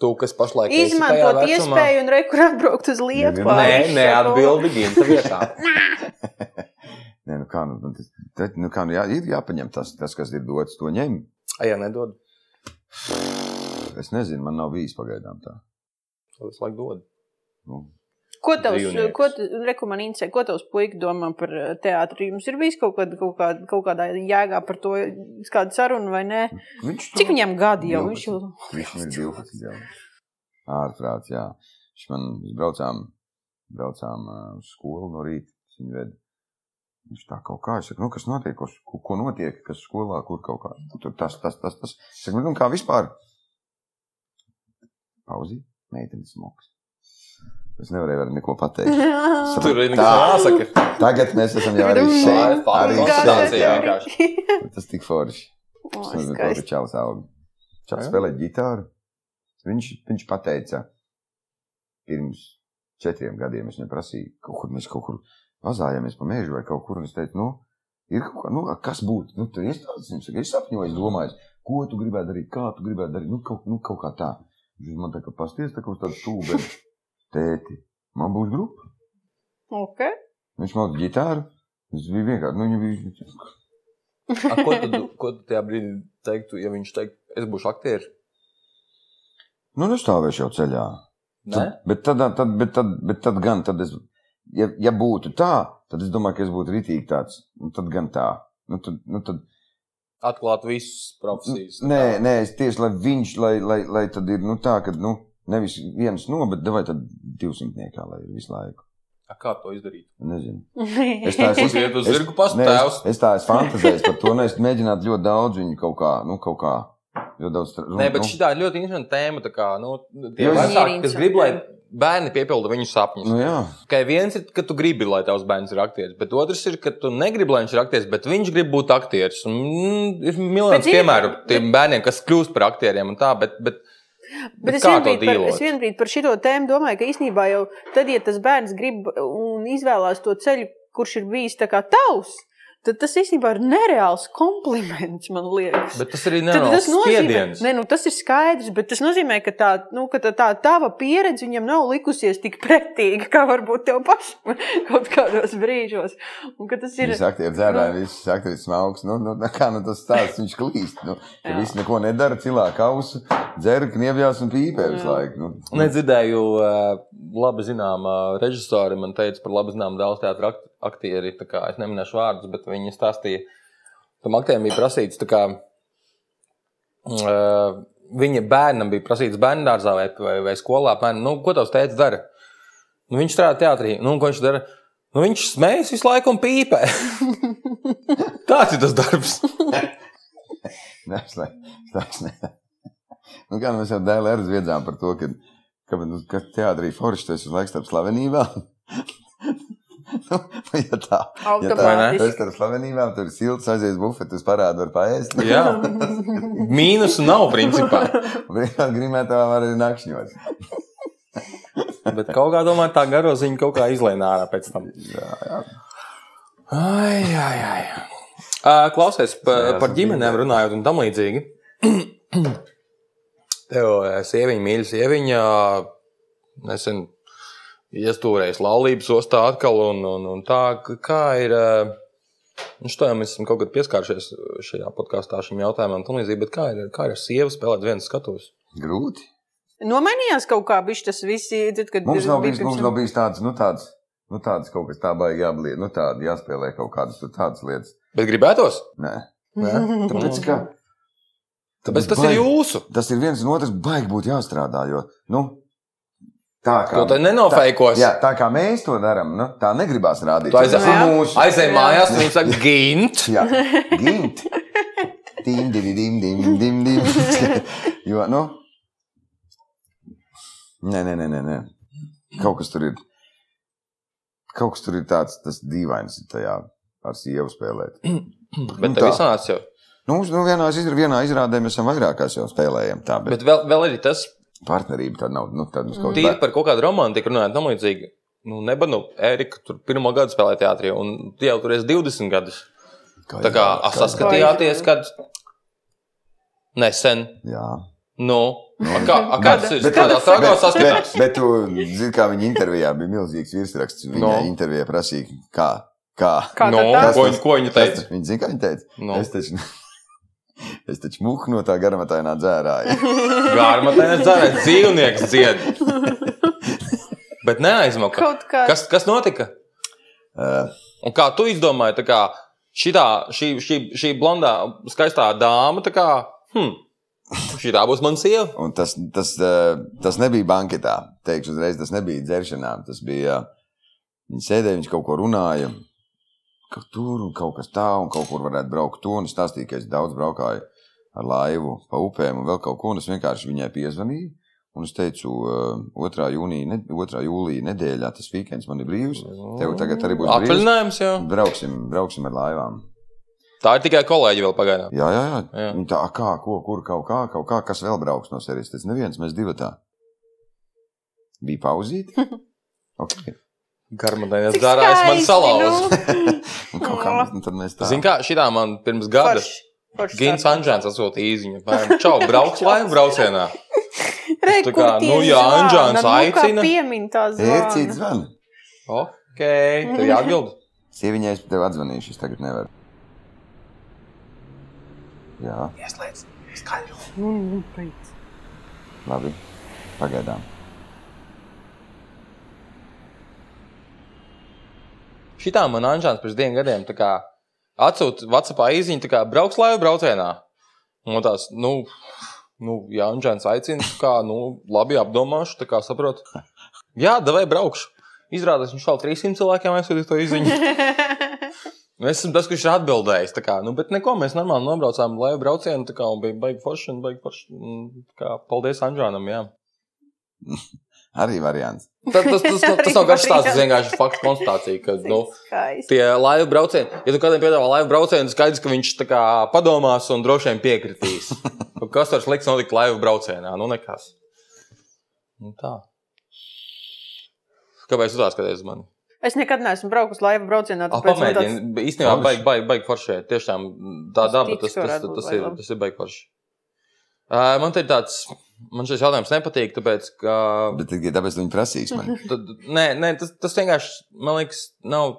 C: Tu, kas pašlaik esi tajā
A: Izmantot
C: vecumā-
A: iespēju un rekur atbraukt uz
B: Nē,
A: Liepāju.
C: Nē, nē, atbildīgi. Tā vietā.
B: Nē, nu kā, nu, nu, tas, tad, nu, kā, nu, jā, ir jāpaņem tas, tas, kas ir dots, to ņem.
C: Ai, jā, nedod.
B: Es nezinu, man nav bijis pagaidām tā.
C: To visu laiku dod.
B: Nu,
A: Ko tavs,
C: Dzīvnieks.
A: ko, tu- reku man interesē, ko tavs puika domā par eh, teātri? Jums ir bijis kaut, kād, kaut, kād, kaut kādā jēgā par to, kāda saruna vai nē?
B: viņš
A: Cik viņam gadi jau? Viņš jau...
C: (laughs)
B: Viņš man ir 12 jau. Ārprāts, jā. Viņš man mēs braucām, braucām ā, uz skolu no rīta. es Viņu ved. Viņš tā kaut kā, es saku, nu, kas notiek, ko, ko- ko notiek, kas skolā, kur kaut kā, Nu, tur tas, tas, tas, tas. Es saku, nu, kā vispār. Pauzī, meitenes smoks. Es nevarēju vairs neko
A: (laughs)
B: pateikt. Sapratu,
C: Tur ir
B: tā,
C: nekas jāsaka.
B: tagad mēs esam jau arī
A: Grūti.
B: šeit.
C: Tā ir
B: Arī
C: konstatācija,
B: šeit.
C: jā.
B: Tas tik forši.
A: (laughs) O,
B: Es nezinu,
A: skaisti.
B: kāda čels auga. Čels
C: Jā.
B: spēlē ģitāru. Viņš, viņš pateica, pirms četriem gadiem es viņam prasīju, kaut kur mēs kaut kur vazājāmies pa mēžu vai kaut kur, un es teicu, nu, ir kaut kā, nu, kas būtu, nu, tu esi tāds, viņš saka, es sapņoju, es domāju, ko tu gribētu darīt, kā tu gribētu darīt, nu, kaut, nu, kaut kā tā. Viņš man tā kā pasties, tā kā uz tādu stūbeni, tēti, man būs grupa.
A: Ok.
B: Viņš man ģitāru, tas bija vienkārši, nu, viņa bija,
C: A, Ko tu, do- ko tu tajā brīdī teiktu, ja viņš teiktu, es būšu aktieris?
B: nu, nestāvēšu jau ceļā.
C: Nē,
B: Tad, bet, tad, tad, bet, tad, bet tad gan, tad es, ja, ja būtu tā, tad es domāju, ka es būtu rītīgi tāds. Nu, tad gan tā. Nu, tad, nu, tad, nu,
C: atklāt visas profesijas.
B: nē, nē, es tieši lai viņš, lai, lai, lai tad ir nu, tā, ka nu, nevis viens no, bet vai tad divsimtniekā, lai ir visu laiku.
C: A, Kā to izdarīt?
B: Nezinu. Es
C: (laughs)
B: tā esmu-
C: Es iet uz
B: Es-
C: zirgu pastu
B: Nē,
C: tēvs.
B: es, es tā esmu fantazējis par to. Nē, es mēģinātu ļoti daudz viņu kaut kā, nu, kaut kā. Ļoti daudz nu, strādāt.
C: Nē, bet šī ir ļoti interesanta tēma. tā Kā, nu,
B: Jā,
C: tie
B: jā.
C: vecāki, kas
A: Interesanta
C: grib, lai
A: tēma.
C: bērni piepilda viņu sapņus.
B: Nu, jā,
C: Kā viens ir, ka tu gribi, lai tavs bērns ir aktieris, bet otrs ir, ka tu negribi, lai viņš ir aktieris, bet viņš grib būt aktieris. Un, mm, ir miljonus
A: Bet ir-
C: piemēru tiem bērniem, kas kļūst par aktieriem un tā, bet, bet,
A: (laughs) Bet es
C: kā to
A: vienbrīd, par, es
C: dīlot?
A: vienbrīd par šo tēmu domāju, ka īstenībā jau tad, ja tas bērns grib un izvēlās to ceļu, kurš ir bijis tā kā tavs, tad tas īstenībā ir nereāls kompliments, man liekas.
C: bet tas arī
A: Tad
C: nenormāls
A: tas nozīmē,
C: spiediens.
A: ne, nu, tas ir skaidrs, bet tas nozīmē, ka tā, nu, ka tā, tā tava pieredze viņam nav likusies tik pretīga, kā varbūt tev pašam (laughs) kaut kādos brīžos. Un, ka tas ir
B: viņš saka, ir dzērājis,
A: nu.
B: viņš saka, ir smaugs. Nu, nu, kā nu tas stāsts, viņš klīst. Nu,
A: Jā.
B: ka viņš neko nedara, cilvēku ausu, dzer, kniebjās un pīpē visu
A: Jā.
B: laiku. Nu, (laughs)
C: Nedzirdēju, uh, labi zināmā režisora man teica par labi zināmu dēls teātra akt- aktieri. tā kā Es neminēšu vārdus, bet viņi stāstīja, tam aktierim bija prasīts, tā kā, uh, viņa bērnam bija prasīts bērnu dārzā vai, vai, vai skolā, apmēram, nu, ko tavs teica dara? Nu, viņš strādā teātrī, nu, un ko viņš dara? Nu, viņš smējas visu laiku un
A: (laughs)
C: pīpē. Tāds ir tas darbs.
B: Tas tas ne. (laughs) Nu, kā nu mēs jau dēlē ar zviedzām par to, ka, ka, nu, ka teātrī forši tas ir laiks starp slavenībām. (laughs) Nu, ja tā, ja tā
C: Vai ne?
B: tu esi
A: automātiski.
B: starp slavenībām, tur ir silts, aizies bufetus parādu, var paēst. (laughs)
C: Jā, mīnusu nav principā.
B: Vienkārši grimētā var arī nakšņot.
C: Bet kaut kā domāju, tā garo ziņa kaut kā izlēna ārā pēc tam.
B: Jā, jā.
C: Ai, ai, ai. Ā, Klausies,
B: Jā,
C: pa, par
B: esmu
C: ģimenēm
B: dzirdējis.
C: runājot un tam līdzīgi. (clears throat) Tev ā, sieviņa, mīļa sieviņa, nesen iestūrējis laulības ostā atkal un, un, un tā, K- kā ir. ā, Nu, šo jau mēs esam kaut kad pieskāršies šajā podkāstā šim jautājumam, tam līdzīgi, bet kā ir, kā ir ar sievu spēlēt viens skatos?
B: Grūti.
A: Nomainījās kaut kā bišķi tas viss, tad, kad eh,
B: Mums nav
A: bija
B: bijis,
A: pirms
B: mums
A: tam-
B: nav bijis tāds, nu tāds, nu tāds kaut kas tā baigi jābliet, nu tādi jāspēlē kaut kādas tur tādas lietas.
C: Bet gribētos?
B: Nē.
C: Nē.
B: Tāpēc, ka.
C: Tāpēc tas ir
B: baigi-
C: jūsu.
B: Mhm. tas ir viens un otrs baigi būtu jāstrādā. Jo, nu, tā kā,
C: To te nenofeikos.
B: jā, tā kā mēs to darām, nu, tā negribās rādīt.
C: Tu aizies-
B: Tas ir
A: Jā.
B: mūsu
C: Aizej
A: Jā.
C: mājās, un viņi saka, gint.
B: gimti. Dim, dim, dim, dim, dim, (laughs) dim. Jo, nu, nē, nē, nē, nē, nē. Kaut kas tur ir. Kaut kas tur ir tāds, tas dīvains ir tajā ar sievu spēlēt.
C: Bet
B: Nu
C: tev
B: tā.
C: iznāca jau.
B: Nu, mums, nu, vienā, izra, vienā izrādē mēs esam vairākās jau spēlējām. Tā, bet,
C: Bet vēl, vēl ir tas,
B: bet partnerība tāda nav. Nu, tāda mums kaut
C: tīri par kaut kādu romantiku runājot, tam līdzīgi. Nu, nebanu, Erika, tur pirmo gadu spēlēja teātrī, un tu jau tur esi 20 gadus.
B: Kā
C: Tā kā a, saskatījāties, kad nesen.
B: Jā,
C: Nu, a kā, a kāds ir
B: bet-
C: tādā stāvā
B: bet,
C: saskatījās?
B: bet tu zini, kā viņa intervijā bija milzīgs virsraksts. Viņa no.
C: No.
B: intervijā prasīja, kā. kā.
A: (laughs) Kā
C: Nu,
A: tad tā?
C: ko, viņa- ko viņa
B: Kas tas-
C: teica?
B: Viņa zina, kā viņa teica.
C: Nu.
B: Es taču, (laughs) Es taču mūku no tā garmatainā
C: (laughs)
B: dzērāju.
C: Gārmatēns dzērēs, dzīvnieks
A: (laughs)
C: dzied. Bet neaizmaka.
A: Kaut kā.
C: Kas, kas notika?
B: Uh,
C: Un kā tu izdomāji, tā kā šitā, šī, šī, šī blondā, skaistā dāma, tā kā, hm, šī tā būs mana sieva?
B: un tas, tas, uh, tas nebija banketā. Teikšu uzreiz, tas nebija dzēršanā. Tas bija. Viņi sēdēja, viņš kaut ko runāja. Kaut tur un kaut kas tā, un kaut kur varētu braukt to. Un es stāstīju, ka es daudz braukāju ar laivu pa upēm un vēl kaut ko. Un es vienkārši viņai piezvanīju. Un es teicu, uh, 2. Jūnija, ne, 2. jūlijā nedēļā tas weekends man ir brīvs. Tev tagad arī būs brīvs.
C: Atvaļinājums jau.
B: Brauksim, brauksim ar laivām.
C: Tā ir tikai kolēģi vēl pagaidām.
B: Jā, jā, jā.
C: Jā.
B: jā. Viņa tā, "A, kā, ko, kur, kaut kā, kaut kā, kas vēl brauks no serijas. Tas neviens, mēs divi tā. Bija pauzīt. Okay.
C: Garmatēns dzērēs man salauz.
A: nu.
B: (laughs) Un kaut kā, mēs- un tad mēs tā.
C: Zini, kā šī tā man pirms gada. Gins Anģēns atsūtīja īziņu. bērnam, Čau, brauc laivu braucienā. Tā kā, nu, jā, Anžāns aicina.
A: Piemīna tā
B: Ērcīt
A: zvaigznes.
B: zvanu.
C: Ok, tev jāatbild.
B: Sieviņai es tev atzvanīšu, es tagad nevaru. Jā,
A: Nu,
B: labi. Pagaidām.
C: Šitā man Anžēns pirms diviem gadiem tā kā atsūta Vācijā īziņu, tā kā brauc laivu braucienā. Un tās, nu, nu ja Anžēns aicina, tā kā, nu, labi apdomāšu, tā kā saprotu. Jā, davai braukšu. Izrādās, viņš vēl 300 cilvēkiem aizsūtīja to īziņu. Es esmu tas, kurš ir atbildējis. tā Kā, nu, bet neko, mēs normāli nobraucām laivu braucienu, tā kā un bija baigta forša un baigta forša. un tā kā, Paldies Anžēnam, jā.
B: Arī variants.
C: Tas, tas, tas, tas, tas nav garš stāsts, tas vienkārši faktu konstatācija. Ka, nu,
A: Skaisti.
C: tie laivu braucieni, ja tu kādam piedāvā laivu braucienu, tad skaidrs, ka viņš tā kā padomās un droši vien piekritīs. Nu, Kas tur slikts notika laivu braucienā? Nu, nekas. Nu, tā. Kāpēc tu tā skaties uz mani?
A: Es nekad neesmu braukus laivu braucienā.
C: Ah,
A: tāpēc man tāds-
C: Pamēģini, īstenībā
B: Forši.
C: baigi, baigi, baigi foršē. Tiešām tā
A: Es
C: daba,
A: ticu,
C: tas,
A: ka
C: tas,
A: varētu
C: tas,
A: būt
C: tas,
A: baigi
C: ir,
A: labi.
C: tas ir baigi forši. Ā, Man te ir tāds, man šis jautājums nepatīk, tāpēc, ka.
B: Bet tikai tāpēc viņi prasīs man.
C: Tad, nē, nē tas, tas vienkārši, man liekas, nav.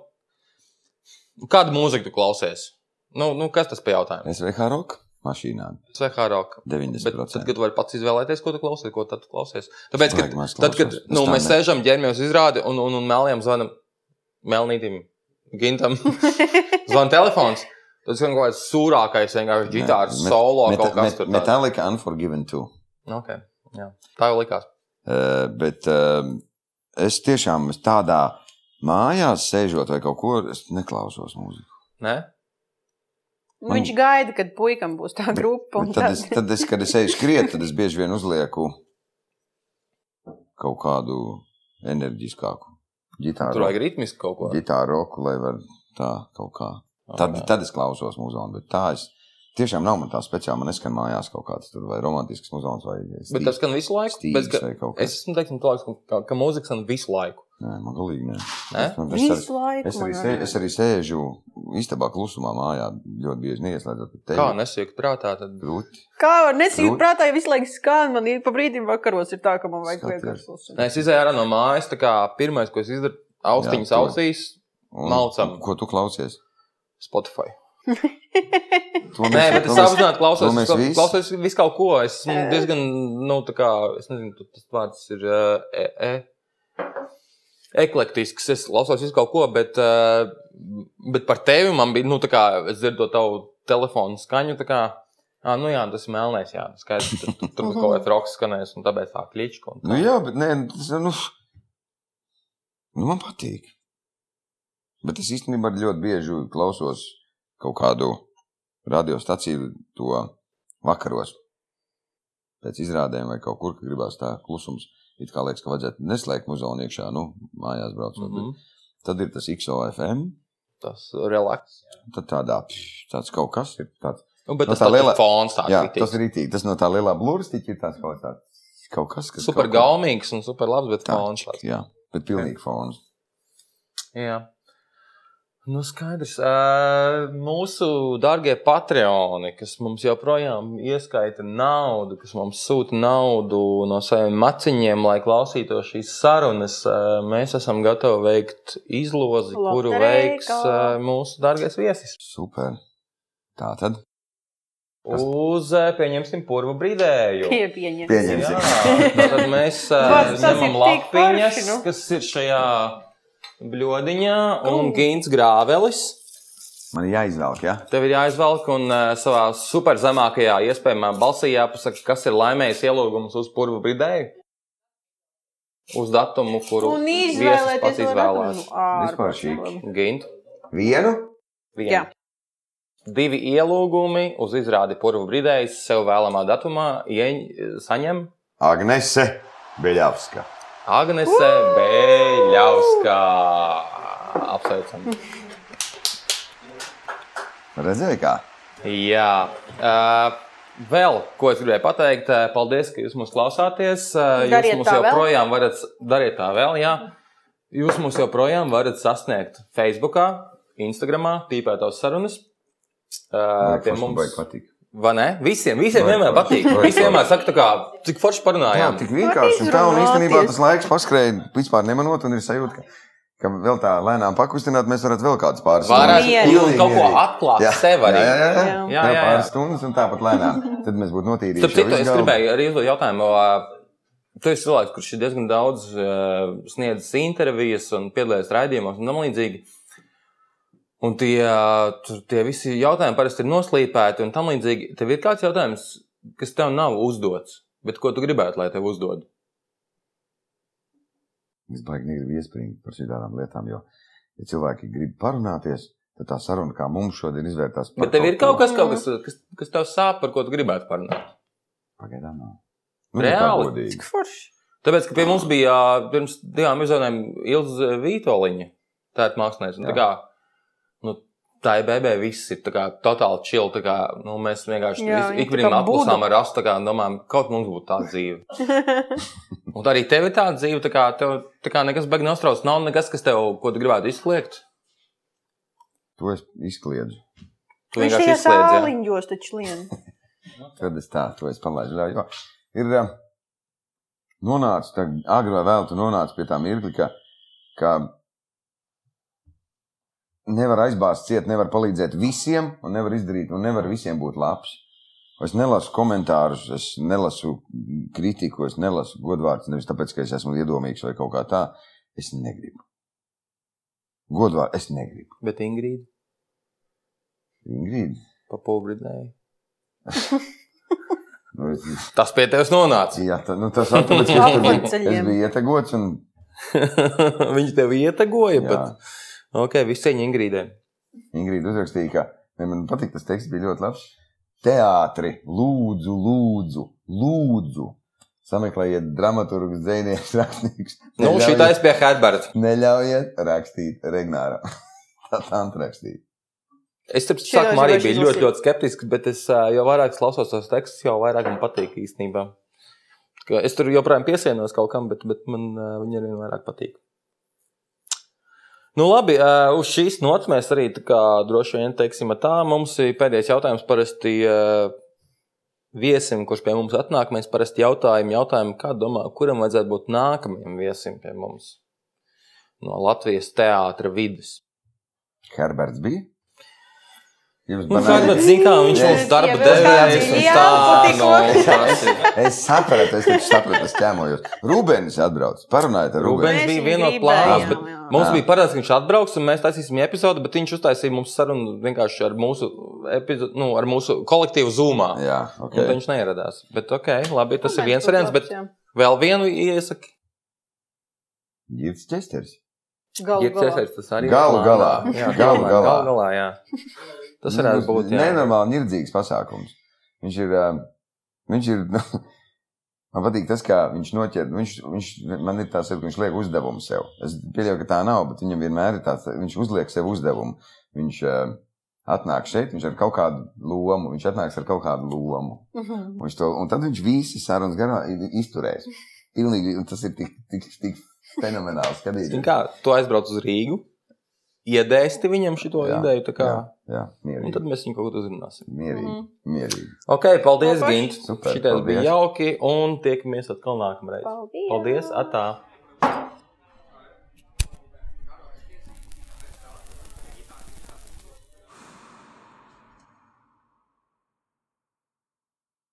C: Kādu mūziku tu klausies? Nu, nu kas tas par jautājumu?
B: Es veikā roka mašīnā
C: Svehā roka. Bet tad,
B: 90%.
C: kad tu vari pats izvēlēties, ko tu klausies, ko tad tu klausies. Tāpēc, kad,
B: Laikam es
C: tad, kad
B: klausos. Es
C: nu,
B: tā
C: mēs
B: ne-
C: sēžam ģērbjos izrādi un, un, un mēlījām zvanam, melnītim,
B: (laughs)
C: gintam, zvanam telefons. Tas ir kaut kāds sūrākais, vienkārši ģitāras
B: Met-
C: solo
B: met-
C: kaut kas
B: met-
C: tur. tāds.
B: Metallica Unforgiven 2.
C: Okay. jā. Tā jau likās.
B: Uh, bet uh, es tiešām es tādā mājā sēžot vai kaut ko, es neklausos mūziku.
C: Nē?
A: Nu, Viņš gaida, kad puikam būs tā grupa. un
B: Bet Tad es, tad es, kad es eju skriet, tad es bieži vien uzlieku kaut kādu enerģiskāku
C: Tur vajag
B: ģitāru,
C: ritmiski kaut ko.
B: ģitāru roku, lai var tā kaut kā. Tad,
C: Ok.
B: tad es klausos mūziku, bet tā es tiešām nav man tā speciāli. Man neskan mājās kaut kāds tur vai romantisks mūzikas vai
C: Bet tas skan visu laiku.
B: stīgs
C: Bet, ka,
B: vai kaut
C: es
B: kas.
C: esmu teiksim, tāds, ka, ka, ka mūzika skan visu laiku.
B: Nē, man galīgi nē.
C: Nē?
B: Es- man- es arī-
A: Visu laiku.
B: Es arī,
A: man
B: sē,
A: arī.
B: es arī sēžu istabā klusumā, mājā ļoti bieži neieslēdzot to
C: Kā nesiek prātā, tad
B: Grūti.
A: Kā var nesīt
B: Grūti.
A: prātā, ja visu laiku skan, man ir pa brīdim vakaros ir tā, ka man vajag
B: Skaties.
A: vienkārši klausīties.
C: Nē, es izēju ārā no mājas. Tā kā pirmais, ko es izdarīju,
B: Jā,
C: austiņas
B: tu-
C: ausīs,
B: Un
C: Malcam.
B: Ko tu klausies?
C: Spotify.
B: To
C: Nē, bet es
B: to
C: apzināti klausos,
B: to mēs
C: es kaut-
B: visi-
C: klausos visu kaut ko. Es esmu
A: Ē.
C: diezgan, nu, tā kā, es nezinu, tu- tas vārds ir uh, e, e, eklektisks. Es klausos visu kaut ko, bet, uh, bet par tevi man bija, nu, tā kā, es dzirdu to tavu telefonu skaņu. tā kā, Ah, nu jā, tas ir melnēs, jā, skaidrs. Tur, tur, tur būs kaut kāds roks skanējis, un tāpēc tā klička. un tā.
B: Nu, jā, bet nē, tas nu, nu, man patīk. Bet es īstenībā ļoti bieži klausos kaut kādu radiostaciju to vakaros. Pēc izrādēm vai kaut kur, kur gribās tā klusums. It kā liekas, ka vajadzētu neslēgt muzeju iekšā, nu, mājās braucot. Mm -hmm.
C: Mhm.
B: Tad ir tas XOFM,
C: Tas relaks.
B: tad tādā, pš, tāds kaut kas ir. Tāds,
C: Nu, bet
B: Nu,
C: tas
B: tā
C: tā
B: lielā-
C: lielā fons tāds
B: jā,
C: rītīgs.
B: tas ir rītīgi. Tas no tā lielā blūrstīķa ir tāds kaut, tāds, kaut kas, kas
C: super
B: kaut ko-
C: gaumīgs un super labs, bet
B: Tā.
C: fons tāds.
B: Jā, bet pilnīgi fons.
C: Jā. Nu, skaidrs. Ā, Mūsu dārgie patroni, kas mums joprojām ieskaita naudu, kas mums sūta naudu no saviem maciņiem, lai klausītos šīs sarunas, ā, mēs esam gatavi veikt izlozi, kuru
A: Loterija.
C: veiks ā, mūsu dārgais viesis.
B: Super. Tā tad
C: Uz, eh, pieņemsim, purvu brīdēju.
A: Pie, pieņem.
B: Pieņemsim.
C: (laughs) Jā, tad
A: (laughs)
C: mēs eh,
A: Tas- tas
C: ņemam
A: ir tik
C: lapiņas,
A: forši, nu.
C: kas ir šajā bļodiņā, un gins grāvelis.
B: Man ir jāizvelk, jā.
C: Tev ir jāizvelk un eh, savā super zemākajā iespējamā balsī jāpasaka, kas ir laimējis ielūgums uz purvu brīdēju. Uz datumu, kuru
A: Un
C: viesis
A: izvēlēties
C: pats
A: to
C: izvēlās.
A: datumu. Ārpus
B: Vispār šīk.
C: Gint,
B: Vienu?
C: vienu.
A: Jā.
C: Divi ielūgumi uz izrādi purvu brīdējas sev vēlamā datumā ieņ- saņem
B: Agnese Beļavska.
C: Agnese Bēļauskā. Apsveicam.
B: Redzēji, kā?
C: Jā. Uh, Vēl, ko es gribēju pateikt, eh, paldies, ka jūs mūs klausāties. Eh,
A: Dariet
C: Jūs mūs
A: tā vēl.
C: joprojām varat, s- dariet tā vēl, jā. Jūs mūs joprojām varat sasniegt Facebook, Instagram, tīpētās sarunas. Eh, Pie mums,
B: patīk.
C: vai ne? Visiem, visiem
B: Vajag
C: vienmēr
B: forši.
C: patīk.
B: Vajag
C: Visiem vienmēr
B: forši.
C: saka, tā kā, cik forši
B: Jā,
C: parunājām.
B: tik vienkārši. Un tā un
A: Izrunāties.
B: īstenībā tas laiks paskrēja vispār nemanot, un ir sajūta, ka, ka vēl tā lēnām pakustināt, mēs varētu vēl kādas pāris
C: Varētu
A: Mierīgi.
C: kaut ko atklāt sev arī.
B: Jā, jā, jā.
C: Jā,
B: jā,
C: jā,
B: jā.
C: jā.
B: Pāris stundas un tāpat lēnām. Tad mēs būtu notīrījuši.
C: Starp citu,
B: jau
C: es
B: visu galvu.
C: gribēju arī uzdot jautājumu. ā, Tu esi cilvēks, kurš ir diezgan daudz uh, sniedzis intervijas un piedalījies raidījumos un tam līdzīgi. Un tie, ā, tu- tie visi jautājumi parasti ir noslīpēti un tam līdzīgi. Tev ir kāds jautājums, kas tev nav uzdots, bet ko tu gribētu, lai tev uzdod?
B: Es baigi negribu iespringt par šādām lietām, jo, ja cilvēki grib parunāties, tad tā saruna, kā mums šodien izvērtās, par
C: Bet tev ir
B: ko-
C: kaut kas, kaut kas kas, kas tev sāp, par ko tu gribētu parunāt.
B: Pagaidām, nav. Nu,
C: Reāli?
B: godīgi.
A: Cik forši.
C: Tāpēc, ka pie mums bija ā, pirms divām izrādēm Ilza Vitoļiņa, tā ir mākslinieca. un Tā,
B: Jā.
C: kā, nu, tā ir bebē, viss ir tā kā totāli chill. tā Kā, nu, mēs vienkārši
A: Jā,
C: vis-
A: viņa
C: ik
A: tā
C: vienam
A: kā
C: atpūsām
A: Buda.
C: ar astu, tā kā domājam, kaut mums būtu tāda dzīve.
A: (laughs)
C: Un arī tev ir tāda dzīve, tā kā tev tā kā nekas beigas neuztrauc. Nav nekas, kas tev, ko tu gribētu izsliegt.
B: To es izkliedzu.
C: Tu
A: Viņš
C: vienkārši
A: tajā
C: izslēdz. jā.
A: sāliņģos taču lien.
B: Tad es tā, to es palaidu. ļauj. Jo, Ir um, nonācis, tā agri vai vēl tu nonāci pie tā mirkli, ka, ka nevar aizbāzt ciet, nevar palīdzēt visiem, un nevar izdarīt, un nevar visiem būt labs. Es nelasu komentārus, es nelasu kritiku, es nelasu godvārdus. Nevis tāpēc, ka es esmu iedomīgs vai kaut kā tā. Es negribu. Godvārdu es negribu.
C: Bet Ingrīda
B: Ingrīda,
C: papildināja.
B: nu, es,
C: Tas pie tevis (laughs) nonāca.
B: jā, tā, nu, tas ir tas, kas man bija.
A: Apceļiem.
B: Es biju ietegots un
C: Viņa tev ietegoja,
B: Jā.
C: bet ok, visi cieņi Ingrīdai.
B: Ingrīda uzrakstīja, ka ne, man patīk tas teksts, bija ļoti labs. Teātris, lūdzu, lūdzu, lūdzu. Sameklējiet, dramaturgs, dzinieks, rakstnieks.
C: Nu, šī
B: Neļaujiet-
C: taisa pie Herberta.
B: Neļaujiet rakstīt Regnāram. (laughs) Tā tam rakstīt.
C: Es tam
A: Šī
C: sākumā
A: jau
C: arī
A: es
C: biju
A: lasīju.
C: ļoti, ļoti skeptisks, bet es ā, jau vairāk klausos tos tekstus, jau vairāk man patīk īstenībā. Ka Es tur joprojām piesienos kaut kam, bet, bet man ā, viņi arī vairāk patīk. Nu, labi, ā, uz šīs nots mēs arī tā kā, droši vien teiksim, tā mums ir pēdējais jautājums. Parasti ā, viesim, kurš pie mums atnāk, mēs parasti jautājam, jautājam kā domā, kuram vajadzētu būt nākamajam viesim pie mums no Latvijas teātra vidas.
B: Herberts bija. Jums
C: Nu,
B: banāni-
C: Fermats, zin kā, viņš
B: Jā,
C: mums
B: es
C: darba
A: ievilku
C: devējs
B: kādu
C: un
B: jauku
C: tā,
A: tikko.
C: nu, tas ir.
B: Es sapratu, es taču sapratu, es ķēmojos. Rūbens atbrauc, parunājiet ar Rūbeni.
C: Rubens
A: Mēs
C: bija
A: viņu
C: vienot
A: gribējām,
C: plānos,
A: jā,
C: bet
A: jā.
C: mums
B: Jā.
C: bija parāds, ka viņš atbrauks un mēs taisīsim epizodi, bet viņš uztaisīja mums sarunu vienkārši ar mūsu, epizo- nu, ar mūsu kolektīvu zūmā.
B: Jā, ok.
C: Un tad viņš neieradās. Bet ok, labi, tas ir viens
A: Labs,
C: variants, bet
A: jā.
C: vēl vienu iesaki.
B: Girds Česters.
A: Galu
C: Girts
A: galā.
C: Esers, tas arī ir
B: Galu
C: plānā.
B: galā.
C: Jā,
B: Galu galā.
C: Galu galā, jā. Tas
B: Nu,
C: varētu būt, jā.
B: nenormāli nirdzīgs pasākums. Viņš ir. ā, Viņš ir nu, (laughs) man patīk tas, kā viņš noķer. Viņš, viņš, man ir tāds, ka viņš liek uzdevumu sev. Es pieļauju, ka tā nav, bet viņam vienmēr ir tāds, viņš uzliek sev uzdevumu. Viņš ā, atnāk šeit, viņš ar kaut kādu lomu, viņš atnāks ar kaut kādu lomu.
A: Mhm.
B: Un, viņš to, un tad viņš visi sarunas garā i- izturēs. Pilnīgi, un tas ir tik, tik, tik fenomenāli
C: Zini
B: skatīties.
C: Kā, tu aizbrauc uz Rīgu, iedēsti viņam šito
B: Jā,
C: ideju, tā kā,
B: Jā,
C: un tad
B: mierīgi.
C: mēs viņu kaut ko uzrunāsim.
B: Mierīgi,
A: Mhm.
B: mierīgi.
C: Ok, paldies,
A: Labi.
C: Gint.
B: Super,
C: Šitās bija
B: paldies.
C: jauki, un tiekamies atkal nākamreiz.
A: Paldies.
C: Paldies, atā!